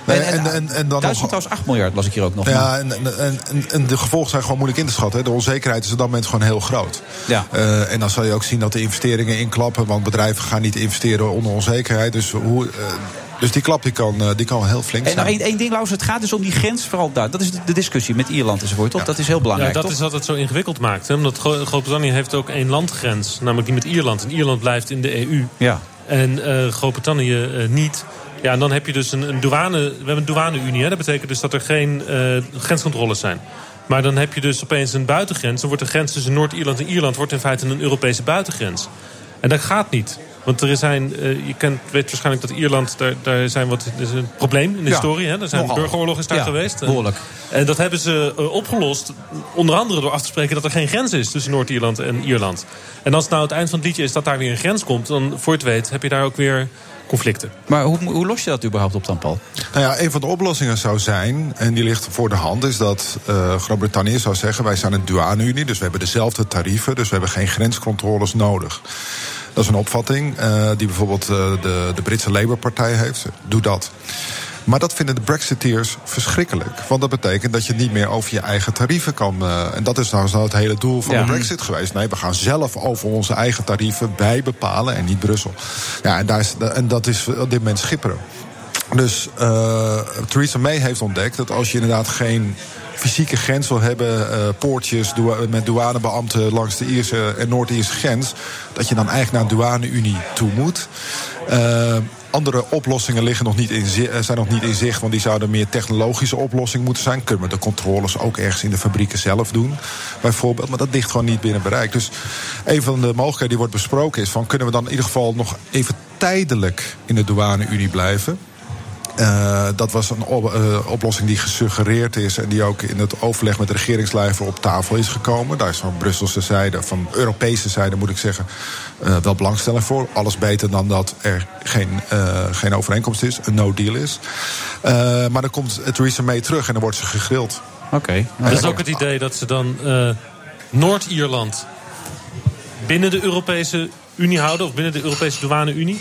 Speaker 15: Nee, en, en, en, dan nog-
Speaker 5: Duitsland trouwens 8 miljard las ik hier ook nog.
Speaker 15: Ja, en, en, en, en de gevolgen zijn gewoon moeilijk in te schatten. hè. De onzekerheid is op dat moment gewoon heel groot.
Speaker 5: Ja.
Speaker 15: Eh, en dan zal je ook zien dat de investeringen inklappen. Want bedrijven gaan niet investeren onder onzekerheid. Dus hoe, eh, Dus die klap die kan, eh, die kan wel heel flink
Speaker 5: En
Speaker 15: zijn.
Speaker 5: nog één, één ding, Laus, het gaat dus om die grens, vooral daar. Dat is de- de discussie met Ierland enzovoort, toch? Dat is heel belangrijk,
Speaker 9: Ja, dat
Speaker 5: toch?
Speaker 9: is wat het zo ingewikkeld maakt. Hè? Omdat Gro- Groot-Brittannië heeft ook één landgrens, namelijk die met Ierland. En Ierland blijft in de EU.
Speaker 5: Ja.
Speaker 9: En eh, Groot-Brittannië eh, niet. Ja, en dan heb je dus een, een douane. We hebben een douane-unie. hè. Dat betekent dus dat er geen eh, grenscontroles zijn. Maar dan heb je dus opeens een buitengrens. Dan wordt de grens tussen Noord-Ierland en Ierland wordt in feite een Europese buitengrens. En dat gaat niet. Want er zijn, eh, je kent, weet waarschijnlijk dat Ierland, daar, daar zijn wat, er is een probleem in de
Speaker 5: Ja,
Speaker 9: historie. Hè? Er zijn
Speaker 5: nogal.
Speaker 9: burgeroorlog is daar
Speaker 5: Ja,
Speaker 9: geweest. En-
Speaker 5: behoorlijk.
Speaker 9: en dat hebben ze eh, opgelost, onder andere door af te spreken dat er geen grens is tussen Noord-Ierland en Ierland. En als het nou het eind van het liedje is dat daar weer een grens komt, dan voor je het weet heb je daar ook weer conflicten.
Speaker 5: Maar hoe, hoe los je dat überhaupt op dan, Paul?
Speaker 15: Nou ja, een van de oplossingen zou zijn, en die ligt voor de hand, is dat eh, Groot-Brittannië zou zeggen: wij zijn een douane-unie, dus we hebben dezelfde tarieven, dus we hebben geen grenscontroles nodig. Dat is een opvatting eh, die bijvoorbeeld eh, de, de Britse Labour-partij heeft. Doe dat. Maar dat vinden de Brexiteers verschrikkelijk. Want dat betekent dat je niet meer over je eigen tarieven kan. eh, en dat is nou zo het hele doel van
Speaker 10: Ja.
Speaker 15: de Brexit geweest. Nee, we gaan zelf over onze eigen tarieven bij bepalen en niet Brussel. Ja, en, daar is, en dat is op dit moment schipperen. Dus eh, Theresa May heeft ontdekt dat als je inderdaad geen fysieke grens wil hebben, eh, poortjes doua- met douanebeambten langs de Ierse en Noord-Ierse grens, dat je dan eigenlijk naar een douane-unie toe moet. Eh, andere oplossingen liggen nog niet in zi- eh, zijn nog niet in zicht, want die zouden meer technologische oplossingen moeten zijn. Kunnen we de controles ook ergens in de fabrieken zelf doen, bijvoorbeeld. Maar dat ligt gewoon niet binnen bereik. Dus een van de mogelijkheden die wordt besproken is: van, kunnen we dan in ieder geval nog even tijdelijk in de douane-unie blijven? Eh, dat was een op- eh, oplossing die gesuggereerd is en die ook in het overleg met de regeringslijven op tafel is gekomen. Daar is van Brusselse zijde, van Europese zijde moet ik zeggen, eh, wel belangstelling voor. Alles beter dan dat er geen, eh, geen overeenkomst is, een no-deal is. Eh, maar dan komt Theresa May terug en dan wordt ze gegrild.
Speaker 5: Oké.
Speaker 9: Dat is ook het idee dat ze dan eh, Noord-Ierland binnen de Europese Unie houden, of binnen de Europese douane-Unie.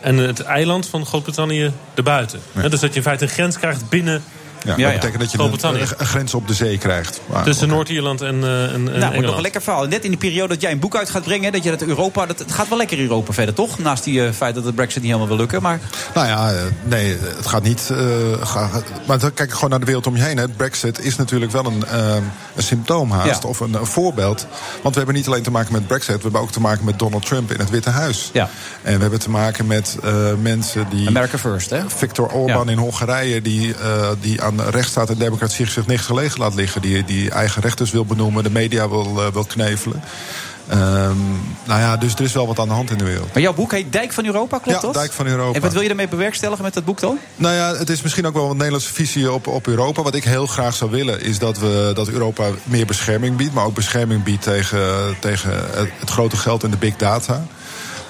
Speaker 9: En het eiland van Groot-Brittannië erbuiten. Hè, Dus dat je in feite een grens krijgt binnen
Speaker 15: Ja, dat betekent dat je een,
Speaker 9: Groot-Brittannië.
Speaker 15: een grens op de zee krijgt. Maar-
Speaker 9: Tussen Noord-Ierland en, eh, en, en
Speaker 5: Nou, wordt nog
Speaker 9: Engeland.
Speaker 5: een lekker verhaal. Net in die periode dat jij een boek uit gaat brengen... hè, dat je dat Europa... Dat, het gaat wel lekker in Europa verder, toch? Naast die eh, feit dat de brexit niet helemaal wil lukken, maar...
Speaker 15: Nou ja, eh, nee, het gaat niet. eh, ga- maar dan kijk ik gewoon naar de wereld om je heen. Hè. Brexit is natuurlijk wel een, eh, een symptoom haast,
Speaker 5: Ja.
Speaker 15: of een, een voorbeeld. Want we hebben niet alleen te maken met Brexit, we hebben ook te maken met Donald Trump in het Witte Huis. En we hebben te maken met eh, mensen die.
Speaker 5: America first, hè?
Speaker 15: Viktor Orbán in Hongarije, die, eh, die aan rechtsstaat en democratie zich niks gelegen laat liggen. Die, die eigen rechters wil benoemen, de media wil, eh, wil knevelen. Ehm, nou ja, dus er is wel wat aan de hand in de wereld.
Speaker 5: Maar jouw boek heet Dijk van Europa, klopt
Speaker 15: Ja,
Speaker 5: dat?
Speaker 15: Dijk van Europa.
Speaker 5: En wat wil je daarmee bewerkstelligen met dat boek dan?
Speaker 15: Nou ja, het is misschien ook wel een Nederlandse visie op, op Europa. Wat ik heel graag zou willen is dat, we, dat Europa meer bescherming biedt. Maar ook bescherming biedt tegen, tegen het, het grote geld en de big data.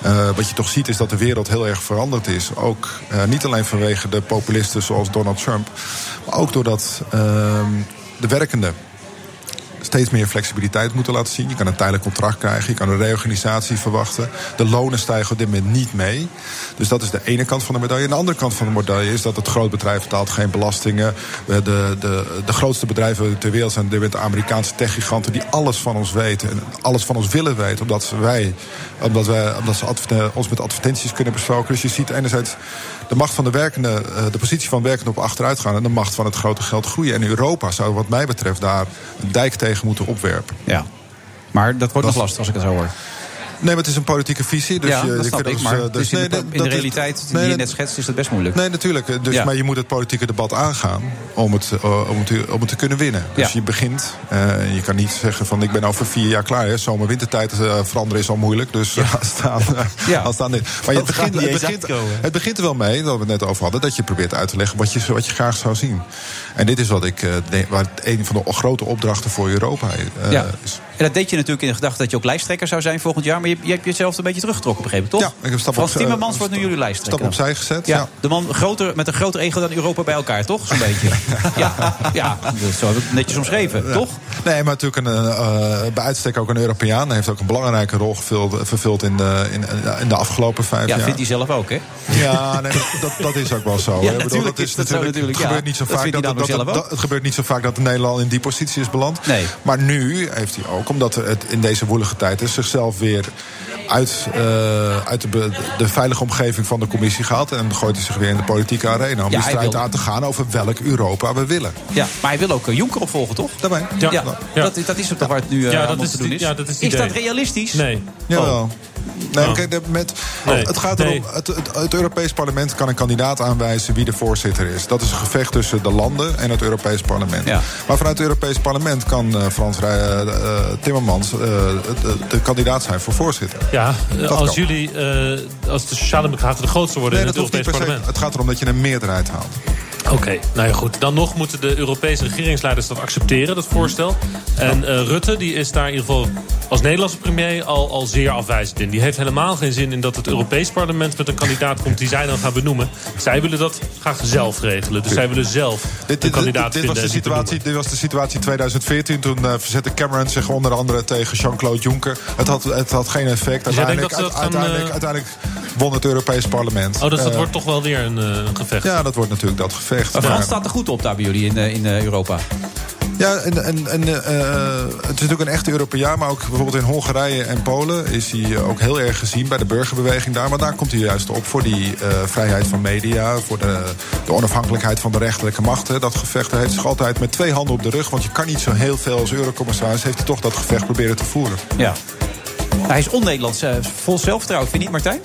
Speaker 15: Eh, wat je toch ziet is dat de wereld heel erg veranderd is. Ook eh, niet alleen vanwege de populisten zoals Donald Trump. Maar ook doordat ehm, de werkenden steeds meer flexibiliteit moeten laten zien. Je kan een tijdelijk contract krijgen, je kan een reorganisatie verwachten. De lonen stijgen op dit moment niet mee. Dus dat is de ene kant van de medaille. En de andere kant van de medaille is dat het grootbedrijf betaalt geen belastingen. Eh, De, de, de grootste bedrijven ter wereld zijn op dit moment de Amerikaanse techgiganten... die alles van ons weten en alles van ons willen weten... omdat, ze wij, omdat, wij, omdat ze adver- eh, ons met advertenties kunnen besproken. Dus je ziet enerzijds de macht van de werkende, eh, de positie van werkenden op achteruit gaan... en de macht van het grote geld groeien. En Europa zou wat mij betreft daar een dijk tegen moeten opwerpen.
Speaker 5: Ja, maar dat wordt nog lastig als ik het zo hoor.
Speaker 15: Nee, maar het is een politieke visie. Dus
Speaker 5: ja,
Speaker 15: je, je
Speaker 5: dat
Speaker 15: kunt
Speaker 5: snap ik,
Speaker 15: ons,
Speaker 5: maar
Speaker 15: eh,
Speaker 5: het is in de,
Speaker 15: nee,
Speaker 5: in de
Speaker 15: dat is-
Speaker 5: realiteit
Speaker 15: nee,
Speaker 5: die je
Speaker 15: dat-
Speaker 5: net schetst is dat best moeilijk.
Speaker 15: Nee, natuurlijk. eh, Dus,
Speaker 5: Ja.
Speaker 15: Maar je moet het politieke debat aangaan om het, eh, om het, om het te kunnen winnen. Dus
Speaker 5: Ja.
Speaker 15: je begint. eh, je kan niet zeggen van ik ben over vier jaar klaar. Hè. Zomer wintertijd eh, veranderen is al moeilijk. Dus eh, laat staan, ja. staan dit. Maar je
Speaker 6: Dat gaat
Speaker 15: begint,
Speaker 6: niet
Speaker 15: het,
Speaker 6: eens
Speaker 15: begint,
Speaker 6: uitkomen.
Speaker 15: het begint er wel mee, dat we het net over hadden, dat je probeert uit te leggen wat je, wat je graag zou zien. En dit is wat ik eh, denk- waar het een van de grote opdrachten voor Europa eh,
Speaker 5: ja. En dat deed je natuurlijk in de gedachte dat je ook lijsttrekker zou zijn volgend jaar. Maar je, je hebt jezelf een beetje teruggetrokken op een gegeven moment, toch?
Speaker 15: ik heb stap
Speaker 5: Frans
Speaker 15: op-
Speaker 5: Timmermans
Speaker 15: eh,
Speaker 5: wordt nu jullie lijsttrekker.
Speaker 15: stap
Speaker 5: dan.
Speaker 15: opzij gezet, ja.
Speaker 5: De man groter, met een groter ego dan Europa bij elkaar, toch? Zo'n beetje.
Speaker 15: <laughs>
Speaker 5: ja, ja, dat zou ik netjes omschreven,
Speaker 15: Ja.
Speaker 5: toch?
Speaker 15: Nee, maar natuurlijk een, eh, eh, bij uitstek ook een Europeaan. Hij heeft ook een belangrijke rol gevuld, vervuld in de, in, eh, in de afgelopen vijf
Speaker 5: Ja,
Speaker 15: jaar.
Speaker 5: vindt hij zelf ook, hè?
Speaker 15: Ja, nee, maar dat, dat is ook wel
Speaker 5: <laughs>
Speaker 15: zo.
Speaker 5: Ja,
Speaker 15: hè. Ik bedoel,
Speaker 5: natuurlijk
Speaker 15: dat
Speaker 5: is
Speaker 15: is
Speaker 5: dat zo
Speaker 15: natuurlijk,
Speaker 5: natuurlijk, ja.
Speaker 15: het gebeurt niet zo
Speaker 5: Dat
Speaker 15: vaak
Speaker 5: vindt hij
Speaker 15: dat,
Speaker 5: namelijk
Speaker 15: dat-
Speaker 5: zelf
Speaker 15: dat-
Speaker 5: ook.
Speaker 15: het gebeurt niet zo vaak dat Nederland in die positie is beland. Maar nu heeft hij ook, omdat het in deze woelige tijd is, zichzelf weer uit, eh, uit de, be- de veilige omgeving van de commissie gehaald. En gooit hij zich weer in de politieke arena. Om
Speaker 5: Ja,
Speaker 15: die
Speaker 5: hij
Speaker 15: strijd
Speaker 5: wil-
Speaker 15: aan te gaan over welk Europa we willen.
Speaker 5: Ja, maar hij wil ook eh, Jonker opvolgen, toch?
Speaker 15: Daarbij.
Speaker 5: Ja,
Speaker 15: Ja.
Speaker 5: Dat, dat is het toch waar het nu eh,
Speaker 15: Ja, dat
Speaker 5: allemaal
Speaker 15: is
Speaker 5: te doen
Speaker 15: die-
Speaker 5: is.
Speaker 15: ja, dat is het
Speaker 5: is dat
Speaker 15: idee.
Speaker 5: realistisch?
Speaker 9: Nee.
Speaker 15: Jawel. Nee,
Speaker 9: Oh.
Speaker 15: kijk, de- met,
Speaker 9: Nee.
Speaker 15: het gaat erom. Het, het, het Europees Parlement kan een kandidaat aanwijzen wie de voorzitter is. Dat is een gevecht tussen de landen en het Europees Parlement. Maar vanuit het Europees Parlement kan eh, Frans Rij, eh, eh, Timmermans eh, de, de kandidaat zijn voor voorzitter.
Speaker 9: Ja, eh,
Speaker 15: Dat
Speaker 9: als
Speaker 15: kan.
Speaker 9: jullie, eh, als de Sociaaldemocraten de grootste worden
Speaker 15: Nee, dat
Speaker 9: in het
Speaker 15: hoeft niet per
Speaker 9: Europees
Speaker 15: se.
Speaker 9: Parlement.
Speaker 15: Het gaat erom dat je een meerderheid haalt.
Speaker 9: Oké, nou ja goed. Dan nog moeten de Europese regeringsleiders dat accepteren, dat voorstel. En eh, Rutte die is daar in ieder geval als Nederlandse premier al, al zeer afwijzend in. Die heeft helemaal geen zin in dat het Europees parlement met een kandidaat komt die zij dan gaan benoemen. Zij willen dat graag zelf regelen. Dus zij willen zelf een
Speaker 15: Dit was,
Speaker 9: kandidaat vinden.
Speaker 15: de
Speaker 9: en die benoemen.
Speaker 15: situatie, dit was de situatie in 2014. Toen eh, verzette Cameron zich onder andere tegen Jean-Claude Juncker. Het had, het had geen effect.
Speaker 9: Dus jij denkt
Speaker 15: Uiteindelijk,
Speaker 9: dat ze dat gaan,
Speaker 15: uiteindelijk,
Speaker 9: eh,
Speaker 15: uiteindelijk won het Europees Parlement.
Speaker 9: Oh, dus dat
Speaker 15: Eh,
Speaker 9: wordt toch wel weer een, eh, een gevecht.
Speaker 15: Ja, dat wordt natuurlijk dat gevecht.
Speaker 5: Maar Frans
Speaker 15: Maar-
Speaker 5: staat er goed op daar bij jullie in, eh, in eh, Europa.
Speaker 15: Ja, en, en, en eh, eh, het is natuurlijk een echte Europeaan, maar ook bijvoorbeeld in Hongarije en Polen is hij eh, ook heel erg gezien bij de burgerbeweging daar. Maar daar komt hij juist op voor die eh, vrijheid van media, voor de, de onafhankelijkheid van de rechterlijke macht. hè. Dat gevecht hij heeft zich altijd met twee handen op de rug, want je kan niet zo heel veel als eurocommissaris, heeft hij toch dat gevecht proberen te voeren.
Speaker 5: Ja. Hij is on-Nederlands, eh, vol zelfvertrouwen, vind je niet, Martijn?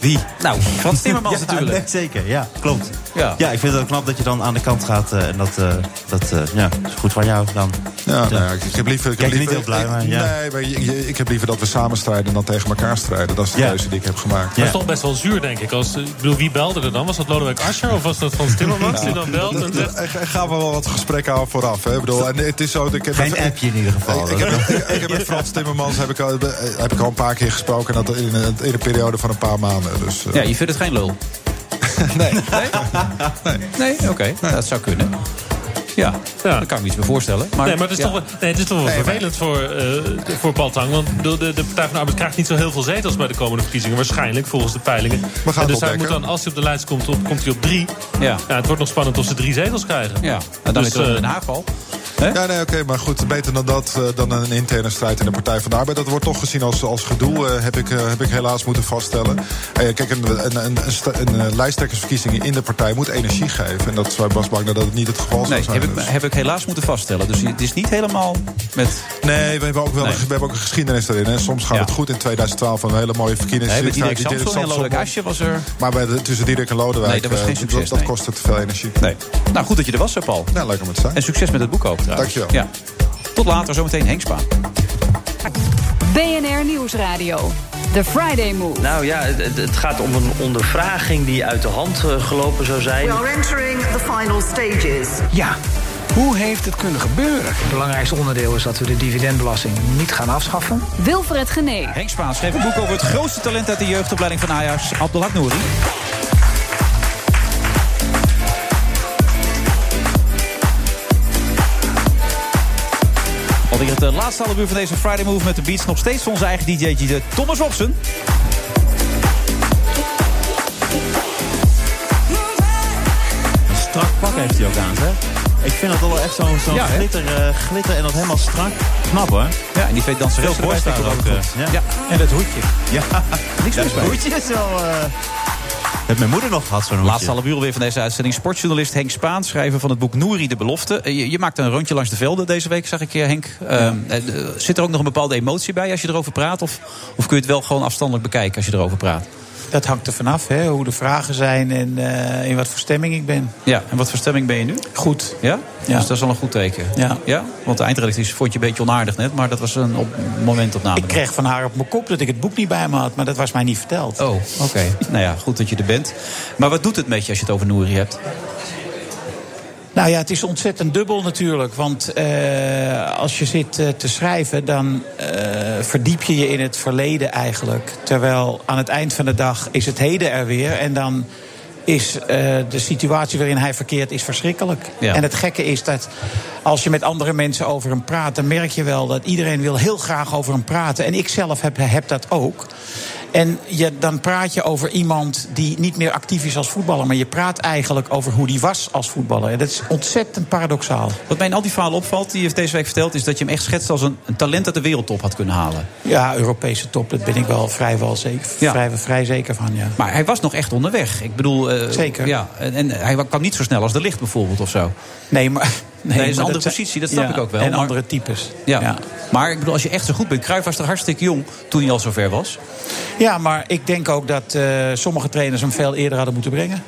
Speaker 6: Wie?
Speaker 5: Nou, Frans Timmermans
Speaker 6: Ja,
Speaker 5: natuurlijk.
Speaker 6: nee, zeker, <laughs> ja, klopt.
Speaker 5: Ja.
Speaker 6: ik vind het ook knap dat je dan aan de kant gaat. eh, en dat, eh, dat eh, ja, is goed van jou dan.
Speaker 15: Ja, nou ja, ik, ik heb liever... Ik heb
Speaker 6: Kijk,
Speaker 15: liever
Speaker 6: niet heel blij,
Speaker 15: ik-
Speaker 6: maar ja.
Speaker 15: Nee, maar je- je- ik heb liever dat we samen strijden dan tegen elkaar strijden. Dat is de keuze die ik heb gemaakt.
Speaker 9: Dat is toch best wel zuur, denk ik. Als, eh, ik bedoel, wie belde er dan? Was dat Lodewijk Asscher of was
Speaker 15: <laughs>
Speaker 9: dat Frans Timmermans die dan belt en zegt...
Speaker 15: Er gaan we wel wat gesprekken aan vooraf. Hè? Ik Bedoel, en het is zo, dat ik heb
Speaker 6: Geen appje in ieder geval.
Speaker 15: Ik, ik heb, ik, ik heb met Frans Timmermans heb ik, al, heb ik al een paar keer gesproken. en Dat in, een- in een periode van een paar maanden. Dus, eh,
Speaker 5: Ja, je vindt het geen lul.
Speaker 15: nee.
Speaker 5: Nee, oké, Nou, dat zou kunnen. Ja, daar kan ik me iets bij voorstellen. Maar,
Speaker 9: nee, maar het is,
Speaker 5: ja.
Speaker 9: toch, wel- nee, het is toch wel vervelend voor, eh voor Paul Tang. Want de, de, de Partij van de Arbeid krijgt niet zo heel veel zetels bij de komende verkiezingen. Waarschijnlijk, volgens de peilingen.
Speaker 15: We gaan
Speaker 9: en
Speaker 15: het
Speaker 9: dus hij moet
Speaker 15: ontdekken.
Speaker 9: dan, als hij op de lijst komt, op, komt hij op drie. Ja. het wordt nog spannend of ze drie zetels krijgen.
Speaker 5: Ja, en dan
Speaker 9: Dus,
Speaker 5: is het wel
Speaker 9: eh,
Speaker 5: Den Haag al.
Speaker 15: Ja, nee, oké, maar goed, beter dan dat, eh, dan een interne strijd in de Partij van de Arbeid. Dat wordt toch gezien als, als gedoe, eh, heb, ik, eh, heb ik helaas moeten vaststellen. Eh, kijk, een, een, een, een, sta- een, eh, lijsttrekkersverkiezing in de partij moet energie geven. En dat is bij Bas bang dat dat niet het geval
Speaker 5: Nee,
Speaker 15: zou zijn.
Speaker 5: heb ik,
Speaker 15: dus.
Speaker 5: heb ik helaas moeten vaststellen. Dus het is niet helemaal met...
Speaker 15: Nee, we hebben ook wel we hebben ook een geschiedenis erin. Hè. Soms gaat het goed in 2012, een hele mooie verkiezing.
Speaker 5: Nee, met
Speaker 15: Die
Speaker 5: Dirk
Speaker 15: staat- die
Speaker 5: Samson en
Speaker 15: Samson-
Speaker 5: Lodewijk Asscher was er...
Speaker 15: Maar bij de- tussen Dirk en Lodewijk,
Speaker 5: Nee, dat was
Speaker 15: eh,
Speaker 5: geen succes,
Speaker 15: dat, dat
Speaker 5: nee.
Speaker 15: kostte te veel energie.
Speaker 5: Nee. Nou, goed dat je er was, hè, Paul.
Speaker 15: Nou, leuk om het te zijn.
Speaker 5: En succes met het boek ook, trouwens.
Speaker 15: Dankjewel.
Speaker 5: Ja. Tot later, zometeen Henk Spaan.
Speaker 1: BNR Nieuwsradio. The Friday Move.
Speaker 2: Nou ja, het, het- het gaat om een ondervraging die uit de hand eh, gelopen zou zijn.
Speaker 3: We are entering the final stages.
Speaker 4: Ja, hoe heeft het kunnen gebeuren? Het belangrijkste onderdeel is dat we de dividendbelasting niet gaan afschaffen.
Speaker 1: Wilfred Genee.
Speaker 5: Henk Spaan schreef een boek over het grootste talent uit de jeugdopleiding van Ajax, Abdelhak Nouri. Alweer het eh, laatste half uur van deze Friday Move met de beats. Nog steeds onze eigen DJ'tje, de Thomas Robson.
Speaker 6: Een strak pak heeft hij ook aan, zeg. Ik vind dat wel echt zo'n zo'n
Speaker 5: Ja, hè?
Speaker 6: glitter, eh, glitter en dat helemaal strak. Knap hoor.
Speaker 5: Ja, en die twee danseressen
Speaker 6: Veel borst
Speaker 5: erbij vind ik
Speaker 6: daar
Speaker 5: wel
Speaker 6: ook,
Speaker 5: goed.
Speaker 6: eh,
Speaker 5: Ja.
Speaker 6: ja.
Speaker 5: en dat hoedje.
Speaker 6: <laughs> Ja.
Speaker 5: Niks
Speaker 6: Ja,
Speaker 5: mis mee.
Speaker 6: dat hoedje is wel... eh, Heb mijn moeder nog gehad zo'n hoedje.
Speaker 5: Laatste half uur alweer van deze uitzending. Sportjournalist Henk Spaan, schrijver van het boek Nouri de Belofte. Eh, Je, je maakte een rondje langs de velden deze week, zag ik eh, Henk. Eh, eh, zit er ook nog een bepaalde emotie bij als je erover praat? Of, of kun je het wel gewoon afstandelijk bekijken als je erover praat?
Speaker 16: Dat hangt er vanaf, hè, hoe de vragen zijn en eh, in wat voor stemming ik ben.
Speaker 5: Ja, en wat voor stemming ben je nu?
Speaker 16: Goed.
Speaker 5: Ja? Dus dat is al een goed teken.
Speaker 16: Ja.
Speaker 5: Want de eindredactie vond je een beetje onaardig net, maar dat was een op, momentopname.
Speaker 16: Ik kreeg van haar op mijn kop dat ik het boek niet bij me had, maar dat was mij niet verteld.
Speaker 5: Oh, oké. <laughs> nou ja, goed dat je er bent. Maar wat doet het met je als je het over Nouri hebt?
Speaker 16: Nou ja, het is ontzettend dubbel natuurlijk. Want eh, als je zit eh, te schrijven, dan eh, verdiep je je in het verleden eigenlijk. Terwijl aan het eind van de dag is het heden er weer. En dan is eh, de situatie waarin hij verkeert is verschrikkelijk.
Speaker 5: Ja.
Speaker 16: En het gekke is dat als je met andere mensen over hem praat... dan merk je wel dat iedereen wil heel graag over hem praten. En ik zelf heb, heb dat ook. En je, dan praat je over iemand die niet meer actief is als voetballer. Maar je praat eigenlijk over hoe die was als voetballer. En dat is ontzettend paradoxaal.
Speaker 5: Wat mij in al die verhalen opvalt, die heeft deze week verteld... is dat je hem echt schetst als een, een talent dat de wereldtop had kunnen halen.
Speaker 16: Ja, Europese top, dat ben ik wel vrijwel zeker,
Speaker 5: Ja.
Speaker 16: vrij, vrij zeker van, ja.
Speaker 5: Maar hij was nog echt onderweg. Ik bedoel, eh,
Speaker 16: Zeker.
Speaker 5: Ja, en, en hij kwam niet zo snel als de licht bijvoorbeeld of zo.
Speaker 16: Nee, maar...
Speaker 5: <laughs> Nee, dat is een
Speaker 16: maar
Speaker 5: andere
Speaker 16: zijn-
Speaker 5: positie, dat snap
Speaker 16: ja,
Speaker 5: ik ook wel.
Speaker 16: En
Speaker 5: maar-
Speaker 16: andere types.
Speaker 5: Ja. maar ik bedoel, als je echt zo goed bent... Cruijff was toch hartstikke jong toen hij al zo ver was?
Speaker 16: Ja, maar ik denk ook dat eh, sommige trainers hem veel eerder hadden moeten brengen.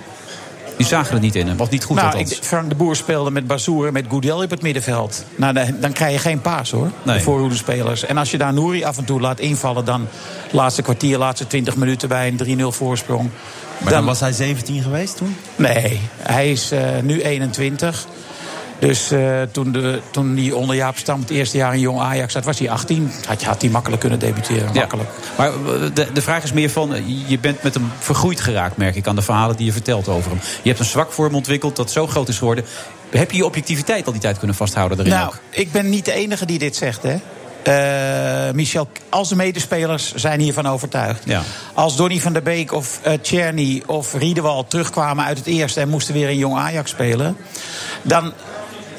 Speaker 5: Die zagen het niet in hem, was niet goed
Speaker 16: nou,
Speaker 5: althans.
Speaker 16: ik- Frank de Boer speelde met Bazoer en met Goodell op het middenveld. Nou, dan, dan krijg je geen paas hoor,
Speaker 5: Nee.
Speaker 16: de voorhoedenspelers. En als je daar Nouri af en toe laat invallen... dan laatste kwartier, laatste 20 minuten bij een 3-0 voorsprong.
Speaker 6: Maar dan was hij 17 geweest toen?
Speaker 16: Nee, hij is eh, nu 21. Dus eh, toen, de, toen hij onder Jaap Stam het eerste jaar in Jong Ajax zat... was hij 18, had, had hij makkelijk kunnen debuteren.
Speaker 5: Ja. Maar eh, de, de vraag is meer van, eh, je bent met hem vergroeid geraakt, merk ik, aan de verhalen die je vertelt over hem. Je hebt een zwak voor hem ontwikkeld dat zo groot is geworden. Heb je je objectiviteit al die tijd kunnen vasthouden erin
Speaker 16: Nou,
Speaker 5: ook?
Speaker 16: ik ben niet de enige die dit zegt, hè. Eh, Michel, als de medespelers zijn hiervan overtuigd.
Speaker 5: Ja.
Speaker 16: Als Donny van der Beek of eh Tjerny of Riedewald terugkwamen uit het eerste... en moesten weer in Jong Ajax spelen... dan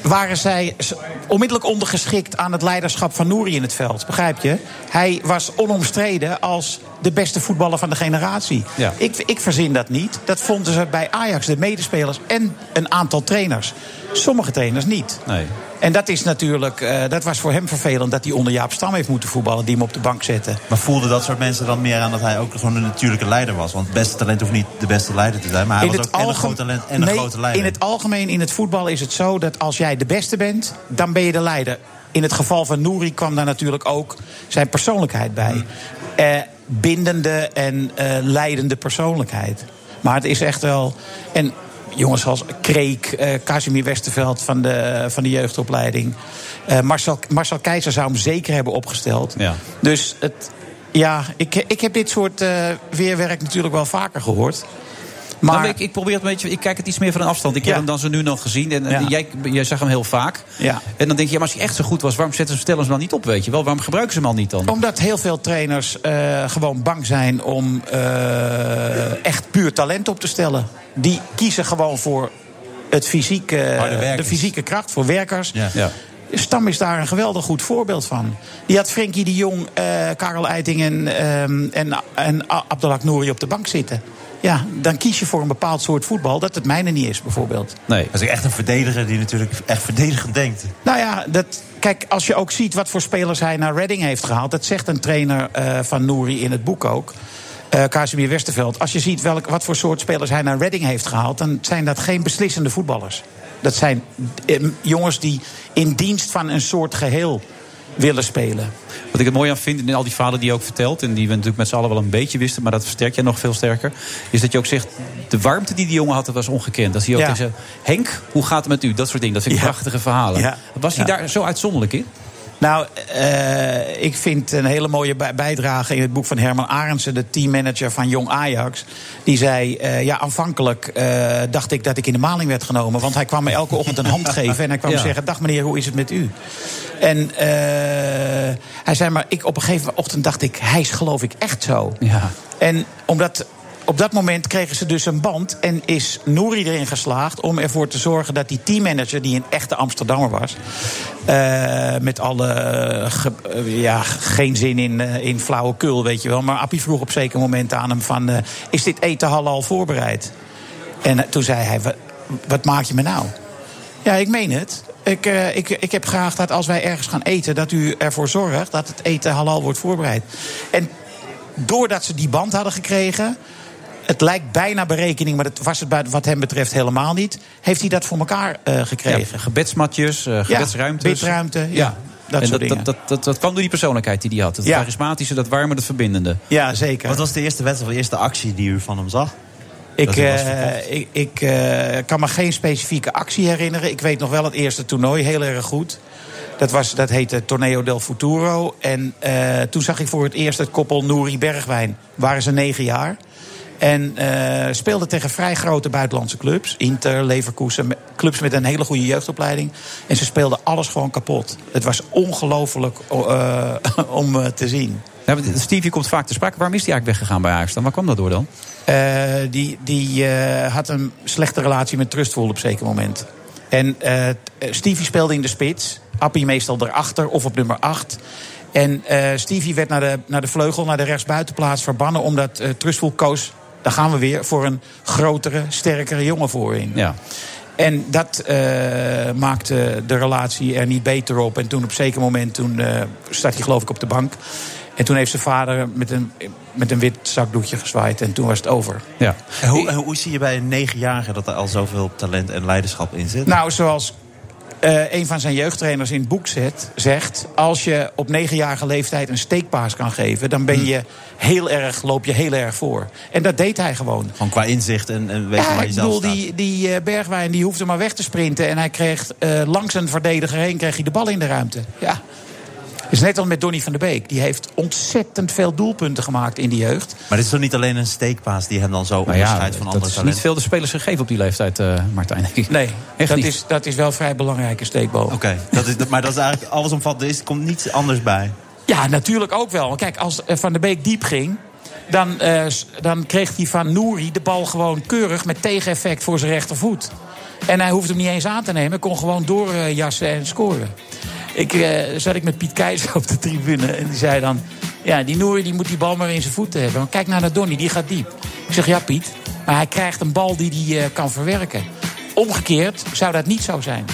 Speaker 16: waren zij s- onmiddellijk ondergeschikt aan het leiderschap van Nouri in het veld. Begrijp je? Hij was onomstreden als de beste voetballer van de generatie.
Speaker 17: Ja.
Speaker 16: Ik, ik verzin dat niet. Dat vonden ze bij Ajax, de medespelers en een aantal trainers. Sommige trainers niet.
Speaker 5: Nee.
Speaker 16: En dat is natuurlijk, eh, dat was voor hem vervelend dat hij onder Jaap Stam heeft moeten voetballen, die hem op de bank zette.
Speaker 6: Maar voelden dat soort mensen dan meer aan dat hij ook gewoon een natuurlijke leider was? Want het beste talent hoeft niet de beste leider te zijn. Maar hij
Speaker 16: In
Speaker 6: was
Speaker 16: het
Speaker 6: ook en een
Speaker 16: algem-
Speaker 6: groot talent en een
Speaker 16: Nee,
Speaker 6: grote leider.
Speaker 16: In het algemeen, in het voetbal is het zo dat als jij de beste bent, dan ben je de leider. In het geval van Nouri kwam daar natuurlijk ook zijn persoonlijkheid bij.
Speaker 6: Hmm.
Speaker 16: Eh, bindende en eh, leidende persoonlijkheid. Maar het is echt wel. En jongens als Kreek, eh Casimir Westerveld van de, van de jeugdopleiding. eh, Marcel, Marcel Keizer zou hem zeker hebben opgesteld.
Speaker 5: Ja.
Speaker 16: Dus het, ja, ik, ik heb dit soort eh, weerwerk natuurlijk wel vaker gehoord. Maar-
Speaker 5: Nou, ik, ik probeer het een beetje, ik kijk het iets meer van een afstand. Ik heb hem dan zo nu nog gezien en en
Speaker 16: Ja.
Speaker 5: jij, jij zag hem heel vaak.
Speaker 16: Ja.
Speaker 5: En dan denk je, ja, maar als hij echt zo goed was, waarom zetten ze stellen ze hem dan niet op, weet je wel? Waarom gebruiken ze hem al niet dan?
Speaker 16: Omdat heel veel trainers eh, gewoon bang zijn om eh, echt puur talent op te stellen. Die kiezen gewoon voor het fysieke,
Speaker 6: Harde
Speaker 16: de,
Speaker 6: werkers.
Speaker 16: fysieke kracht, voor werkers.
Speaker 6: Ja. Ja.
Speaker 16: Stam is daar een geweldig goed voorbeeld van. Die had Frenkie de Jong, eh, Karel Eiting en, ehm en, en A- Abdelhak Nouri op de bank zitten. Ja, dan kies je voor een bepaald soort voetbal dat het mijne niet is, bijvoorbeeld.
Speaker 5: Nee.
Speaker 6: Dat is echt een verdediger die natuurlijk echt verdedigend denkt.
Speaker 16: Nou ja, dat, kijk, als je ook ziet wat voor spelers hij naar Reading heeft gehaald. Dat zegt een trainer eh, van Nouri in het boek ook. eh Casimir Westerveld. Als je ziet welk, wat voor soort spelers hij naar Reading heeft gehaald. dan zijn dat geen beslissende voetballers. Dat zijn eh, jongens die in dienst van een soort geheel willen spelen.
Speaker 5: Wat ik het mooi aan vind in al die verhalen die je ook vertelt... en die we natuurlijk met z'n allen wel een beetje wisten... maar dat versterk jij nog veel sterker... is dat je ook zegt, de warmte die die jongen had, dat was ongekend. Dat hij ook
Speaker 16: Ja.
Speaker 5: tegen zei, Henk, hoe gaat het met u? Dat soort dingen, dat vind ik
Speaker 16: Ja.
Speaker 5: prachtige verhalen.
Speaker 16: Ja.
Speaker 5: Was hij
Speaker 16: Ja.
Speaker 5: daar zo uitzonderlijk in?
Speaker 16: Nou, eh, ik vind een hele mooie bij- bijdrage in het boek van Herman Arendsen, de teammanager van Jong Ajax. Die zei: eh, Ja, aanvankelijk eh, dacht ik dat ik in de maling werd genomen. Want hij kwam me elke ochtend een hand geven en hij kwam
Speaker 5: Ja.
Speaker 16: zeggen: Dag meneer, hoe is het met u? En eh, hij zei: Maar ik, op een gegeven ochtend dacht ik: Hij is geloof ik echt zo.
Speaker 5: Ja.
Speaker 16: En omdat. Op dat moment kregen ze dus een band en is Nouri erin geslaagd om ervoor te zorgen dat die teammanager, die een echte Amsterdammer was, eh, met alle eh, ge- eh, ja, geen zin in, eh, in flauwekul, weet je wel. Maar Appie vroeg op zeker moment aan hem van, eh, is dit eten halal voorbereid? En eh, toen zei hij, "Wa- wat maak je me nou? Ja, ik meen het. Ik, eh, ik, ik heb graag dat als wij ergens gaan eten, dat u ervoor zorgt dat het eten halal wordt voorbereid. En doordat ze die band hadden gekregen. Het lijkt bijna berekening, maar dat was het bij- wat hem betreft helemaal niet. Heeft hij dat voor elkaar eh, gekregen?
Speaker 5: Ja, gebedsmatjes, eh, gebedsruimtes.
Speaker 16: bidruimte, ja. Dat
Speaker 5: en
Speaker 16: soort
Speaker 5: dat,
Speaker 16: dingen.
Speaker 5: dat, dat, dat, dat kwam door die persoonlijkheid die hij had. Het
Speaker 6: Ja.
Speaker 5: charismatische, dat warme, dat verbindende.
Speaker 16: Ja, zeker.
Speaker 6: Wat was de eerste wedstrijd, of de eerste actie die u van hem zag?
Speaker 16: Ik,
Speaker 6: Dat hij was
Speaker 16: eh,
Speaker 6: verkocht.
Speaker 16: ik, ik eh, kan me geen specifieke actie herinneren. Ik weet nog wel het eerste toernooi heel erg goed. Dat, was, dat heette Torneo del Futuro. En eh, toen zag ik voor het eerst het koppel Nouri Bergwijn. Waren ze negen jaar. En eh, speelden tegen vrij grote buitenlandse clubs. Inter, Leverkusen. me- Clubs met een hele goede jeugdopleiding. En ze speelden alles gewoon kapot. Het was ongelooflijk o- eh, <laughs> om eh, te zien.
Speaker 5: Ja, maar Stevie komt vaak te sprake. Waarom is hij eigenlijk weggegaan bij Ajax dan? Waar kwam dat door dan?
Speaker 16: Eh, die die eh, had een slechte relatie met Trustful op zeker moment. En eh, Stevie speelde in de spits. Appie meestal erachter of op nummer 8. En eh, Stevie werd naar de, naar de vleugel, naar de rechtsbuitenplaats verbannen... omdat eh Trustful koos, daar gaan we weer, voor een grotere, sterkere jongen voorin.
Speaker 5: Ja.
Speaker 16: En dat eh, maakte de relatie er niet beter op. En toen op een zeker moment, toen eh zat hij geloof ik op de bank. En toen heeft zijn vader met een, met een wit zakdoekje gezwaaid. En toen was het over.
Speaker 5: Ja.
Speaker 6: En hoe, en hoe zie je bij een negenjarige dat er al zoveel talent en leiderschap in zit?
Speaker 16: Nou, zoals eh, een van zijn jeugdtrainers in het boek zet, zegt... als je op negenjarige leeftijd een steekpaas kan geven... dan
Speaker 6: Hm.
Speaker 16: ben je heel erg, loop je heel erg voor. En dat deed hij gewoon.
Speaker 6: Gewoon qua inzicht en, en weten
Speaker 16: Ja,
Speaker 6: waar je
Speaker 16: ik
Speaker 6: zelf
Speaker 16: bedoel,
Speaker 6: staat.
Speaker 16: die, die eh, Bergwijn die hoefde maar weg te sprinten... en hij kreeg eh, langs een verdediger heen kreeg hij de bal in de ruimte. Ja. Het is net als met Donny van der Beek. Die heeft ontzettend veel doelpunten gemaakt in die jeugd.
Speaker 6: Maar dit is toch niet alleen een steekpaas die hem dan
Speaker 5: Nou
Speaker 6: zo
Speaker 16: ja,
Speaker 6: onderscheidt van
Speaker 16: dat
Speaker 6: andere
Speaker 16: is
Speaker 6: talenten?
Speaker 16: niet
Speaker 5: veel de spelers gegeven op die leeftijd, eh, Martijn.
Speaker 16: Nee,
Speaker 5: Echt
Speaker 16: dat,
Speaker 5: niet.
Speaker 16: Is, dat is wel vrij belangrijke steekbal. Oké,
Speaker 6: dat is, maar dat is eigenlijk allesomvattend. Er is- komt niets anders bij.
Speaker 16: Ja, natuurlijk ook wel. Want Kijk, als eh, Van der Beek diep ging... Dan, eh, s- dan kreeg hij van Nouri de bal gewoon keurig met tegeneffect voor zijn rechtervoet. En hij hoefde hem niet eens aan te nemen. kon gewoon doorjassen en scoren. Ik, eh, zat ik met Piet Keizer op de tribune en die zei dan... Ja, die Nouri die moet die bal maar in zijn voeten hebben. Want kijk nou naar Donny, die gaat diep. Ik zeg, ja Piet, maar hij krijgt een bal die hij eh, kan verwerken. Omgekeerd zou dat niet zo zijn.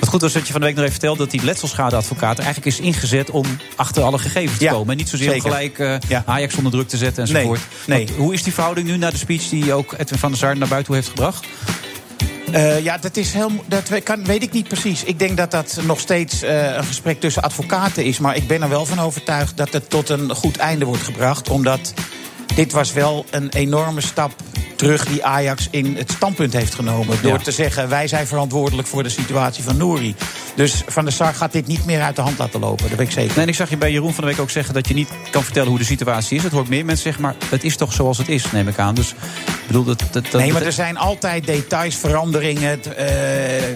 Speaker 5: Wat goed was dat je van de week nog even vertelde dat die letselschadeadvocaat eigenlijk is ingezet om achter alle gegevens te komen. En niet zozeer om
Speaker 16: zeker.
Speaker 5: gelijk eh, Ajax onder druk te zetten enzovoort.
Speaker 16: nee.
Speaker 5: Want hoe is die verhouding nu na de speech die ook Edwin van der Sar naar buiten toe heeft gebracht?
Speaker 16: Eh, ja, dat, is heel, mo- dat we- kan, weet ik niet precies. Ik denk dat dat nog steeds eh, een gesprek tussen advocaten is. Maar ik ben er wel van overtuigd dat het tot een goed einde wordt gebracht. Omdat dit was wel een enorme stap terug die Ajax in het standpunt heeft genomen. Door
Speaker 5: Ja.
Speaker 16: te zeggen, wij zijn verantwoordelijk voor de situatie van Nouri. Dus Van der Sar gaat dit niet meer uit de hand laten lopen. Dat weet ik zeker.
Speaker 5: Nee, en ik zag je bij Jeroen van de week ook zeggen dat je niet kan vertellen hoe de situatie is. Het hoort meer mensen zeggen, maar het is toch zoals het is, neem ik aan. Dus ik bedoel, dat, dat, dat,
Speaker 16: nee, maar er zijn altijd details, veranderingen. t- eh, eh,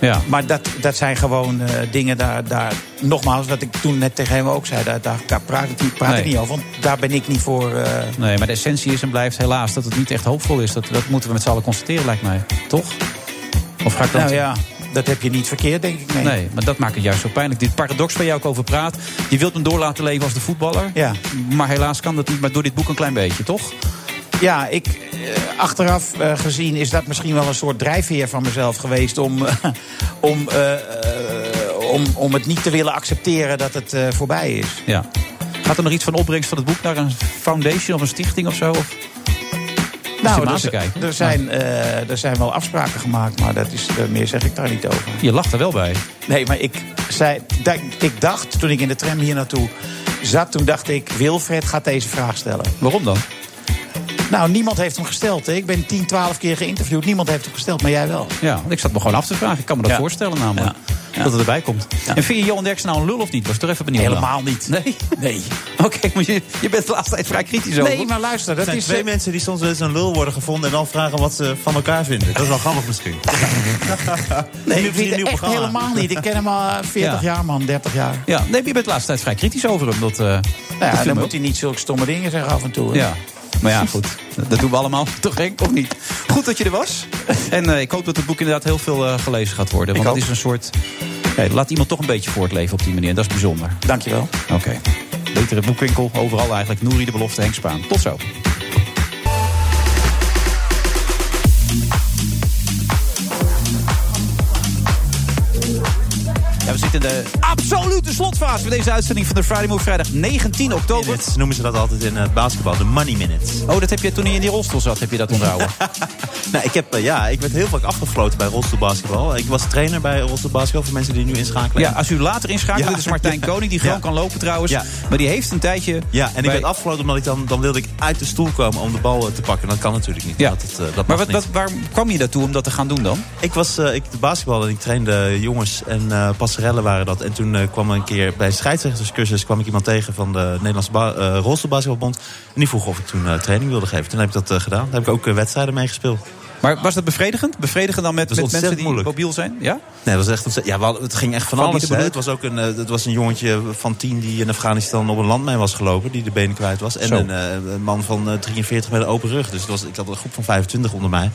Speaker 5: Ja.
Speaker 16: Maar dat, dat zijn gewoon eh, dingen daar, daar. Nogmaals, wat ik toen net tegen hem ook zei, daar, daar, daar praat ik, niet- praat
Speaker 5: Nee.
Speaker 16: ik niet over. Want daar ben ik niet voor. eh,
Speaker 5: Nee, maar de essentie is en blijft helaas dat het niet echt hoopvol is. Dat, dat moeten we met z'n allen constateren, lijkt mij. Toch? Of ga ik dan...
Speaker 16: nou ja, dat heb je niet verkeerd, denk ik. Nee.
Speaker 5: Nee, maar dat maakt het juist zo pijnlijk. Dit paradox waar jij ook over praat. Je wilt hem door laten leven als de voetballer.
Speaker 16: Ja.
Speaker 5: Maar helaas kan dat niet. Maar door dit boek een klein beetje, toch?
Speaker 16: Ja, ik, eh, achteraf eh, gezien is dat misschien wel een soort drijfveer van mezelf geweest. Om, <laughs> eh, om, eh, eh, om, om het niet te willen accepteren dat het eh, voorbij is.
Speaker 5: Ja. Gaat er nog iets van opbrengst van het boek naar een foundation of een stichting of zo? Of?
Speaker 16: Nou,
Speaker 5: maar aan
Speaker 16: er,
Speaker 5: te kijken.
Speaker 16: er zijn, eh, er zijn wel afspraken gemaakt, maar dat is, eh, meer zeg ik daar niet over.
Speaker 5: Je lacht er wel bij.
Speaker 16: Nee, maar ik, zei, da- ik dacht toen ik in de tram hier naartoe zat, toen dacht ik, Wilfred gaat deze vraag stellen.
Speaker 5: Waarom dan?
Speaker 16: Nou, niemand heeft hem gesteld. Hè. Ik ben 10, 12 keer geïnterviewd. Niemand heeft hem gesteld, maar jij wel.
Speaker 5: Ja, want ik zat me gewoon af te vragen. Ik kan me dat
Speaker 16: Ja.
Speaker 5: voorstellen namelijk. Dat het erbij komt. En vind je Johan Derks nou een lul of niet? Was ik toch even benieuwd
Speaker 16: Helemaal
Speaker 5: niet. Nee? Nee. <laughs> Oké, maar je, je bent de laatste tijd vrij kritisch over.
Speaker 6: Nee, maar
Speaker 16: luister, eh,
Speaker 6: Er zijn twee mensen die soms wel eens een lul worden gevonden... en dan vragen wat ze van elkaar vinden. Dat is wel grappig misschien.
Speaker 16: Nee,
Speaker 6: Nu
Speaker 16: ik vind
Speaker 6: een
Speaker 16: het
Speaker 6: nieuw
Speaker 16: echt
Speaker 6: programma.
Speaker 16: helemaal niet. Ik ken hem al eh, 40
Speaker 5: Ja.
Speaker 16: jaar, man. 30 jaar.
Speaker 5: Ja, nee, maar je bent de laatste tijd vrij kritisch over hem. Dat, eh, dat
Speaker 16: Nou ja,
Speaker 5: viel
Speaker 16: dan
Speaker 5: me
Speaker 16: moet hij niet zulke stomme dingen zeggen af en toe. hè.
Speaker 5: Ja, maar ja, goed. Dat doen we allemaal, <laughs> toch Henk, of niet? Goed dat je er was. En eh, ik hoop dat het boek inderdaad heel veel eh, gelezen gaat worden. Want het is een soort... Hey, laat iemand toch een beetje voortleven op die manier. En dat is bijzonder.
Speaker 16: Dankjewel.
Speaker 5: Oké. Betere boekwinkel, overal eigenlijk. Nouri de Belofte, Henk Spaan. Tot zo. Ja, we zitten in de absolute slotfase van deze uitzending van de Friday Move. Vrijdag 19 oktober.
Speaker 6: Minutes noemen ze dat altijd in eh, basketbal. De money minutes.
Speaker 5: Oh, dat heb je toen je in die rolstoel zat, heb je dat onthouden?
Speaker 6: <laughs> nou, ik, heb, eh, ja, ik werd heel vaak afgefloten bij rolstoelbasketbal. Ik was trainer bij rolstoelbasketbal voor mensen die nu inschakelen.
Speaker 5: Ja, als u later inschakelt,
Speaker 6: <laughs> Ja.
Speaker 5: dit is Martijn Koning, die gewoon
Speaker 6: Ja.
Speaker 5: kan lopen trouwens.
Speaker 6: Ja.
Speaker 5: Maar die heeft een tijdje...
Speaker 6: Ja, en ik
Speaker 5: bij-
Speaker 6: werd afgefloten omdat ik dan, dan wilde ik uit de stoel komen om de bal eh, te pakken. Dat kan natuurlijk niet.
Speaker 5: Ja.
Speaker 6: Dat, het, eh, dat
Speaker 5: maar
Speaker 6: mag
Speaker 5: wat,
Speaker 6: niet.
Speaker 5: wat, waarom kwam je daartoe om dat te gaan doen dan?
Speaker 6: Ik was eh, ik de basketbal en ik trainde jongens en eh, passerellen waren dat. En toen eh, kwam een keer bij een scheidsrechterscursus kwam ik iemand tegen van de Nederlandse ba- eh, rolstoelbasketbalbond. En die vroeg of ik toen eh, training wilde geven. Toen heb ik dat eh, gedaan. Daar heb ik ook eh, wedstrijden mee gespeeld.
Speaker 5: Maar was dat bevredigend? Bevredigend dan met,
Speaker 6: Dat
Speaker 5: met
Speaker 6: is
Speaker 5: mensen die
Speaker 6: ontzettend moeilijk.
Speaker 5: mobiel zijn? Ja?
Speaker 6: Nee, dat was echt ontzettend. Ja, we hadden- het ging echt van
Speaker 5: Van
Speaker 6: alles.
Speaker 5: wie de
Speaker 6: hè. Het
Speaker 5: bedoeld?
Speaker 6: was ook een, eh, het was een jongetje van tien die in Afghanistan op een landmijn was gelopen. Die de benen kwijt was. En
Speaker 17: Zo.
Speaker 6: een, eh, een man van eh, 43 met een open rug. Dus het was, ik had een groep van 25 onder mij.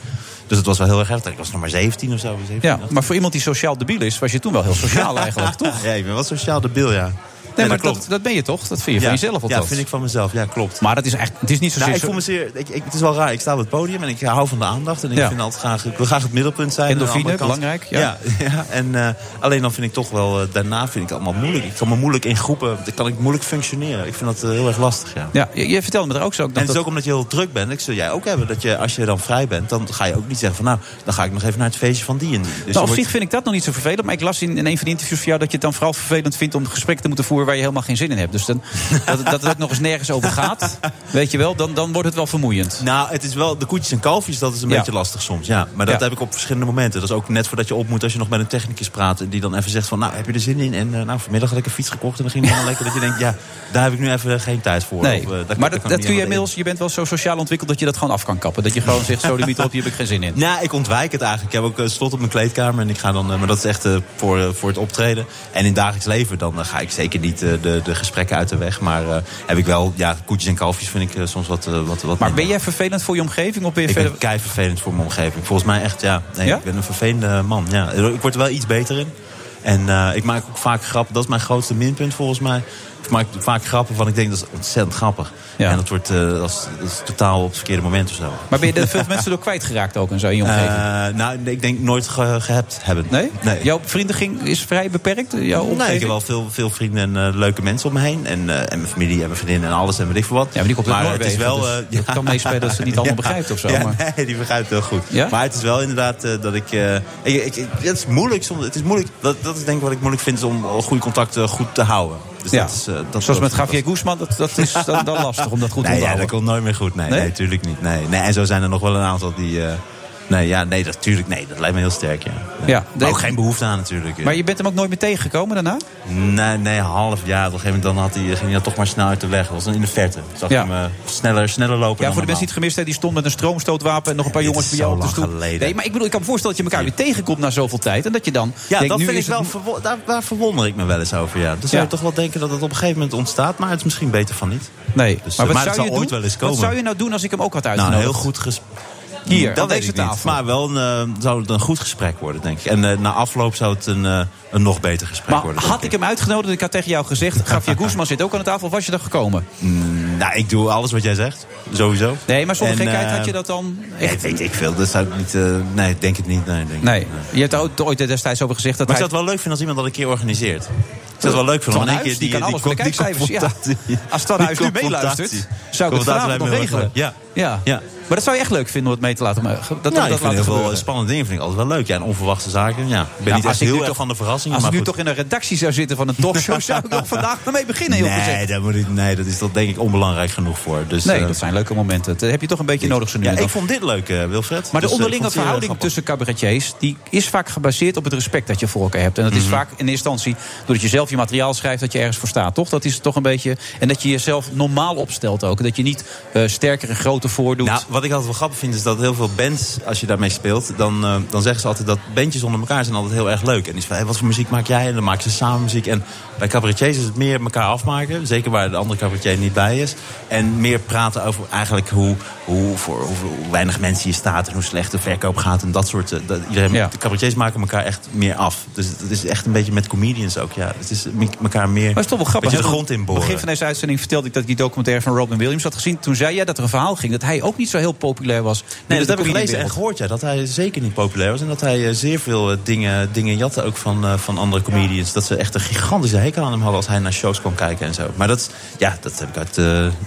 Speaker 6: Dus het was wel heel erg heftig. Ik was nog maar 17 of zo. 17,
Speaker 5: Ja, maar voor iemand die sociaal debiel is, was je toen wel heel sociaal eigenlijk, toch?
Speaker 6: <laughs> Ja, ik ben wel sociaal debiel, ja.
Speaker 5: Nee, maar
Speaker 6: dat
Speaker 5: dat, dat ben je toch? Dat vind je
Speaker 6: ja.
Speaker 5: van jezelf althans.
Speaker 6: Ja, vind ik van mezelf. Ja, klopt.
Speaker 5: Maar dat is echt, het is niet zozeer...
Speaker 6: Nou, ik voel me zeer, ik, ik- het is wel raar. Ik sta op het podium en ik hou van de aandacht. En ik,
Speaker 5: Ja.
Speaker 6: vind altijd graag, ik wil graag het middelpunt zijn.
Speaker 5: Endorfine,
Speaker 6: Aan de andere
Speaker 5: belangrijk,
Speaker 6: kant-
Speaker 5: ja.
Speaker 6: Ja, <laughs> ja. en, eh, alleen dan vind ik toch wel, eh, daarna vind ik het allemaal moeilijk. Ik kan me moeilijk in groepen, dan kan ik moeilijk functioneren. Ik vind dat eh, heel erg lastig, ja.
Speaker 5: Ja, je, je vertelde me er ook zo. ook
Speaker 6: en
Speaker 5: Dat
Speaker 6: het is
Speaker 5: dat-
Speaker 6: ook omdat je heel druk bent. Ik zul jij ook hebben dat je, als je dan vrij bent, dan ga je ook niet zeggen van nou, dan ga ik nog even naar het feestje van die en die. Dus je
Speaker 5: nou, op
Speaker 6: wordt-
Speaker 5: zich vind ik dat nog niet zo vervelend. Maar ik las in, in een van de interviews van jou dat je het dan vooral vervelend vindt om gesprekken te moeten voeren waar je helemaal geen zin in hebt.
Speaker 6: <laughs>
Speaker 5: Dus dan, dat, dat het ook nog eens nergens over gaat. Weet je wel, dan, dan wordt het wel vermoeiend.
Speaker 6: Nou, het is wel de koetjes en kalfjes, dat is een
Speaker 5: Ja.
Speaker 6: beetje lastig soms. Ja, maar dat
Speaker 5: Ja.
Speaker 6: heb ik op verschillende momenten. Dat is ook net voordat je op moet als je nog met een technicus praat. en Die dan even zegt van, nou, heb je er zin in? En eh, nou, vanmiddag had ik een fiets gekocht en dan ging het helemaal lekker. Dat je denkt, ja, daar heb ik nu even geen tijd voor.
Speaker 5: Nee,
Speaker 6: Of, eh, daar kan-
Speaker 5: maar
Speaker 6: daar
Speaker 5: dat, dat kun
Speaker 6: kan ik
Speaker 5: je
Speaker 6: niet helemaal in.
Speaker 5: inmiddels, je bent wel zo sociaal ontwikkeld dat je dat gewoon af kan kappen. Dat je gewoon zegt, zo de op, hier heb ik geen zin in.
Speaker 6: Nou, ik ontwijk het eigenlijk. Ik heb ook eh, slot op mijn kleedkamer. En ik ga dan, eh, maar dat is echt eh, voor, eh, voor het optreden. En in het dagelijks leven dan eh, ga ik zeker niet eh, de, de gesprekken uit de weg. Maar eh, heb ik wel, ja, koetjes en kalfjes vind ik eh, soms wat, eh, wat, wat
Speaker 5: Maar ben jij vervelend voor je omgeving? Of ben je
Speaker 6: Ik
Speaker 5: verder...
Speaker 6: ben kei vervelend voor mijn omgeving. Volgens mij echt, ja. Nee,
Speaker 5: Ja?
Speaker 6: Ik ben een vervelende man. Ja. Ik word er wel iets beter in. En eh, ik maak ook vaak grappen. Dat is mijn grootste minpunt volgens mij. Ik maak vaak grappen van ik denk dat is ontzettend grappig. En dat, wordt, eh, dat, is, dat is totaal op het verkeerde moment of zo.
Speaker 5: Maar ben je er veel mensen door kwijtgeraakt ook en zo in je omgeving?
Speaker 6: Eh, nou, nee, ik denk nooit ge- gehebt hebben. Nee?
Speaker 5: Jouw vrienden ging, is vrij beperkt? Jouw omgeving?
Speaker 6: Nee, ik heb wel veel, veel vrienden en eh, leuke mensen om me heen. En, eh, en mijn familie en mijn vriendinnen en alles en weet ik veel wat. Ja, maar die
Speaker 5: komt uit
Speaker 6: het is
Speaker 5: Noorwegen,
Speaker 6: wel, eh,
Speaker 5: dus dat kan meespelen dat ze het niet allemaal begrijpt of zo,
Speaker 6: <laughs> Ja,
Speaker 5: maar-
Speaker 6: nee, die begrijpt het heel goed. Maar het is wel inderdaad eh, dat ik, eh, ik, ik- ik- Het is moeilijk soms. Het is moeilijk. Dat, dat is denk ik wat ik moeilijk vind is om goede contacten goed te houden. Dus
Speaker 5: Ja.
Speaker 6: dat is, eh, dat
Speaker 5: Zoals met Javier Guzman, dat, dat is dan, dan lastig om dat goed
Speaker 6: nee,
Speaker 5: te
Speaker 6: ja,
Speaker 5: houden.
Speaker 6: dat komt nooit meer goed. Nee,
Speaker 5: Nee?
Speaker 6: nee? natuurlijk niet. Nee, nee, en zo zijn er nog wel een aantal die... eh, nee, ja, nee, dat, tuurlijk, nee, dat lijkt me heel sterk, ja.
Speaker 5: Ja,
Speaker 6: maar ook geen behoefte aan natuurlijk. ja.
Speaker 5: Maar je bent hem ook nooit meer tegengekomen daarna?
Speaker 6: Nee, nee, half jaar. Op een gegeven moment dan had hij, ging hij dan toch maar snel uit de weg. Dat was in de verte. Zag
Speaker 5: Ja.
Speaker 6: hem eh, sneller, sneller lopen
Speaker 5: Ja,
Speaker 6: dan
Speaker 5: voor de mensen die het gemist hebben, die stond met een stroomstootwapen en nog een paar jongens bij jou op de stoel. Nee, maar ik bedoel, ik kan me voorstellen dat je elkaar weer tegenkomt na zoveel tijd. En dat je dan.
Speaker 6: Ja,
Speaker 5: denkt,
Speaker 6: dat
Speaker 5: nu
Speaker 6: vind
Speaker 5: is
Speaker 6: ik wel
Speaker 5: het-
Speaker 6: verwo- daar, daar verwonder ik me wel eens over. Ja. Dus
Speaker 5: Ja.
Speaker 6: zou je toch wel denken dat het op een gegeven moment ontstaat, maar het is misschien beter van niet.
Speaker 5: Nee,
Speaker 6: dus,
Speaker 5: maar
Speaker 6: eh,
Speaker 5: wat
Speaker 6: het
Speaker 5: zou
Speaker 6: zal
Speaker 5: je
Speaker 6: ooit
Speaker 5: doen?
Speaker 6: wel eens komen.
Speaker 5: Wat zou je nou doen als ik hem ook had
Speaker 6: nou,
Speaker 5: uitgenodigd?
Speaker 6: een heel goed gesprek.
Speaker 5: Hier, aan
Speaker 6: dat weet
Speaker 5: deze
Speaker 6: ik niet.
Speaker 5: tafel.
Speaker 6: Maar wel een, eh, zou het een goed gesprek worden, denk ik. En eh, na afloop zou het een, eh, een nog beter gesprek worden. denk
Speaker 5: Had ik hem uitgenodigd en ik had tegen jou gezegd... Javier Guzman zit ook aan de tafel, of was je dan gekomen?
Speaker 6: Mm, nou, ik doe alles wat jij zegt. Sowieso.
Speaker 5: Nee, maar zonder
Speaker 6: En,
Speaker 5: gekheid
Speaker 6: eh,
Speaker 5: had je dat dan...
Speaker 6: Nee, weet ik veel. Dat zou ik niet... eh, nee, ik denk het niet. Nee, ik denk
Speaker 5: Nee, je hebt er ooit- ooit destijds over gezegd dat
Speaker 6: Maar ik
Speaker 5: hij...
Speaker 6: zou het wel leuk vinden als iemand dat een keer organiseert. Ik zou het wel leuk
Speaker 5: Van
Speaker 6: vinden. want in
Speaker 5: Huis,
Speaker 6: één keer eh,
Speaker 5: die kan alles voor de kijkcijfers, ja.
Speaker 6: confrontatie-
Speaker 5: Als Stadhuis
Speaker 6: die
Speaker 5: nu meeluistert,
Speaker 6: confrontatie.
Speaker 5: zou ik het
Speaker 6: Confrontatie
Speaker 5: vanavond
Speaker 6: lijkt me
Speaker 5: nog
Speaker 6: heel erg
Speaker 5: regelen.
Speaker 6: leuk. Ja.
Speaker 5: Ja.
Speaker 6: Ja.
Speaker 5: Maar dat zou je echt leuk vinden om het mee te laten... eh, Dat, dat,
Speaker 6: nou,
Speaker 5: dat
Speaker 6: ik vind
Speaker 5: laten
Speaker 6: heel veel
Speaker 5: gebeuren.
Speaker 6: eh, spannende dingen vind ik altijd wel leuk. Ja, en onverwachte zaken. Ja. Ik ben
Speaker 5: Nou,
Speaker 6: niet
Speaker 5: als
Speaker 6: echt
Speaker 5: ik nu
Speaker 6: heel erg
Speaker 5: toch-
Speaker 6: van de verrassingen.
Speaker 5: Als ik
Speaker 6: maar
Speaker 5: nu
Speaker 6: goed.
Speaker 5: toch in een redactie zou zitten van een
Speaker 6: <laughs>
Speaker 5: talkshow... zou ik nog vandaag mee beginnen, heel
Speaker 6: nee,
Speaker 5: gezegd.
Speaker 6: daar moet ik, nee, dat is dat denk ik onbelangrijk genoeg voor. Dus,
Speaker 5: Nee, dat zijn leuke momenten. Dat heb je toch een beetje nodig zo nu
Speaker 6: Ja,
Speaker 5: en dan.
Speaker 6: ik vond dit leuk, eh, Wilfred.
Speaker 5: Maar de
Speaker 6: Dus, eh,
Speaker 5: onderlinge
Speaker 6: ik vond het heel erg
Speaker 5: verhouding tussen cabaretiers... die is vaak gebaseerd op het respect dat je voor elkaar hebt. En dat
Speaker 6: Mhm.
Speaker 5: is vaak in eerste instantie... doordat je zelf je materiaal schrijft dat je ergens voor staat, toch? Dat is toch een beetje... En dat je jezelf normaal opstelt ook. Dat je niet eh, sterker en groter voordoet.
Speaker 6: Nou, wat ik altijd wel grappig vind is dat heel veel bands, als je daarmee speelt, dan, eh, dan zeggen ze altijd dat bandjes onder elkaar zijn altijd heel erg leuk. En die is van, hé, wat voor muziek maak jij? En dan maken ze samen muziek. En bij cabaretiers is het meer elkaar afmaken, zeker waar de andere cabaretier niet bij is. En meer praten over eigenlijk hoe, hoe, voor, hoe, hoe weinig mensen hier staat en hoe slecht de verkoop gaat en dat soort. eh, Dat, iedereen,
Speaker 5: Ja.
Speaker 6: De cabaretiers maken elkaar echt meer af. Dus het is echt een beetje met comedians ook, ja. Het is me- elkaar meer.
Speaker 5: Maar het is toch wel grappig.
Speaker 6: beetje de
Speaker 5: hè?
Speaker 6: grond in boren.
Speaker 5: begin van deze uitzending vertelde ik dat ik die documentaire van Robin Williams had gezien. Toen zei jij dat er een verhaal ging dat hij ook niet zo heel populair was.
Speaker 6: Nee, dat heb ik gelezen en gehoord, ja. Dat hij zeker niet populair was. En dat hij eh, zeer veel eh, dingen, dingen jatte ook van, eh, van andere comedians. Dat ze echt een gigantische hekel aan hem hadden als hij naar shows kwam kijken en zo. Maar dat, is- ja, dat heb ik uit eh,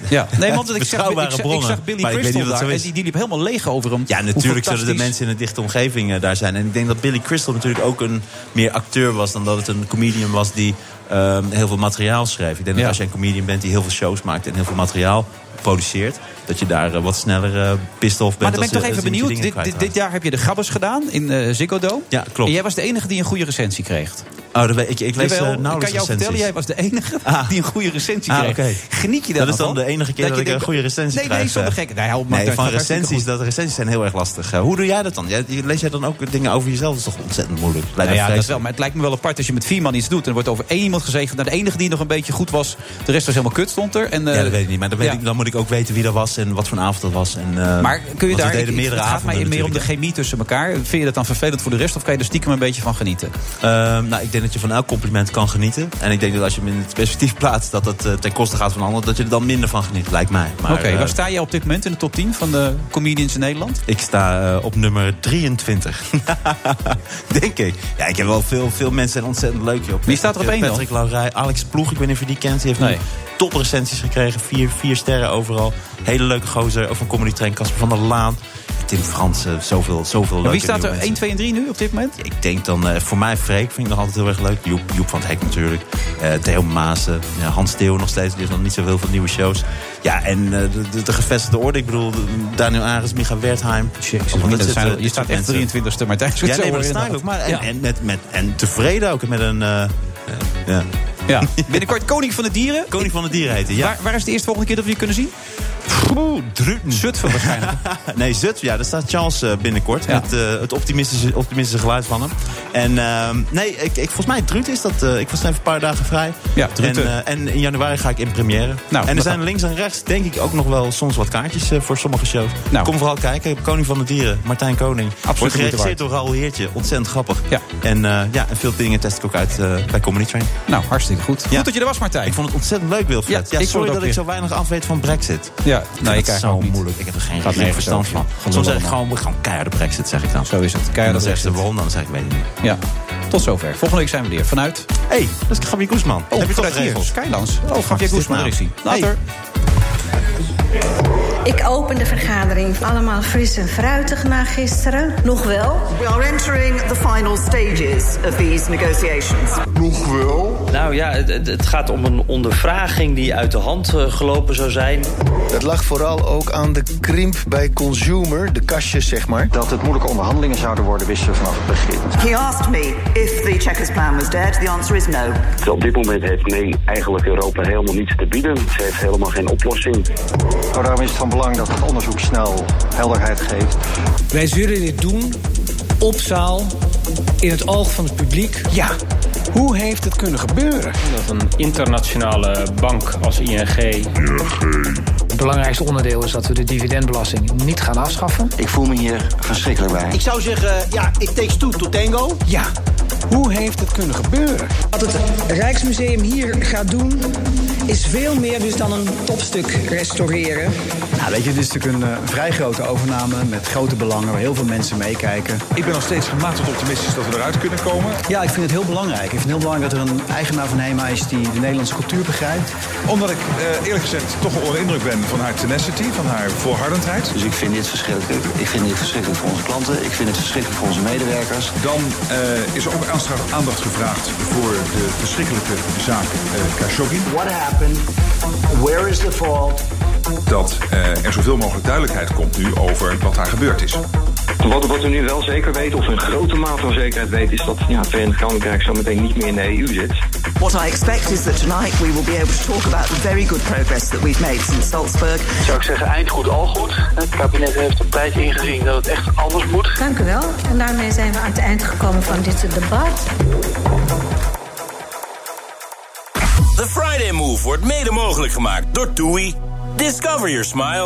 Speaker 5: Ja, nee, want ik zag, ik,
Speaker 6: <laughs> betrouwbare
Speaker 5: zag, ik
Speaker 6: bronnen.
Speaker 5: zag Billy
Speaker 6: Maar ik weet niet
Speaker 5: Crystal
Speaker 6: of dat
Speaker 5: daar
Speaker 6: zo
Speaker 5: en
Speaker 6: is.
Speaker 5: die, die liep helemaal leeg over hem.
Speaker 6: Ja,
Speaker 5: Hoe
Speaker 6: natuurlijk zullen de
Speaker 5: fantastisch-
Speaker 6: mensen in de dichte omgeving eh, daar zijn. En ik denk dat Billy Crystal natuurlijk ook een meer acteur was... dan dat het een comedian was die ehm, heel veel materiaal schreef. Ik denk
Speaker 5: Ja.
Speaker 6: dat als je een comedian bent die heel veel shows maakt... en heel veel materiaal produceert... dat je daar eh, wat sneller eh pissed off
Speaker 5: Maar
Speaker 6: bent.
Speaker 5: dan ben ik toch
Speaker 6: als
Speaker 5: even
Speaker 6: je- als je
Speaker 5: benieuwd.
Speaker 6: dingen
Speaker 5: Dit, dit,
Speaker 6: kwijtraakt.
Speaker 5: dit jaar heb je de Gabbers gedaan in eh Ziggo Dome.
Speaker 6: Ja, klopt.
Speaker 5: En jij was de enige die een goede recensie kreeg.
Speaker 6: Oh, dat weet ik, ik lees eh,
Speaker 5: Jawel, ik
Speaker 6: nauwelijks
Speaker 5: kan jou vertellen,
Speaker 6: recensies.
Speaker 5: jij was de enige <laughs> die een goede recensie
Speaker 6: Ah,
Speaker 5: kreeg.
Speaker 6: oké.
Speaker 5: Geniet je daar
Speaker 6: Dat is
Speaker 5: nog
Speaker 6: dan
Speaker 5: van?
Speaker 6: de enige keer dat,
Speaker 5: je
Speaker 6: ik een
Speaker 5: denkt,
Speaker 6: goede recensie
Speaker 5: nee,
Speaker 6: krijg.
Speaker 5: Nee, zonder
Speaker 6: eh.
Speaker 5: gek. Nee, help,
Speaker 6: nee, van recensies, dat recensies zijn heel erg lastig. Eh, Hoe doe jij dat dan? Jij, lees jij dan ook dingen over jezelf? Dat is toch ontzettend moeilijk? Lijkt me
Speaker 5: Nou ja, dat
Speaker 6: vreselijk.
Speaker 5: wel. Maar het lijkt me wel apart als je met vier man iets doet. En er wordt over één iemand gezegend. Nou, de enige die nog een beetje goed was. De rest was helemaal kut, stond er. En, eh,
Speaker 6: ja, dat weet ik niet. Maar dan, weet
Speaker 5: ja.
Speaker 6: ik, dan moet ik ook weten wie dat was en wat voor een avond dat was. En, eh,
Speaker 5: Maar kun je
Speaker 6: want
Speaker 5: daar,
Speaker 6: we deden
Speaker 5: het-
Speaker 6: meerdere
Speaker 5: het gaat mij
Speaker 6: avonden
Speaker 5: meer om de
Speaker 6: natuurlijk.
Speaker 5: chemie tussen elkaar. Vind je dat dan vervelend voor de rest of kan je er stiekem een beetje van genieten?
Speaker 6: Ehm, nou, ik denk dat je van elk compliment kan genieten. En ik denk dat als je hem in het perspectief plaatst dat het eh, ten koste gaat van anderen, dat je er dan minder van geniet, lijkt mij.
Speaker 5: Oké,
Speaker 6: Maar, eh,
Speaker 5: waar sta jij op dit moment in de top 10 van de comedians in Nederland?
Speaker 6: Ik sta eh, op nummer 23. <laughs> Denk ik. Ja, ik heb wel veel, veel mensen zijn ontzettend leuk, joh.
Speaker 5: Wie staat er op één dan?
Speaker 6: Patrick Laurij, Alex Ploeg, ik weet niet of je die kent. Die heeft nu toprecensies gekregen. Vier, vier sterren overal. Hele leuke gozer. Ook van Comedy Train, Casper van der Laan. Tim Fransen, zoveel, zoveel
Speaker 5: Maar
Speaker 6: leuke
Speaker 5: wie staat
Speaker 6: nieuwe
Speaker 5: er
Speaker 6: mensen.
Speaker 5: 1, 2 en 3 nu op dit moment?
Speaker 6: Ik denk dan, eh, voor mij Freek vind ik nog altijd heel erg leuk. Joep, Joep van het Hek natuurlijk. Eh, Theo Maassen. Ja, Hans Theo nog steeds. Die heeft nog niet zoveel van nieuwe shows. Ja, en eh, de, de, de gevestigde orde. Ik bedoel, Daniel Ares, Micha Wertheim.
Speaker 5: dat
Speaker 6: Allemaal dit
Speaker 5: zijn-
Speaker 6: soort- eh,
Speaker 5: je
Speaker 6: dit
Speaker 5: staat
Speaker 6: soort
Speaker 5: echt
Speaker 6: mensen.
Speaker 5: 23e, Martijn, als ik
Speaker 6: Ja,
Speaker 5: het zo
Speaker 6: nee, maar dat
Speaker 5: hoor,
Speaker 6: sta ik ook. Maar,
Speaker 5: inderdaad.
Speaker 6: en,
Speaker 5: Ja.
Speaker 6: en, met, met, en tevreden ook. Met een... eh, eh, ja.
Speaker 5: ja, binnenkort Koning van de Dieren.
Speaker 6: Koning van de Dieren heet hij, ja.
Speaker 5: Waar, waar is de eerste volgende keer dat we je kunnen zien?
Speaker 6: Oeh, Druten.
Speaker 5: Zutphen waarschijnlijk.
Speaker 6: <laughs> nee, Zutphen, ja, daar staat Charles eh, binnenkort.
Speaker 5: Ja.
Speaker 6: Met eh, het optimistische, optimistische geluid van hem. En ehm, nee, ik, ik, volgens mij Druten is dat. eh, ik was even een paar dagen vrij.
Speaker 5: Ja,
Speaker 6: en,
Speaker 5: Druten.
Speaker 6: eh, en in januari ga ik in première.
Speaker 5: Nou,
Speaker 6: en
Speaker 5: we
Speaker 6: er zijn
Speaker 5: gaan-
Speaker 6: links en rechts, denk ik, ook nog wel soms wat kaartjes eh, voor sommige shows. Kom vooral kijken. Koning van de Dieren, Martijn Koning.
Speaker 5: Nou. Absoluut
Speaker 6: Wordt
Speaker 5: de moeite
Speaker 6: geregisseerd door Raoul Heertje. Ontzettend grappig. En, eh, ja, en veel dingen test ik ook uit eh, bij Comedy Train.
Speaker 5: Nou, hartstikke goed. Goed dat je er was, Martijn.
Speaker 6: Ik vond het ontzettend leuk,
Speaker 5: Ja,
Speaker 6: Wilfred. Ja,
Speaker 5: ik vond het
Speaker 6: sorry
Speaker 5: ook
Speaker 6: dat ik
Speaker 5: weer.
Speaker 6: zo weinig af weet van Brexit.
Speaker 5: Ja,
Speaker 6: Ik vind
Speaker 5: nee, ik
Speaker 6: dat
Speaker 5: eigenlijk
Speaker 6: zo
Speaker 5: ook niet.
Speaker 6: moeilijk. Ik heb er geen
Speaker 5: Gaat
Speaker 6: geen
Speaker 5: nergens
Speaker 6: verstand
Speaker 5: over,
Speaker 6: van.
Speaker 5: joh. Gelul
Speaker 6: Soms zeg ik
Speaker 5: allemaal.
Speaker 6: gewoon, gewoon keiharde Brexit, zeg ik dan.
Speaker 5: Zo is het,
Speaker 6: En
Speaker 5: keiharde
Speaker 6: dan zeggen ze
Speaker 5: Brexit.
Speaker 6: waarom dan, dan zeg ik, weet ik niet.
Speaker 5: Ja, tot zover. Volgende week zijn we er weer. Vanuit?
Speaker 6: Hé, hey, dat is Gabi Koesman.
Speaker 5: Oh,
Speaker 6: Heb je toch
Speaker 5: vanuit hier.
Speaker 6: geregeld?
Speaker 5: Skylands. Oh,
Speaker 6: Wat
Speaker 5: Gabi
Speaker 6: is dit
Speaker 5: Koesman,
Speaker 6: nou?
Speaker 5: daar is hij. Later.
Speaker 17: Ik open de vergadering allemaal fris en fruitig na gisteren. Nog wel.
Speaker 3: We are entering the final stages of these negotiations.
Speaker 2: Nog wel? Nou ja, het, het- het gaat om een ondervraging die uit de hand eh, gelopen zou zijn.
Speaker 18: Het lag vooral ook aan de krimp bij consumer, de kastjes zeg maar. Dat het moeilijke onderhandelingen zouden worden, wisten we vanaf het begin.
Speaker 3: He asked me if the Chequers plan was dead. The answer is no.
Speaker 19: Dus Op dit moment heeft nee eigenlijk Europa helemaal niets te bieden. Ze heeft helemaal geen oplossing.
Speaker 18: Maar daarom is het van belang dat het onderzoek snel helderheid geeft.
Speaker 20: Wij zullen dit doen op zaal, in het oog van het publiek. Ja, hoe heeft het kunnen gebeuren?
Speaker 21: Dat een internationale bank als ING.
Speaker 4: Het belangrijkste onderdeel is dat we de dividendbelasting niet gaan afschaffen.
Speaker 18: Ik voel me hier verschrikkelijk bij.
Speaker 22: Ik zou zeggen, ja, it takes two to tango.
Speaker 4: Ja, hoe heeft het kunnen gebeuren?
Speaker 22: Wat het Rijksmuseum hier gaat doen, is veel meer dus dan een topstuk restaureren.
Speaker 13: Nou, weet je, dit is natuurlijk een eh, vrij grote overname met grote belangen waar heel veel mensen meekijken.
Speaker 18: Ik ben nog steeds gematigd optimistisch dat we eruit kunnen komen.
Speaker 13: Ja, ik vind het heel belangrijk. Ik vind het heel belangrijk dat er een eigenaar van HEMA is die de Nederlandse cultuur begrijpt.
Speaker 18: Omdat ik Eh, eerlijk gezegd toch onder indruk ben van haar tenacity, van haar volhardendheid. Dus ik vind dit verschrikkelijk. Ik vind dit verschrikkelijk voor onze klanten. Ik vind het verschrikkelijk voor onze medewerkers. Dan eh, is er ook aandacht gevraagd voor de verschrikkelijke zaak eh, Khashoggi. What happened? Where is the fault?
Speaker 10: Dat eh, er zoveel mogelijk duidelijkheid komt nu over wat daar gebeurd is.
Speaker 19: Wat, wat we nu wel zeker weten, of in grote mate van zekerheid weten, is dat ja, het Verenigd Koninkrijk zo meteen niet meer in de EU zit.
Speaker 3: What I expect is that tonight we will be able to talk about the very good progress that we've made since Salzburg.
Speaker 23: Zou ik zeggen, eind goed, al goed. Het kabinet heeft op tijd ingezien dat het echt anders moet.
Speaker 17: Dank u wel. En daarmee zijn we aan het eind gekomen van dit debat.
Speaker 24: The Friday Move wordt mede mogelijk gemaakt door TUI. Discover your smile.